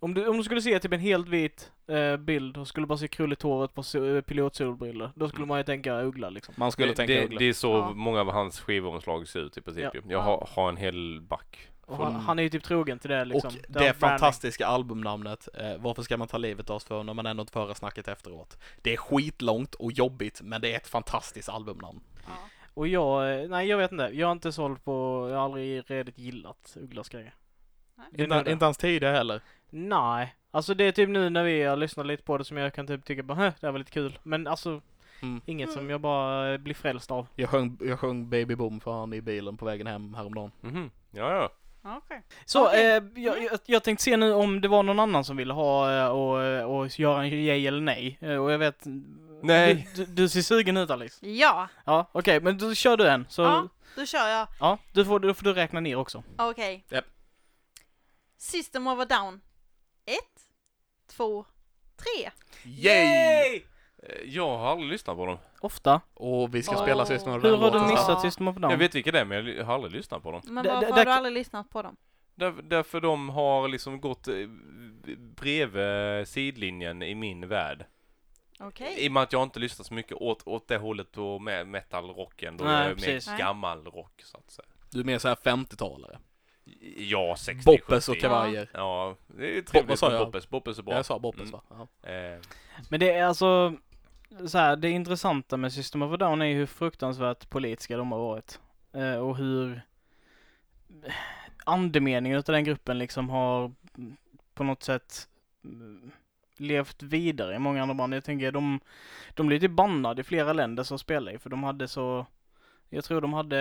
[SPEAKER 2] Om du, om du skulle se typ en helt vit eh, bild och skulle bara se krulligt håret på so- eh, pilotsolbrillor, då skulle
[SPEAKER 1] Mm.
[SPEAKER 2] man ju tänka uggla liksom.
[SPEAKER 3] Man skulle
[SPEAKER 1] det,
[SPEAKER 3] tänka
[SPEAKER 1] det,
[SPEAKER 3] Uggla.
[SPEAKER 1] det är så
[SPEAKER 4] Ja.
[SPEAKER 1] många av hans skivomslag ser ut i princip
[SPEAKER 2] Ja.
[SPEAKER 1] ju. Jag har, har en hel back.
[SPEAKER 2] Och han,
[SPEAKER 3] Mm.
[SPEAKER 2] han är ju typ trogen till det liksom.
[SPEAKER 3] och
[SPEAKER 2] Den
[SPEAKER 3] det
[SPEAKER 2] branding.
[SPEAKER 3] fantastiska albumnamnet eh, Varför ska man ta livet av sig för när man ändå inte får höra snacket efteråt? Det är skitlångt och jobbigt men det är ett fantastiskt albumnamn.
[SPEAKER 4] Ja.
[SPEAKER 2] Och jag, eh, nej jag vet inte, jag har inte sålt på, jag har aldrig redigt gillat ugglas grejer.
[SPEAKER 4] Nej.
[SPEAKER 2] Det är nu
[SPEAKER 3] Inte,
[SPEAKER 2] det.
[SPEAKER 3] inte hans tidigare heller.
[SPEAKER 2] Nej, alltså det är typ nu när vi har lyssnat lite på det som jag kan typ tycka bara "Hä, det här var lite kul. Men alltså,
[SPEAKER 3] Mm.
[SPEAKER 2] inget som jag bara eh, blir frälst av.
[SPEAKER 3] Jag sjöng, jag sjöng Baby Boom för han i bilen på vägen hem häromdagen.
[SPEAKER 1] Mhm. Ja, ja.
[SPEAKER 4] Ja, Okej.
[SPEAKER 2] Så,
[SPEAKER 4] Okej.
[SPEAKER 2] eh, jag, jag, jag tänkte se nu om det var någon annan som ville ha eh, och, och göra en yay eller nej. Eh, Och jag vet...
[SPEAKER 1] Nej.
[SPEAKER 2] Du, du, du ser sugen ut Alice.
[SPEAKER 4] Ja,
[SPEAKER 2] Ja, okej, men då kör du en. Så,
[SPEAKER 4] Ja.
[SPEAKER 2] ja.
[SPEAKER 4] då kör jag.
[SPEAKER 2] du får, då får du räkna ner också.
[SPEAKER 4] Okej.
[SPEAKER 3] Japp.
[SPEAKER 4] System of a down. Ett, två, tre.
[SPEAKER 1] Eh, Jag har aldrig lyssnat på dem.
[SPEAKER 2] Ofta.
[SPEAKER 3] Och vi ska
[SPEAKER 4] Åh.
[SPEAKER 3] spela sist några
[SPEAKER 2] Hur har du
[SPEAKER 4] låter
[SPEAKER 2] missat
[SPEAKER 4] snabbt.
[SPEAKER 2] System of a
[SPEAKER 1] Jag
[SPEAKER 2] Down?
[SPEAKER 1] vet vilka det är men jag har aldrig lyssnat på dem.
[SPEAKER 4] Men
[SPEAKER 2] Det-
[SPEAKER 4] varför
[SPEAKER 2] det-
[SPEAKER 4] har
[SPEAKER 2] där
[SPEAKER 4] du
[SPEAKER 2] kan-
[SPEAKER 4] aldrig lyssnat på dem?
[SPEAKER 1] Där, därför de har liksom gått eh, bredvid sidlinjen i min värld.
[SPEAKER 4] Okej.
[SPEAKER 1] I och med att jag inte lyssnar så mycket åt, åt det hållet på med metalrocken. Då
[SPEAKER 2] Nej,
[SPEAKER 1] är jag
[SPEAKER 2] precis.
[SPEAKER 1] mer
[SPEAKER 4] Nej.
[SPEAKER 1] gammal rock så att säga.
[SPEAKER 3] Du är mer såhär 50-talare.
[SPEAKER 1] Ja, 60
[SPEAKER 3] Boppes och
[SPEAKER 1] 70.
[SPEAKER 3] kavajer.
[SPEAKER 1] Ja, det är
[SPEAKER 3] Bo- vad
[SPEAKER 1] trevligt
[SPEAKER 3] sa
[SPEAKER 1] med
[SPEAKER 3] jag?
[SPEAKER 1] Boppes. Boppes är bra.
[SPEAKER 3] Jag sa Boppes
[SPEAKER 1] Mm.
[SPEAKER 3] va? Ja.
[SPEAKER 1] Eh,
[SPEAKER 2] Men det är alltså... Så här, det intressanta med System of a Down är ju hur fruktansvärt politiska de har varit. Eh, och hur andemeningen utav den gruppen liksom har mm, på något sätt mm, levt vidare i många andra band. Jag tänker de, de blev ju typ bannade i flera länder som spelade i för de hade så, jag tror de hade,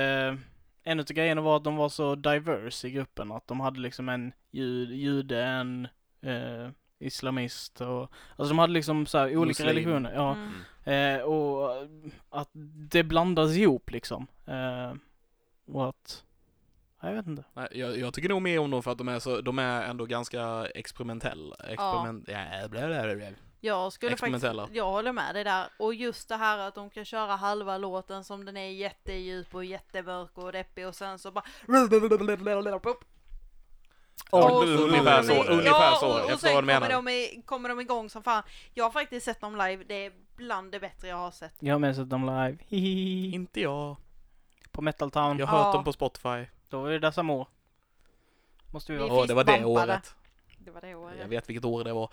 [SPEAKER 2] en utav grejerna var att de var så diverse i gruppen att de hade liksom en jud, jude, en eh, islamist och, alltså de hade liksom så här olika
[SPEAKER 3] Muslim.
[SPEAKER 2] religioner. Ja.
[SPEAKER 4] Mm.
[SPEAKER 2] Eh, och eh, att det blandas ihop liksom. Eh, och att... Ja, Jag vet inte.
[SPEAKER 3] Nej, Jag, jag tycker nog mer om dem för att de är, så, de är ändå ganska experimentell. Experiment... Ja. blä, blä, blä, blä.
[SPEAKER 4] Jag skulle
[SPEAKER 3] Experimentella.
[SPEAKER 4] faktiskt, jag håller med dig där. Och just det här att de kan köra halva låten som den är jättedjup och jättemörk och deppig och sen så bara...
[SPEAKER 1] Ja,
[SPEAKER 4] Och
[SPEAKER 1] nu-
[SPEAKER 4] så
[SPEAKER 1] ungefär
[SPEAKER 4] kommer
[SPEAKER 1] så,
[SPEAKER 4] de-
[SPEAKER 3] ungefär så.
[SPEAKER 4] Ja, och,
[SPEAKER 3] Jag förstår
[SPEAKER 4] och
[SPEAKER 3] vad
[SPEAKER 4] sen
[SPEAKER 3] du
[SPEAKER 4] kommer
[SPEAKER 3] menar.
[SPEAKER 4] de, i, kommer de igång som fan. Jag har faktiskt sett dem live, det är bland det bättre jag har sett.
[SPEAKER 2] Jag har med sett dem live. Hihihi.
[SPEAKER 3] Inte jag.
[SPEAKER 2] På Metal Town.
[SPEAKER 3] Jag har hört
[SPEAKER 4] Ja.
[SPEAKER 3] dem på Spotify.
[SPEAKER 2] Då var det Dasamo. Måste vi
[SPEAKER 4] Vi-
[SPEAKER 2] vara.
[SPEAKER 3] Ja, det var det
[SPEAKER 4] fistbumpade.
[SPEAKER 3] året.
[SPEAKER 4] Det var det året.
[SPEAKER 3] Jag vet vilket år det var.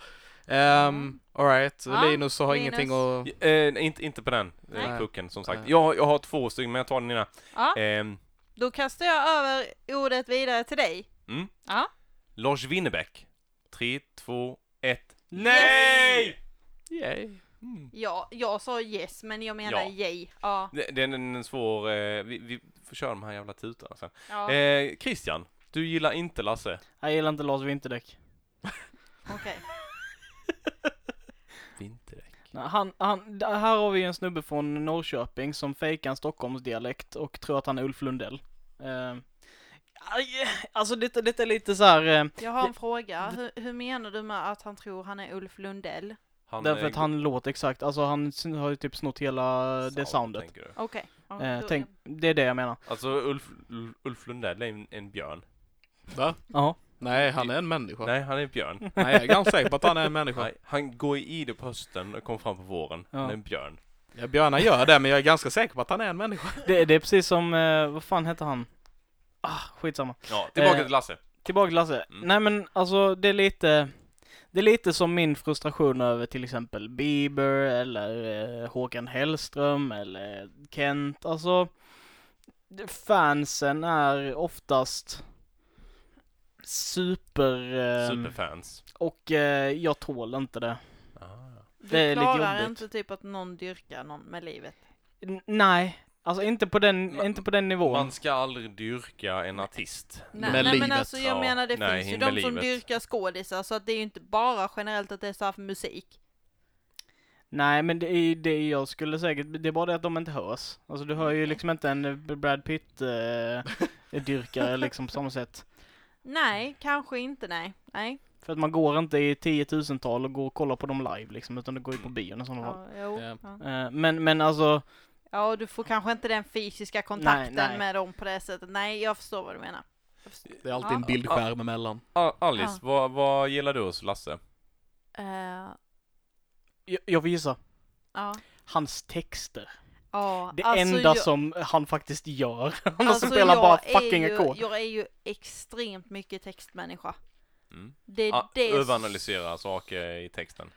[SPEAKER 3] Um, Alright,
[SPEAKER 4] Mm. Ja,
[SPEAKER 3] Linus har
[SPEAKER 4] Linus.
[SPEAKER 3] ingenting att...
[SPEAKER 1] Eh, inte, inte på den eh,
[SPEAKER 3] Nej.
[SPEAKER 1] pucken som sagt.
[SPEAKER 3] Nej.
[SPEAKER 1] Jag, jag har två stycken men jag tar den innan.
[SPEAKER 4] Ja,
[SPEAKER 1] Ehm,
[SPEAKER 4] då kastar jag över ordet vidare till dig.
[SPEAKER 1] mm.
[SPEAKER 4] Ja.
[SPEAKER 1] Lars Winnerbäck. 3, 2, 1.
[SPEAKER 4] Nej!
[SPEAKER 3] Yay.
[SPEAKER 4] Ja, jag sa yes, men jag menar
[SPEAKER 1] Ja.
[SPEAKER 4] yay. Ja.
[SPEAKER 1] Det, det är en, en svår... Eh, vi, vi får köra de här jävla tutarna sen.
[SPEAKER 4] ja.
[SPEAKER 1] Eh, Christian, du gillar inte Lasse.
[SPEAKER 2] Jag gillar inte Lars Vinterdäck.
[SPEAKER 4] Okej.
[SPEAKER 1] Vinterdäck.
[SPEAKER 2] Nej, Han, han, d- här har vi en snubbe från Norrköping som fejkar en Stockholmsdialekt och tror att han är Ulf Lundell. Eh, aj, alltså detta, detta är lite så här, eh,
[SPEAKER 4] Jag har en fråga. Hur, hur menar du med att han tror han är Ulf Lundell?
[SPEAKER 1] Han,
[SPEAKER 2] därför
[SPEAKER 1] eh,
[SPEAKER 2] att han låter exakt, alltså han s- har ju typ snott hela
[SPEAKER 1] sound,
[SPEAKER 2] det soundet.
[SPEAKER 1] tänker du.
[SPEAKER 4] Okej. Ja,
[SPEAKER 2] Eh,
[SPEAKER 4] då-
[SPEAKER 2] tänk, det är det jag menar.
[SPEAKER 1] Alltså Ulf, Ulf- Ulf Lundell är en, en björn.
[SPEAKER 3] Va?
[SPEAKER 2] Ja.
[SPEAKER 3] Nej, han är en människa. Nej,
[SPEAKER 1] Nej, han är en björn.
[SPEAKER 3] jag är ganska säker på att han är en människa.
[SPEAKER 1] Nej, han går i det på hösten och kommer fram på våren.
[SPEAKER 2] Ja.
[SPEAKER 1] Han är en björn.
[SPEAKER 3] Ja, Björnar gör det, men jag är ganska säker på att han är en människa.
[SPEAKER 2] Det, det är precis som, eh, vad fan heter han? Ah, skitsamma.
[SPEAKER 1] Ja, tillbaka
[SPEAKER 2] Eh,
[SPEAKER 1] till Lasse.
[SPEAKER 2] Tillbaka till Lasse.
[SPEAKER 1] Mm.
[SPEAKER 2] Nej men alltså det är lite Det är lite som min frustration över till exempel Bieber eller eh, Håkan Hellström eller Kent. Alltså det- fansen är oftast super... Eh,
[SPEAKER 1] Superfans.
[SPEAKER 2] Och eh, jag tål inte det.
[SPEAKER 1] Ah.
[SPEAKER 4] Du
[SPEAKER 2] det är lite
[SPEAKER 4] klarar
[SPEAKER 2] jobbigt.
[SPEAKER 4] inte typ att någon dyrkar någon med livet.
[SPEAKER 2] N- nej, alltså inte på den,
[SPEAKER 1] Ma-
[SPEAKER 2] inte på den nivån.
[SPEAKER 1] Man ska aldrig dyrka en artist.
[SPEAKER 4] Nej,
[SPEAKER 3] Med
[SPEAKER 4] nej
[SPEAKER 3] livet.
[SPEAKER 4] men alltså jag
[SPEAKER 1] Ja,
[SPEAKER 4] menar det
[SPEAKER 1] nej,
[SPEAKER 4] finns ju
[SPEAKER 1] med
[SPEAKER 4] de som
[SPEAKER 1] livet.
[SPEAKER 4] dyrkar skådisar så att det är ju inte bara generellt att det är så här för musik.
[SPEAKER 2] Nej, men det är ju det jag skulle säkert, det är bara det att de inte hörs. Alltså du hör ju liksom inte en eh, Brad Pitt-dyrkare liksom på samma sätt.
[SPEAKER 4] Nej, kanske inte nej. Nej.
[SPEAKER 2] För att man går inte i tiotusental och går och kollar på dem live liksom, utan du går ju på bion i sådana fall.
[SPEAKER 4] Ja, jo.
[SPEAKER 3] Ja.
[SPEAKER 4] Ja.
[SPEAKER 2] Eh, Men, men alltså,
[SPEAKER 4] ja, och du får kanske inte den fysiska kontakten
[SPEAKER 2] nej.
[SPEAKER 4] med dem på det sättet. Nej, jag förstår vad du menar.
[SPEAKER 3] Det är alltid en
[SPEAKER 4] Ja.
[SPEAKER 3] bildskärm emellan.
[SPEAKER 1] Ah, Alice,
[SPEAKER 4] Ja.
[SPEAKER 1] vad, vad gillar du hos Lasse?
[SPEAKER 4] Eh,
[SPEAKER 2] jag, jag får gissa.
[SPEAKER 4] ja.
[SPEAKER 2] Hans texter.
[SPEAKER 4] Ja,
[SPEAKER 2] Det
[SPEAKER 4] alltså,
[SPEAKER 2] enda
[SPEAKER 4] jag-
[SPEAKER 2] som han faktiskt gör. Han
[SPEAKER 4] alltså,
[SPEAKER 2] spelar
[SPEAKER 4] jag
[SPEAKER 2] bara
[SPEAKER 4] är
[SPEAKER 2] fucking
[SPEAKER 4] ju-
[SPEAKER 2] ackord.
[SPEAKER 4] Jag är ju extremt mycket textmänniska.
[SPEAKER 1] Mm.
[SPEAKER 4] Det är
[SPEAKER 1] Ah,
[SPEAKER 4] det
[SPEAKER 1] överanalysera saker i texten.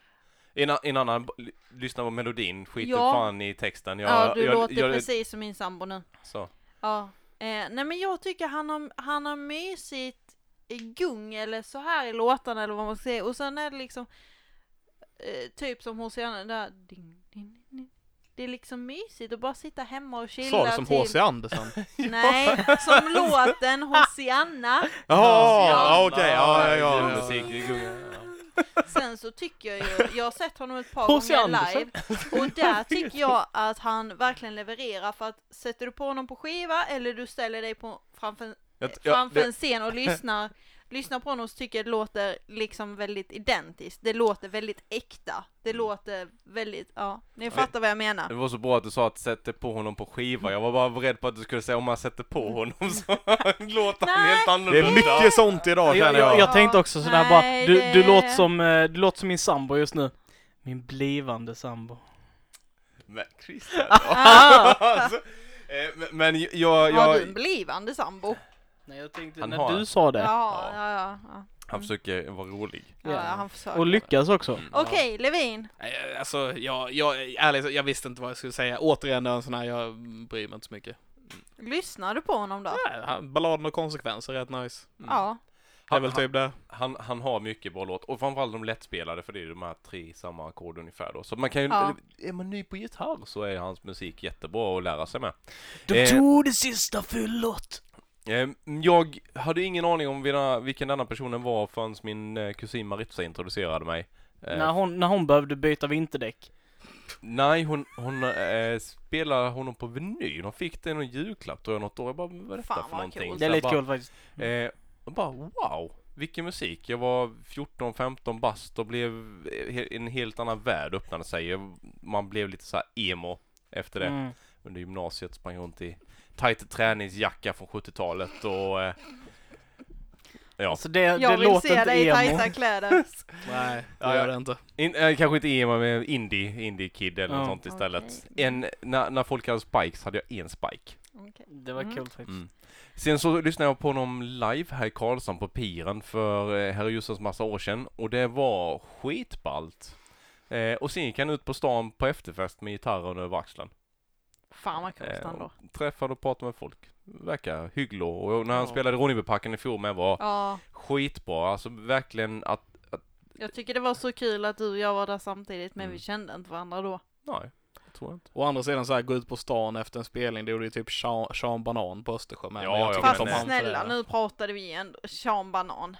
[SPEAKER 1] En, a- en annan, l- lyssna på melodin, skit
[SPEAKER 4] Ja.
[SPEAKER 1] fan i texten. Jag,
[SPEAKER 4] Ja, du
[SPEAKER 1] jag,
[SPEAKER 4] låter
[SPEAKER 1] jag-
[SPEAKER 4] precis som min sambo nu.
[SPEAKER 1] Så.
[SPEAKER 4] Ja. Eh, nej men jag tycker han har, han har mysigt gung eller så här i låtarna eller vad man ska säga. Och sen är det liksom eh, typ som hos henne där. Ding, ding, ding. Det är liksom mysigt att bara sitta hemma och chilla
[SPEAKER 3] Sa du som
[SPEAKER 4] till...
[SPEAKER 3] H.C. Andersen?
[SPEAKER 4] Nej, som låten Hosianna.
[SPEAKER 3] Jaha, ja, okej, ja, ja,
[SPEAKER 1] Det är
[SPEAKER 3] ja.
[SPEAKER 1] Musik, det är gung- ja.
[SPEAKER 4] Sen så tycker jag ju, jag har sett honom ett par
[SPEAKER 2] H.C.
[SPEAKER 4] gånger
[SPEAKER 2] Andersen.
[SPEAKER 4] live och där tycker jag att han verkligen levererar för att sätter du på honom på skiva eller du ställer dig på, framför,
[SPEAKER 1] Jag- jag-
[SPEAKER 4] framför
[SPEAKER 1] det-
[SPEAKER 4] en scen och lyssnar, lyssnar på honom så tycker jag det låter liksom väldigt identiskt. Det låter väldigt äkta. Det låter väldigt, ja, ni fattar vad jag menar.
[SPEAKER 1] Det var så bra att du sa att sätta på honom på skiva. Jag var bara rädd på att du skulle säga om man sätter på honom så låter han
[SPEAKER 4] Nej.
[SPEAKER 1] helt
[SPEAKER 3] Det
[SPEAKER 1] annorlunda.
[SPEAKER 3] är mycket sånt idag
[SPEAKER 2] Jag,
[SPEAKER 3] känner
[SPEAKER 2] jag,
[SPEAKER 3] jag.
[SPEAKER 2] jag tänkte också sådär bara,
[SPEAKER 4] Nej,
[SPEAKER 2] du, du,
[SPEAKER 4] det-
[SPEAKER 2] låter som, eh, du låter som min sambo just nu. Min blivande sambo.
[SPEAKER 1] Men Christian,
[SPEAKER 4] Ah,
[SPEAKER 1] alltså, eh, men- Men jag, jag,
[SPEAKER 4] har du en
[SPEAKER 1] jag
[SPEAKER 4] blivande sambo?
[SPEAKER 2] Nej jag tänkte
[SPEAKER 1] Han
[SPEAKER 2] när
[SPEAKER 1] har-
[SPEAKER 2] du sa det.
[SPEAKER 4] Ja, ja, ja. ja.
[SPEAKER 1] han försöker vara rolig.
[SPEAKER 4] ja,
[SPEAKER 2] Ja.
[SPEAKER 4] han försöker.
[SPEAKER 2] Och lyckas också.
[SPEAKER 1] Mm.
[SPEAKER 4] Okej, Levin.
[SPEAKER 3] Nej, jag- Alltså, jag, jag, ärligt, jag visste inte vad jag skulle säga. Återigen, det är en sån här, jag bryr mig inte så mycket.
[SPEAKER 4] Lyssnar du på honom då?
[SPEAKER 3] Nej, han- Balladen och konsekvenser är rätt nice.
[SPEAKER 4] Ja.
[SPEAKER 3] Det är
[SPEAKER 1] Han,
[SPEAKER 3] väl
[SPEAKER 1] han,
[SPEAKER 3] typ det.
[SPEAKER 1] han, han har mycket bra låt och framförallt de lättspelade för det är de här tre samma ackord ungefär då. Så man kan ju,
[SPEAKER 4] Ja.
[SPEAKER 1] är man ny på gitarr så är hans musik jättebra att lära sig med.
[SPEAKER 2] De
[SPEAKER 1] Eh.
[SPEAKER 2] tog det sista fyllot.
[SPEAKER 1] Eh, Jag hade ingen aning om vilka- vilken denna personen var förrän min eh, kusin Maritza introducerade mig. Eh,
[SPEAKER 2] När hon, när hon behövde byta vinterdäck.
[SPEAKER 1] Nej, hon, hon eh, spelade honom på vinyl. Hon fick det i någon julklapp tror jag något år. Jag bara, vad är detta
[SPEAKER 4] Fan,
[SPEAKER 1] för
[SPEAKER 4] vad
[SPEAKER 1] någonting?
[SPEAKER 4] coolt.
[SPEAKER 2] Det är
[SPEAKER 1] Så
[SPEAKER 2] lite
[SPEAKER 1] jag
[SPEAKER 2] kul faktiskt.
[SPEAKER 1] bara, eh, jag bara wow. Vilken musik! Jag var 14-15 bast och blev eh, he- en helt annan värld öppnade sig. Jag- Man blev lite så här emo efter det.
[SPEAKER 2] Mm.
[SPEAKER 1] Under gymnasiet sprang runt i tajt träningsjacka från 70-talet och eh, Ja.
[SPEAKER 2] Så det, det
[SPEAKER 4] Jag vill
[SPEAKER 2] låter
[SPEAKER 4] se
[SPEAKER 2] inte
[SPEAKER 4] dig i
[SPEAKER 2] emo.
[SPEAKER 4] tajta kläder.
[SPEAKER 3] Nej, det
[SPEAKER 1] Ja,
[SPEAKER 3] gör
[SPEAKER 1] ja.
[SPEAKER 3] det inte.
[SPEAKER 1] in, eh, kanske inte emo men indie, indie kid eller
[SPEAKER 2] Ja.
[SPEAKER 1] något sånt istället. En, när, när folk hade spikes hade jag en spike.
[SPEAKER 2] Det var
[SPEAKER 4] Mm.
[SPEAKER 2] kul faktiskt.
[SPEAKER 1] Mm. Sen så lyssnade jag på honom live här i Karlshamn på piren för eh, herrejösses massa år sedan och det var skitballt. Eh, och sen gick han ut på stan på efterfest med gitarren över axeln.
[SPEAKER 4] Fan vad coolt
[SPEAKER 1] Eh,
[SPEAKER 4] ändå.
[SPEAKER 1] Träffade och pratade med folk. Verkar hygglig och när han
[SPEAKER 3] Ja.
[SPEAKER 1] spelade Ronnebypacken i fjol med var
[SPEAKER 4] Ja,
[SPEAKER 1] skitbra. Alltså verkligen att,
[SPEAKER 4] jag tycker det var så kul att du och jag var där samtidigt men
[SPEAKER 1] Mm.
[SPEAKER 4] vi kände inte varandra då.
[SPEAKER 1] nej, jag tror inte.
[SPEAKER 3] Å andra sidan så här, gå ut på stan efter en spelning, det gjorde ju typ Sean, Sean Banan på Östersjön med.
[SPEAKER 1] Ja,
[SPEAKER 3] men jag
[SPEAKER 1] ja,
[SPEAKER 3] tycker
[SPEAKER 1] men-
[SPEAKER 3] inte om
[SPEAKER 1] fan
[SPEAKER 4] Fast
[SPEAKER 3] han för
[SPEAKER 4] snälla
[SPEAKER 3] det.
[SPEAKER 4] nu pratade vi ändå Sean Banan.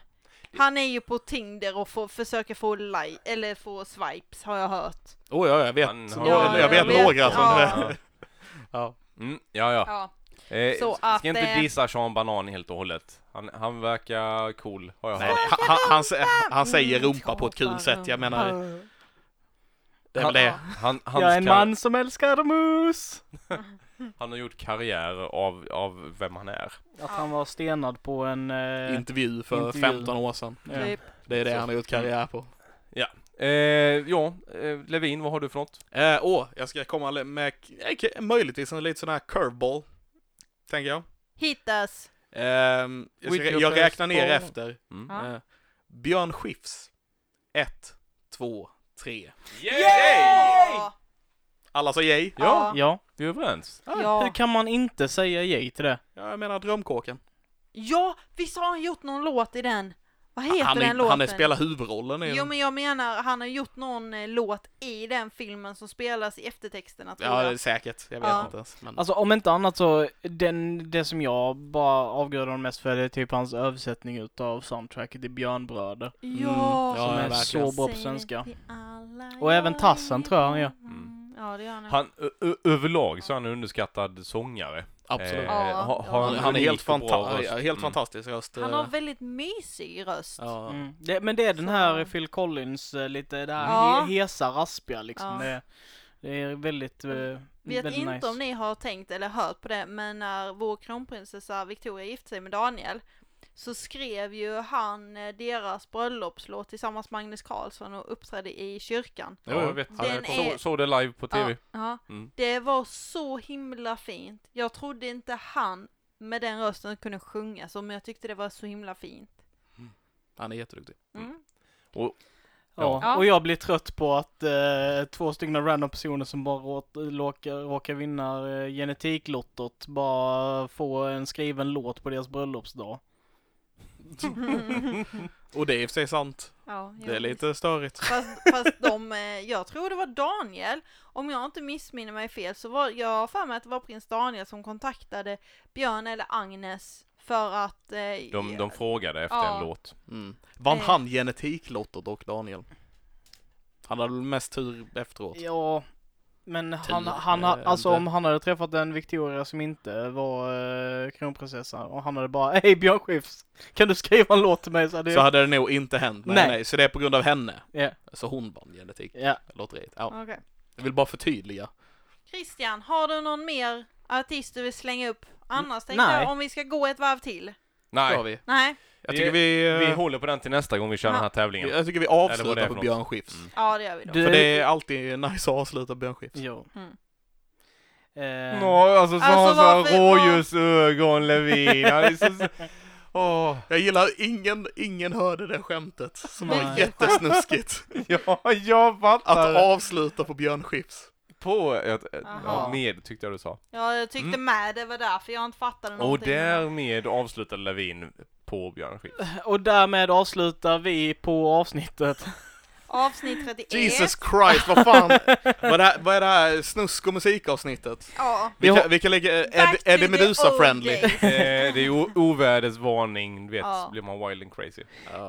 [SPEAKER 4] Han är ju på Tinder och får, försöker få like, eller få swipes har jag hört.
[SPEAKER 3] Oh, ja, jag vet.
[SPEAKER 1] Han har-
[SPEAKER 3] några- jag, vet några som...
[SPEAKER 4] Ja.
[SPEAKER 3] Ja.
[SPEAKER 1] Mm, ja, ja.
[SPEAKER 4] Ja.
[SPEAKER 1] Eh,
[SPEAKER 4] Så
[SPEAKER 1] ska
[SPEAKER 4] att,
[SPEAKER 1] inte
[SPEAKER 4] eh,
[SPEAKER 1] dissa Sean Banan helt och hållet. Han, han verkar cool, har jag
[SPEAKER 3] Nej,
[SPEAKER 1] hört.
[SPEAKER 3] han, han, han, sä- han säger rumpa på ett kul sätt, jag menar, det är väl det.
[SPEAKER 1] Han, hans
[SPEAKER 2] Jag är en
[SPEAKER 1] kar-
[SPEAKER 2] man som älskar mus!
[SPEAKER 1] Han har gjort karriär av, av vem han är.
[SPEAKER 2] Att han var stenad på en... Eh,
[SPEAKER 3] Intervju för
[SPEAKER 2] intervju.
[SPEAKER 3] 15 år sedan.
[SPEAKER 2] eh,
[SPEAKER 4] Typ.
[SPEAKER 3] Det är det
[SPEAKER 1] Så.
[SPEAKER 3] han har gjort karriär på.
[SPEAKER 1] Eh, ja, eh, Levin, vad har du för något?
[SPEAKER 3] Eh, åh, jag ska komma med eh, k- möjligtvis en lite sån här curveball, tänker jag.
[SPEAKER 4] Hit us!
[SPEAKER 3] Ehm, jag,
[SPEAKER 1] With
[SPEAKER 3] ska,
[SPEAKER 1] your
[SPEAKER 3] jag
[SPEAKER 1] best
[SPEAKER 3] räknar ner
[SPEAKER 1] ball.
[SPEAKER 3] efter.
[SPEAKER 1] Mm.
[SPEAKER 4] Ja.
[SPEAKER 3] Eh, Björn Skifs. Ett, två, tre.
[SPEAKER 4] Ja!
[SPEAKER 3] Alla sa yay.
[SPEAKER 1] Ja,
[SPEAKER 4] Ja.
[SPEAKER 2] ja.
[SPEAKER 1] vi är överens.
[SPEAKER 2] Hur
[SPEAKER 4] Ja.
[SPEAKER 2] kan man inte säga yay till det?
[SPEAKER 1] Mm.
[SPEAKER 3] Ja, jag menar drömkåken.
[SPEAKER 4] ja, visst har han gjort någon låt i den? Vad heter
[SPEAKER 3] han, är-
[SPEAKER 4] den låten?
[SPEAKER 3] han är spelar huvudrollen i
[SPEAKER 4] Jo
[SPEAKER 3] den.
[SPEAKER 4] men jag menar, han har gjort någon eh, låt i den filmen som spelas i eftertexterna tror
[SPEAKER 3] Ja, det är
[SPEAKER 4] jag.
[SPEAKER 3] säkert. Jag vet
[SPEAKER 4] Ja.
[SPEAKER 3] inte ens. Men...
[SPEAKER 2] Alltså om inte annat så, den, det som jag bara avgudar honom mest för det är typ hans översättning utav soundtracket till Björnbröder.
[SPEAKER 4] Ja!
[SPEAKER 3] Ja,
[SPEAKER 2] som är
[SPEAKER 3] verkligen.
[SPEAKER 2] så bra på
[SPEAKER 4] Säger
[SPEAKER 2] svenska.
[SPEAKER 4] till alla
[SPEAKER 2] Och
[SPEAKER 4] jag
[SPEAKER 2] även Tassen
[SPEAKER 4] är.
[SPEAKER 2] tror jag han gör.
[SPEAKER 4] Mm. Ja, det gör han.
[SPEAKER 1] Han, ö- ö- överlag så är han en underskattad sångare.
[SPEAKER 3] Absolut.
[SPEAKER 1] Eh,
[SPEAKER 4] Ja,
[SPEAKER 1] ha-
[SPEAKER 4] ja.
[SPEAKER 1] har
[SPEAKER 3] han,
[SPEAKER 1] en
[SPEAKER 3] han är
[SPEAKER 1] unik
[SPEAKER 3] helt,
[SPEAKER 1] och bra
[SPEAKER 3] fanta- eh,
[SPEAKER 1] röst.
[SPEAKER 3] helt
[SPEAKER 1] Mm.
[SPEAKER 3] fantastisk röst.
[SPEAKER 4] Han har
[SPEAKER 3] eh,
[SPEAKER 4] väldigt mysig röst.
[SPEAKER 3] ja.
[SPEAKER 2] Mm. Det, men det är den här
[SPEAKER 4] Så-
[SPEAKER 2] Phil Collins, eh, lite det här
[SPEAKER 4] Ja.
[SPEAKER 2] he, hesa, raspiga liksom.
[SPEAKER 4] Ja. Mm.
[SPEAKER 2] Det, det är väldigt, eh,
[SPEAKER 4] Vet
[SPEAKER 2] väldigt
[SPEAKER 4] inte
[SPEAKER 2] nice.
[SPEAKER 4] om ni har tänkt eller hört på det, men när vår kronprinsessa Victoria gifte sig med Daniel så skrev ju han eh, deras bröllopslåt tillsammans med Magnus Carlsson och uppträdde i kyrkan.
[SPEAKER 1] Ja, jag vet.
[SPEAKER 3] Han är
[SPEAKER 4] Den
[SPEAKER 3] på-
[SPEAKER 4] är-
[SPEAKER 1] Så, såg det live på tv.
[SPEAKER 4] Ja, ja.
[SPEAKER 1] Mm.
[SPEAKER 4] Det var så himla fint. Jag trodde inte han med den rösten kunde sjunga så, men jag tyckte det var så himla fint.
[SPEAKER 3] Han är jätteduktig.
[SPEAKER 4] Mm.
[SPEAKER 2] Ja.
[SPEAKER 4] Ja.
[SPEAKER 2] Och jag blir trött på att eh, två stycken random personer som bara råk, råkar, råkar vinna eh, genetiklottot bara få en skriven låt på deras bröllopsdag.
[SPEAKER 3] Och det är i och för sig sant.
[SPEAKER 4] Ja,
[SPEAKER 3] Det
[SPEAKER 4] ja,
[SPEAKER 3] är lite störigt.
[SPEAKER 4] Fast, fast de, eh, jag tror det var Daniel, om jag inte missminner mig fel, så var jag har för mig att det var prins Daniel som kontaktade Björn eller Agnes för att... Eh,
[SPEAKER 1] De, de frågade efter
[SPEAKER 4] Ja.
[SPEAKER 1] en låt.
[SPEAKER 3] Mm. Vann
[SPEAKER 4] Eh.
[SPEAKER 3] han genetiklotto dock, Daniel? Han hade väl mest tur efteråt.
[SPEAKER 2] Ja, men han,
[SPEAKER 3] Tur,
[SPEAKER 2] han, ha-
[SPEAKER 3] eh,
[SPEAKER 2] alltså
[SPEAKER 3] inte.
[SPEAKER 2] om han hade träffat en Victoria som inte var eh, kronprinsessa och han hade bara Hej Björn Skifs, kan du skriva en låt till mig? Så hade
[SPEAKER 3] Så
[SPEAKER 2] jag,
[SPEAKER 3] hade det nog inte hänt. Nej,
[SPEAKER 2] Nej.
[SPEAKER 3] nej. Så det är på grund av henne.
[SPEAKER 2] Ja.
[SPEAKER 3] Så hon vann genetik.
[SPEAKER 2] ja.
[SPEAKER 3] Lotteriet. Ja.
[SPEAKER 4] Okej.
[SPEAKER 3] Jag vill bara förtydliga.
[SPEAKER 4] Christian, har du någon mer artist du vill slänga upp? Annars tänkte
[SPEAKER 2] nej.
[SPEAKER 4] jag om vi ska gå ett varv till.
[SPEAKER 3] Nej.
[SPEAKER 1] Nej,
[SPEAKER 3] Vi.
[SPEAKER 4] Nej,
[SPEAKER 3] Jag
[SPEAKER 1] Vi-
[SPEAKER 3] tycker vi, eh,
[SPEAKER 1] vi håller på den till nästa gång vi kör den här tävlingen.
[SPEAKER 3] jag tycker vi
[SPEAKER 1] Eller vad det är
[SPEAKER 3] avslutar
[SPEAKER 1] för
[SPEAKER 3] på
[SPEAKER 1] något.
[SPEAKER 3] Björn Skifs.
[SPEAKER 1] Mm.
[SPEAKER 4] ja det gör vi då.
[SPEAKER 2] Du-
[SPEAKER 3] För det är alltid nice att avsluta på Björn Skifs.
[SPEAKER 2] Jo.
[SPEAKER 4] Mm.
[SPEAKER 2] Eh,
[SPEAKER 1] alltså
[SPEAKER 4] så har han så här varför-
[SPEAKER 1] rådjursögon, Levin. Han är så... Åh,
[SPEAKER 3] Jag gillar ingen, ingen hörde det skämtet. Som var
[SPEAKER 2] Nej.
[SPEAKER 3] jättesnuskigt.
[SPEAKER 1] ja, jag
[SPEAKER 3] Att avsluta på Björn Skifs.
[SPEAKER 1] På...
[SPEAKER 4] Jaha.
[SPEAKER 1] Ja, med tyckte jag du sa.
[SPEAKER 4] Ja, jag tyckte
[SPEAKER 3] Mm.
[SPEAKER 4] med, det var därför jag inte fattade
[SPEAKER 1] Och
[SPEAKER 4] någonting.
[SPEAKER 1] därmed avslutade Levin på Björn Skifs.
[SPEAKER 2] Och därmed avslutar vi på avsnittet.
[SPEAKER 4] Avsnitt 31.
[SPEAKER 3] Jesus Christ, vad fan. vad, är det här, vad är det här snusk och musikavsnittet?
[SPEAKER 4] Ja.
[SPEAKER 3] Vi
[SPEAKER 2] Vi
[SPEAKER 3] kan,
[SPEAKER 2] har-
[SPEAKER 3] vi kan lägga eh,
[SPEAKER 4] Back
[SPEAKER 3] Ed,
[SPEAKER 4] to the
[SPEAKER 3] Eddie
[SPEAKER 4] old
[SPEAKER 3] Meduza-friendly.
[SPEAKER 4] days.
[SPEAKER 1] eh, det är o- ovädersvarning, du vet,
[SPEAKER 4] Ja.
[SPEAKER 1] så blir man wild and crazy.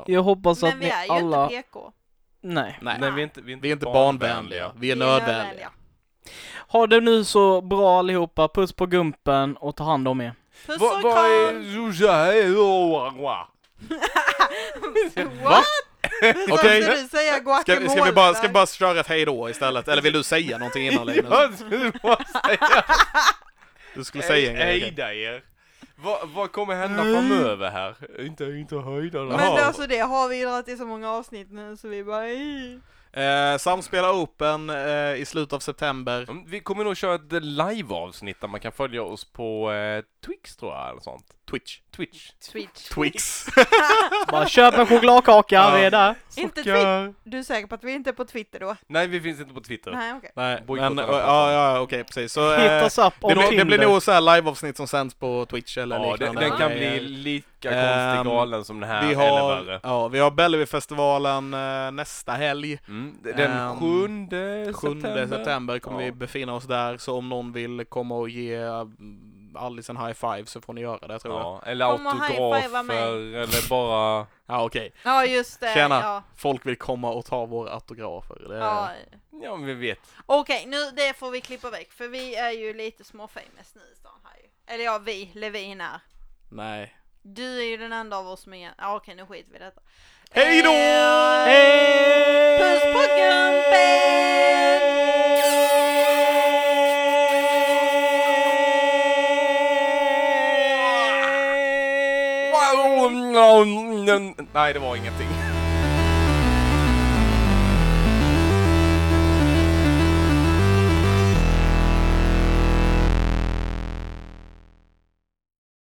[SPEAKER 2] Jag hoppas att
[SPEAKER 4] Men vi
[SPEAKER 2] ni
[SPEAKER 4] är ju
[SPEAKER 2] alla...
[SPEAKER 4] inte PK.
[SPEAKER 2] Nej.
[SPEAKER 3] Nej,
[SPEAKER 1] Nej, vi är inte, vi är inte
[SPEAKER 3] vi är inte barnvänliga. Vi är
[SPEAKER 4] Vi
[SPEAKER 3] nödvändiga.
[SPEAKER 2] Ha det nu så bra allihopa. Puss på gumpen och ta hand om er.
[SPEAKER 4] Puss
[SPEAKER 1] Vad
[SPEAKER 4] och kram!
[SPEAKER 1] vad är...
[SPEAKER 4] What?
[SPEAKER 3] Okej.
[SPEAKER 4] Ska du säga guacamole?
[SPEAKER 3] Ska, ska, vi bara, ska vi bara köra ett hejdå istället? Eller vill du säga någonting innan Linus?
[SPEAKER 1] Jag skulle bara säga
[SPEAKER 3] Du skulle säga en grej. Mm. okej.
[SPEAKER 1] Hejda er. Vad, vad kommer hända framöver här? Inte, inte höjda
[SPEAKER 4] Men alltså det har vi dragit i så många avsnitt nu så vi bara "Ih."
[SPEAKER 3] Eh, Samspela Open eh, i slutet av september.
[SPEAKER 1] Mm, Vi kommer nog köra ett live-avsnitt där man kan följa oss på eh, Twix tror jag eller sånt.
[SPEAKER 3] Twitch.
[SPEAKER 1] Twitch.
[SPEAKER 4] Twitch.
[SPEAKER 3] Twix.
[SPEAKER 2] Bara köp en chokladkaka, vi är där.
[SPEAKER 4] Inte Twitch.
[SPEAKER 1] Socker.
[SPEAKER 4] Du är säker på att vi inte är på Twitter då?
[SPEAKER 1] Nej, vi finns inte på Twitter.
[SPEAKER 4] Nej okej.
[SPEAKER 3] Nej,
[SPEAKER 1] Bojkotta
[SPEAKER 3] men,
[SPEAKER 1] den
[SPEAKER 3] eh,
[SPEAKER 1] här
[SPEAKER 3] ja, ja, okej, precis. Så, eh,
[SPEAKER 2] Hit oss upp
[SPEAKER 3] det,
[SPEAKER 2] om
[SPEAKER 3] blir- det blir
[SPEAKER 2] Tinder.
[SPEAKER 3] nog så här liveavsnitt som sänds på Twitch eller
[SPEAKER 1] Ja, den,
[SPEAKER 3] liknande.
[SPEAKER 1] den kan
[SPEAKER 3] Eh,
[SPEAKER 1] bli lika
[SPEAKER 3] Ehm,
[SPEAKER 1] konstig galen som den här,
[SPEAKER 3] vi
[SPEAKER 1] eller
[SPEAKER 3] har,
[SPEAKER 1] värre.
[SPEAKER 3] ja, vi har Bellevuefestivalen eh, nästa helg.
[SPEAKER 1] Mm, d- den
[SPEAKER 3] ehm,
[SPEAKER 1] sjunde
[SPEAKER 3] 7 september, kommer
[SPEAKER 1] Ja.
[SPEAKER 3] vi befinna oss där, så om någon vill komma och ge mm, Alice en high five så får ni göra det tror jag.
[SPEAKER 1] Ja, eller
[SPEAKER 4] Kom och high-fivea mig.
[SPEAKER 1] autografer, eller bara...
[SPEAKER 3] Ja okej,
[SPEAKER 4] Ja just det.
[SPEAKER 3] Tjena. Eh.
[SPEAKER 4] Ja.
[SPEAKER 3] folk vill komma och ta våra autografer. Det,
[SPEAKER 4] Ja.
[SPEAKER 1] Ja, men vi vet.
[SPEAKER 4] Okej, nu det får vi klippa väck för vi är ju lite småfamous nu i stan här ju. Eller ja, vi, Levin är.
[SPEAKER 3] Nej.
[SPEAKER 4] Du är ju den enda av oss som är... Ja okej, nu skiter vi i detta.
[SPEAKER 3] Hej då!
[SPEAKER 4] Eh, Puss på gumpen!
[SPEAKER 1] Nej, det var ingenting.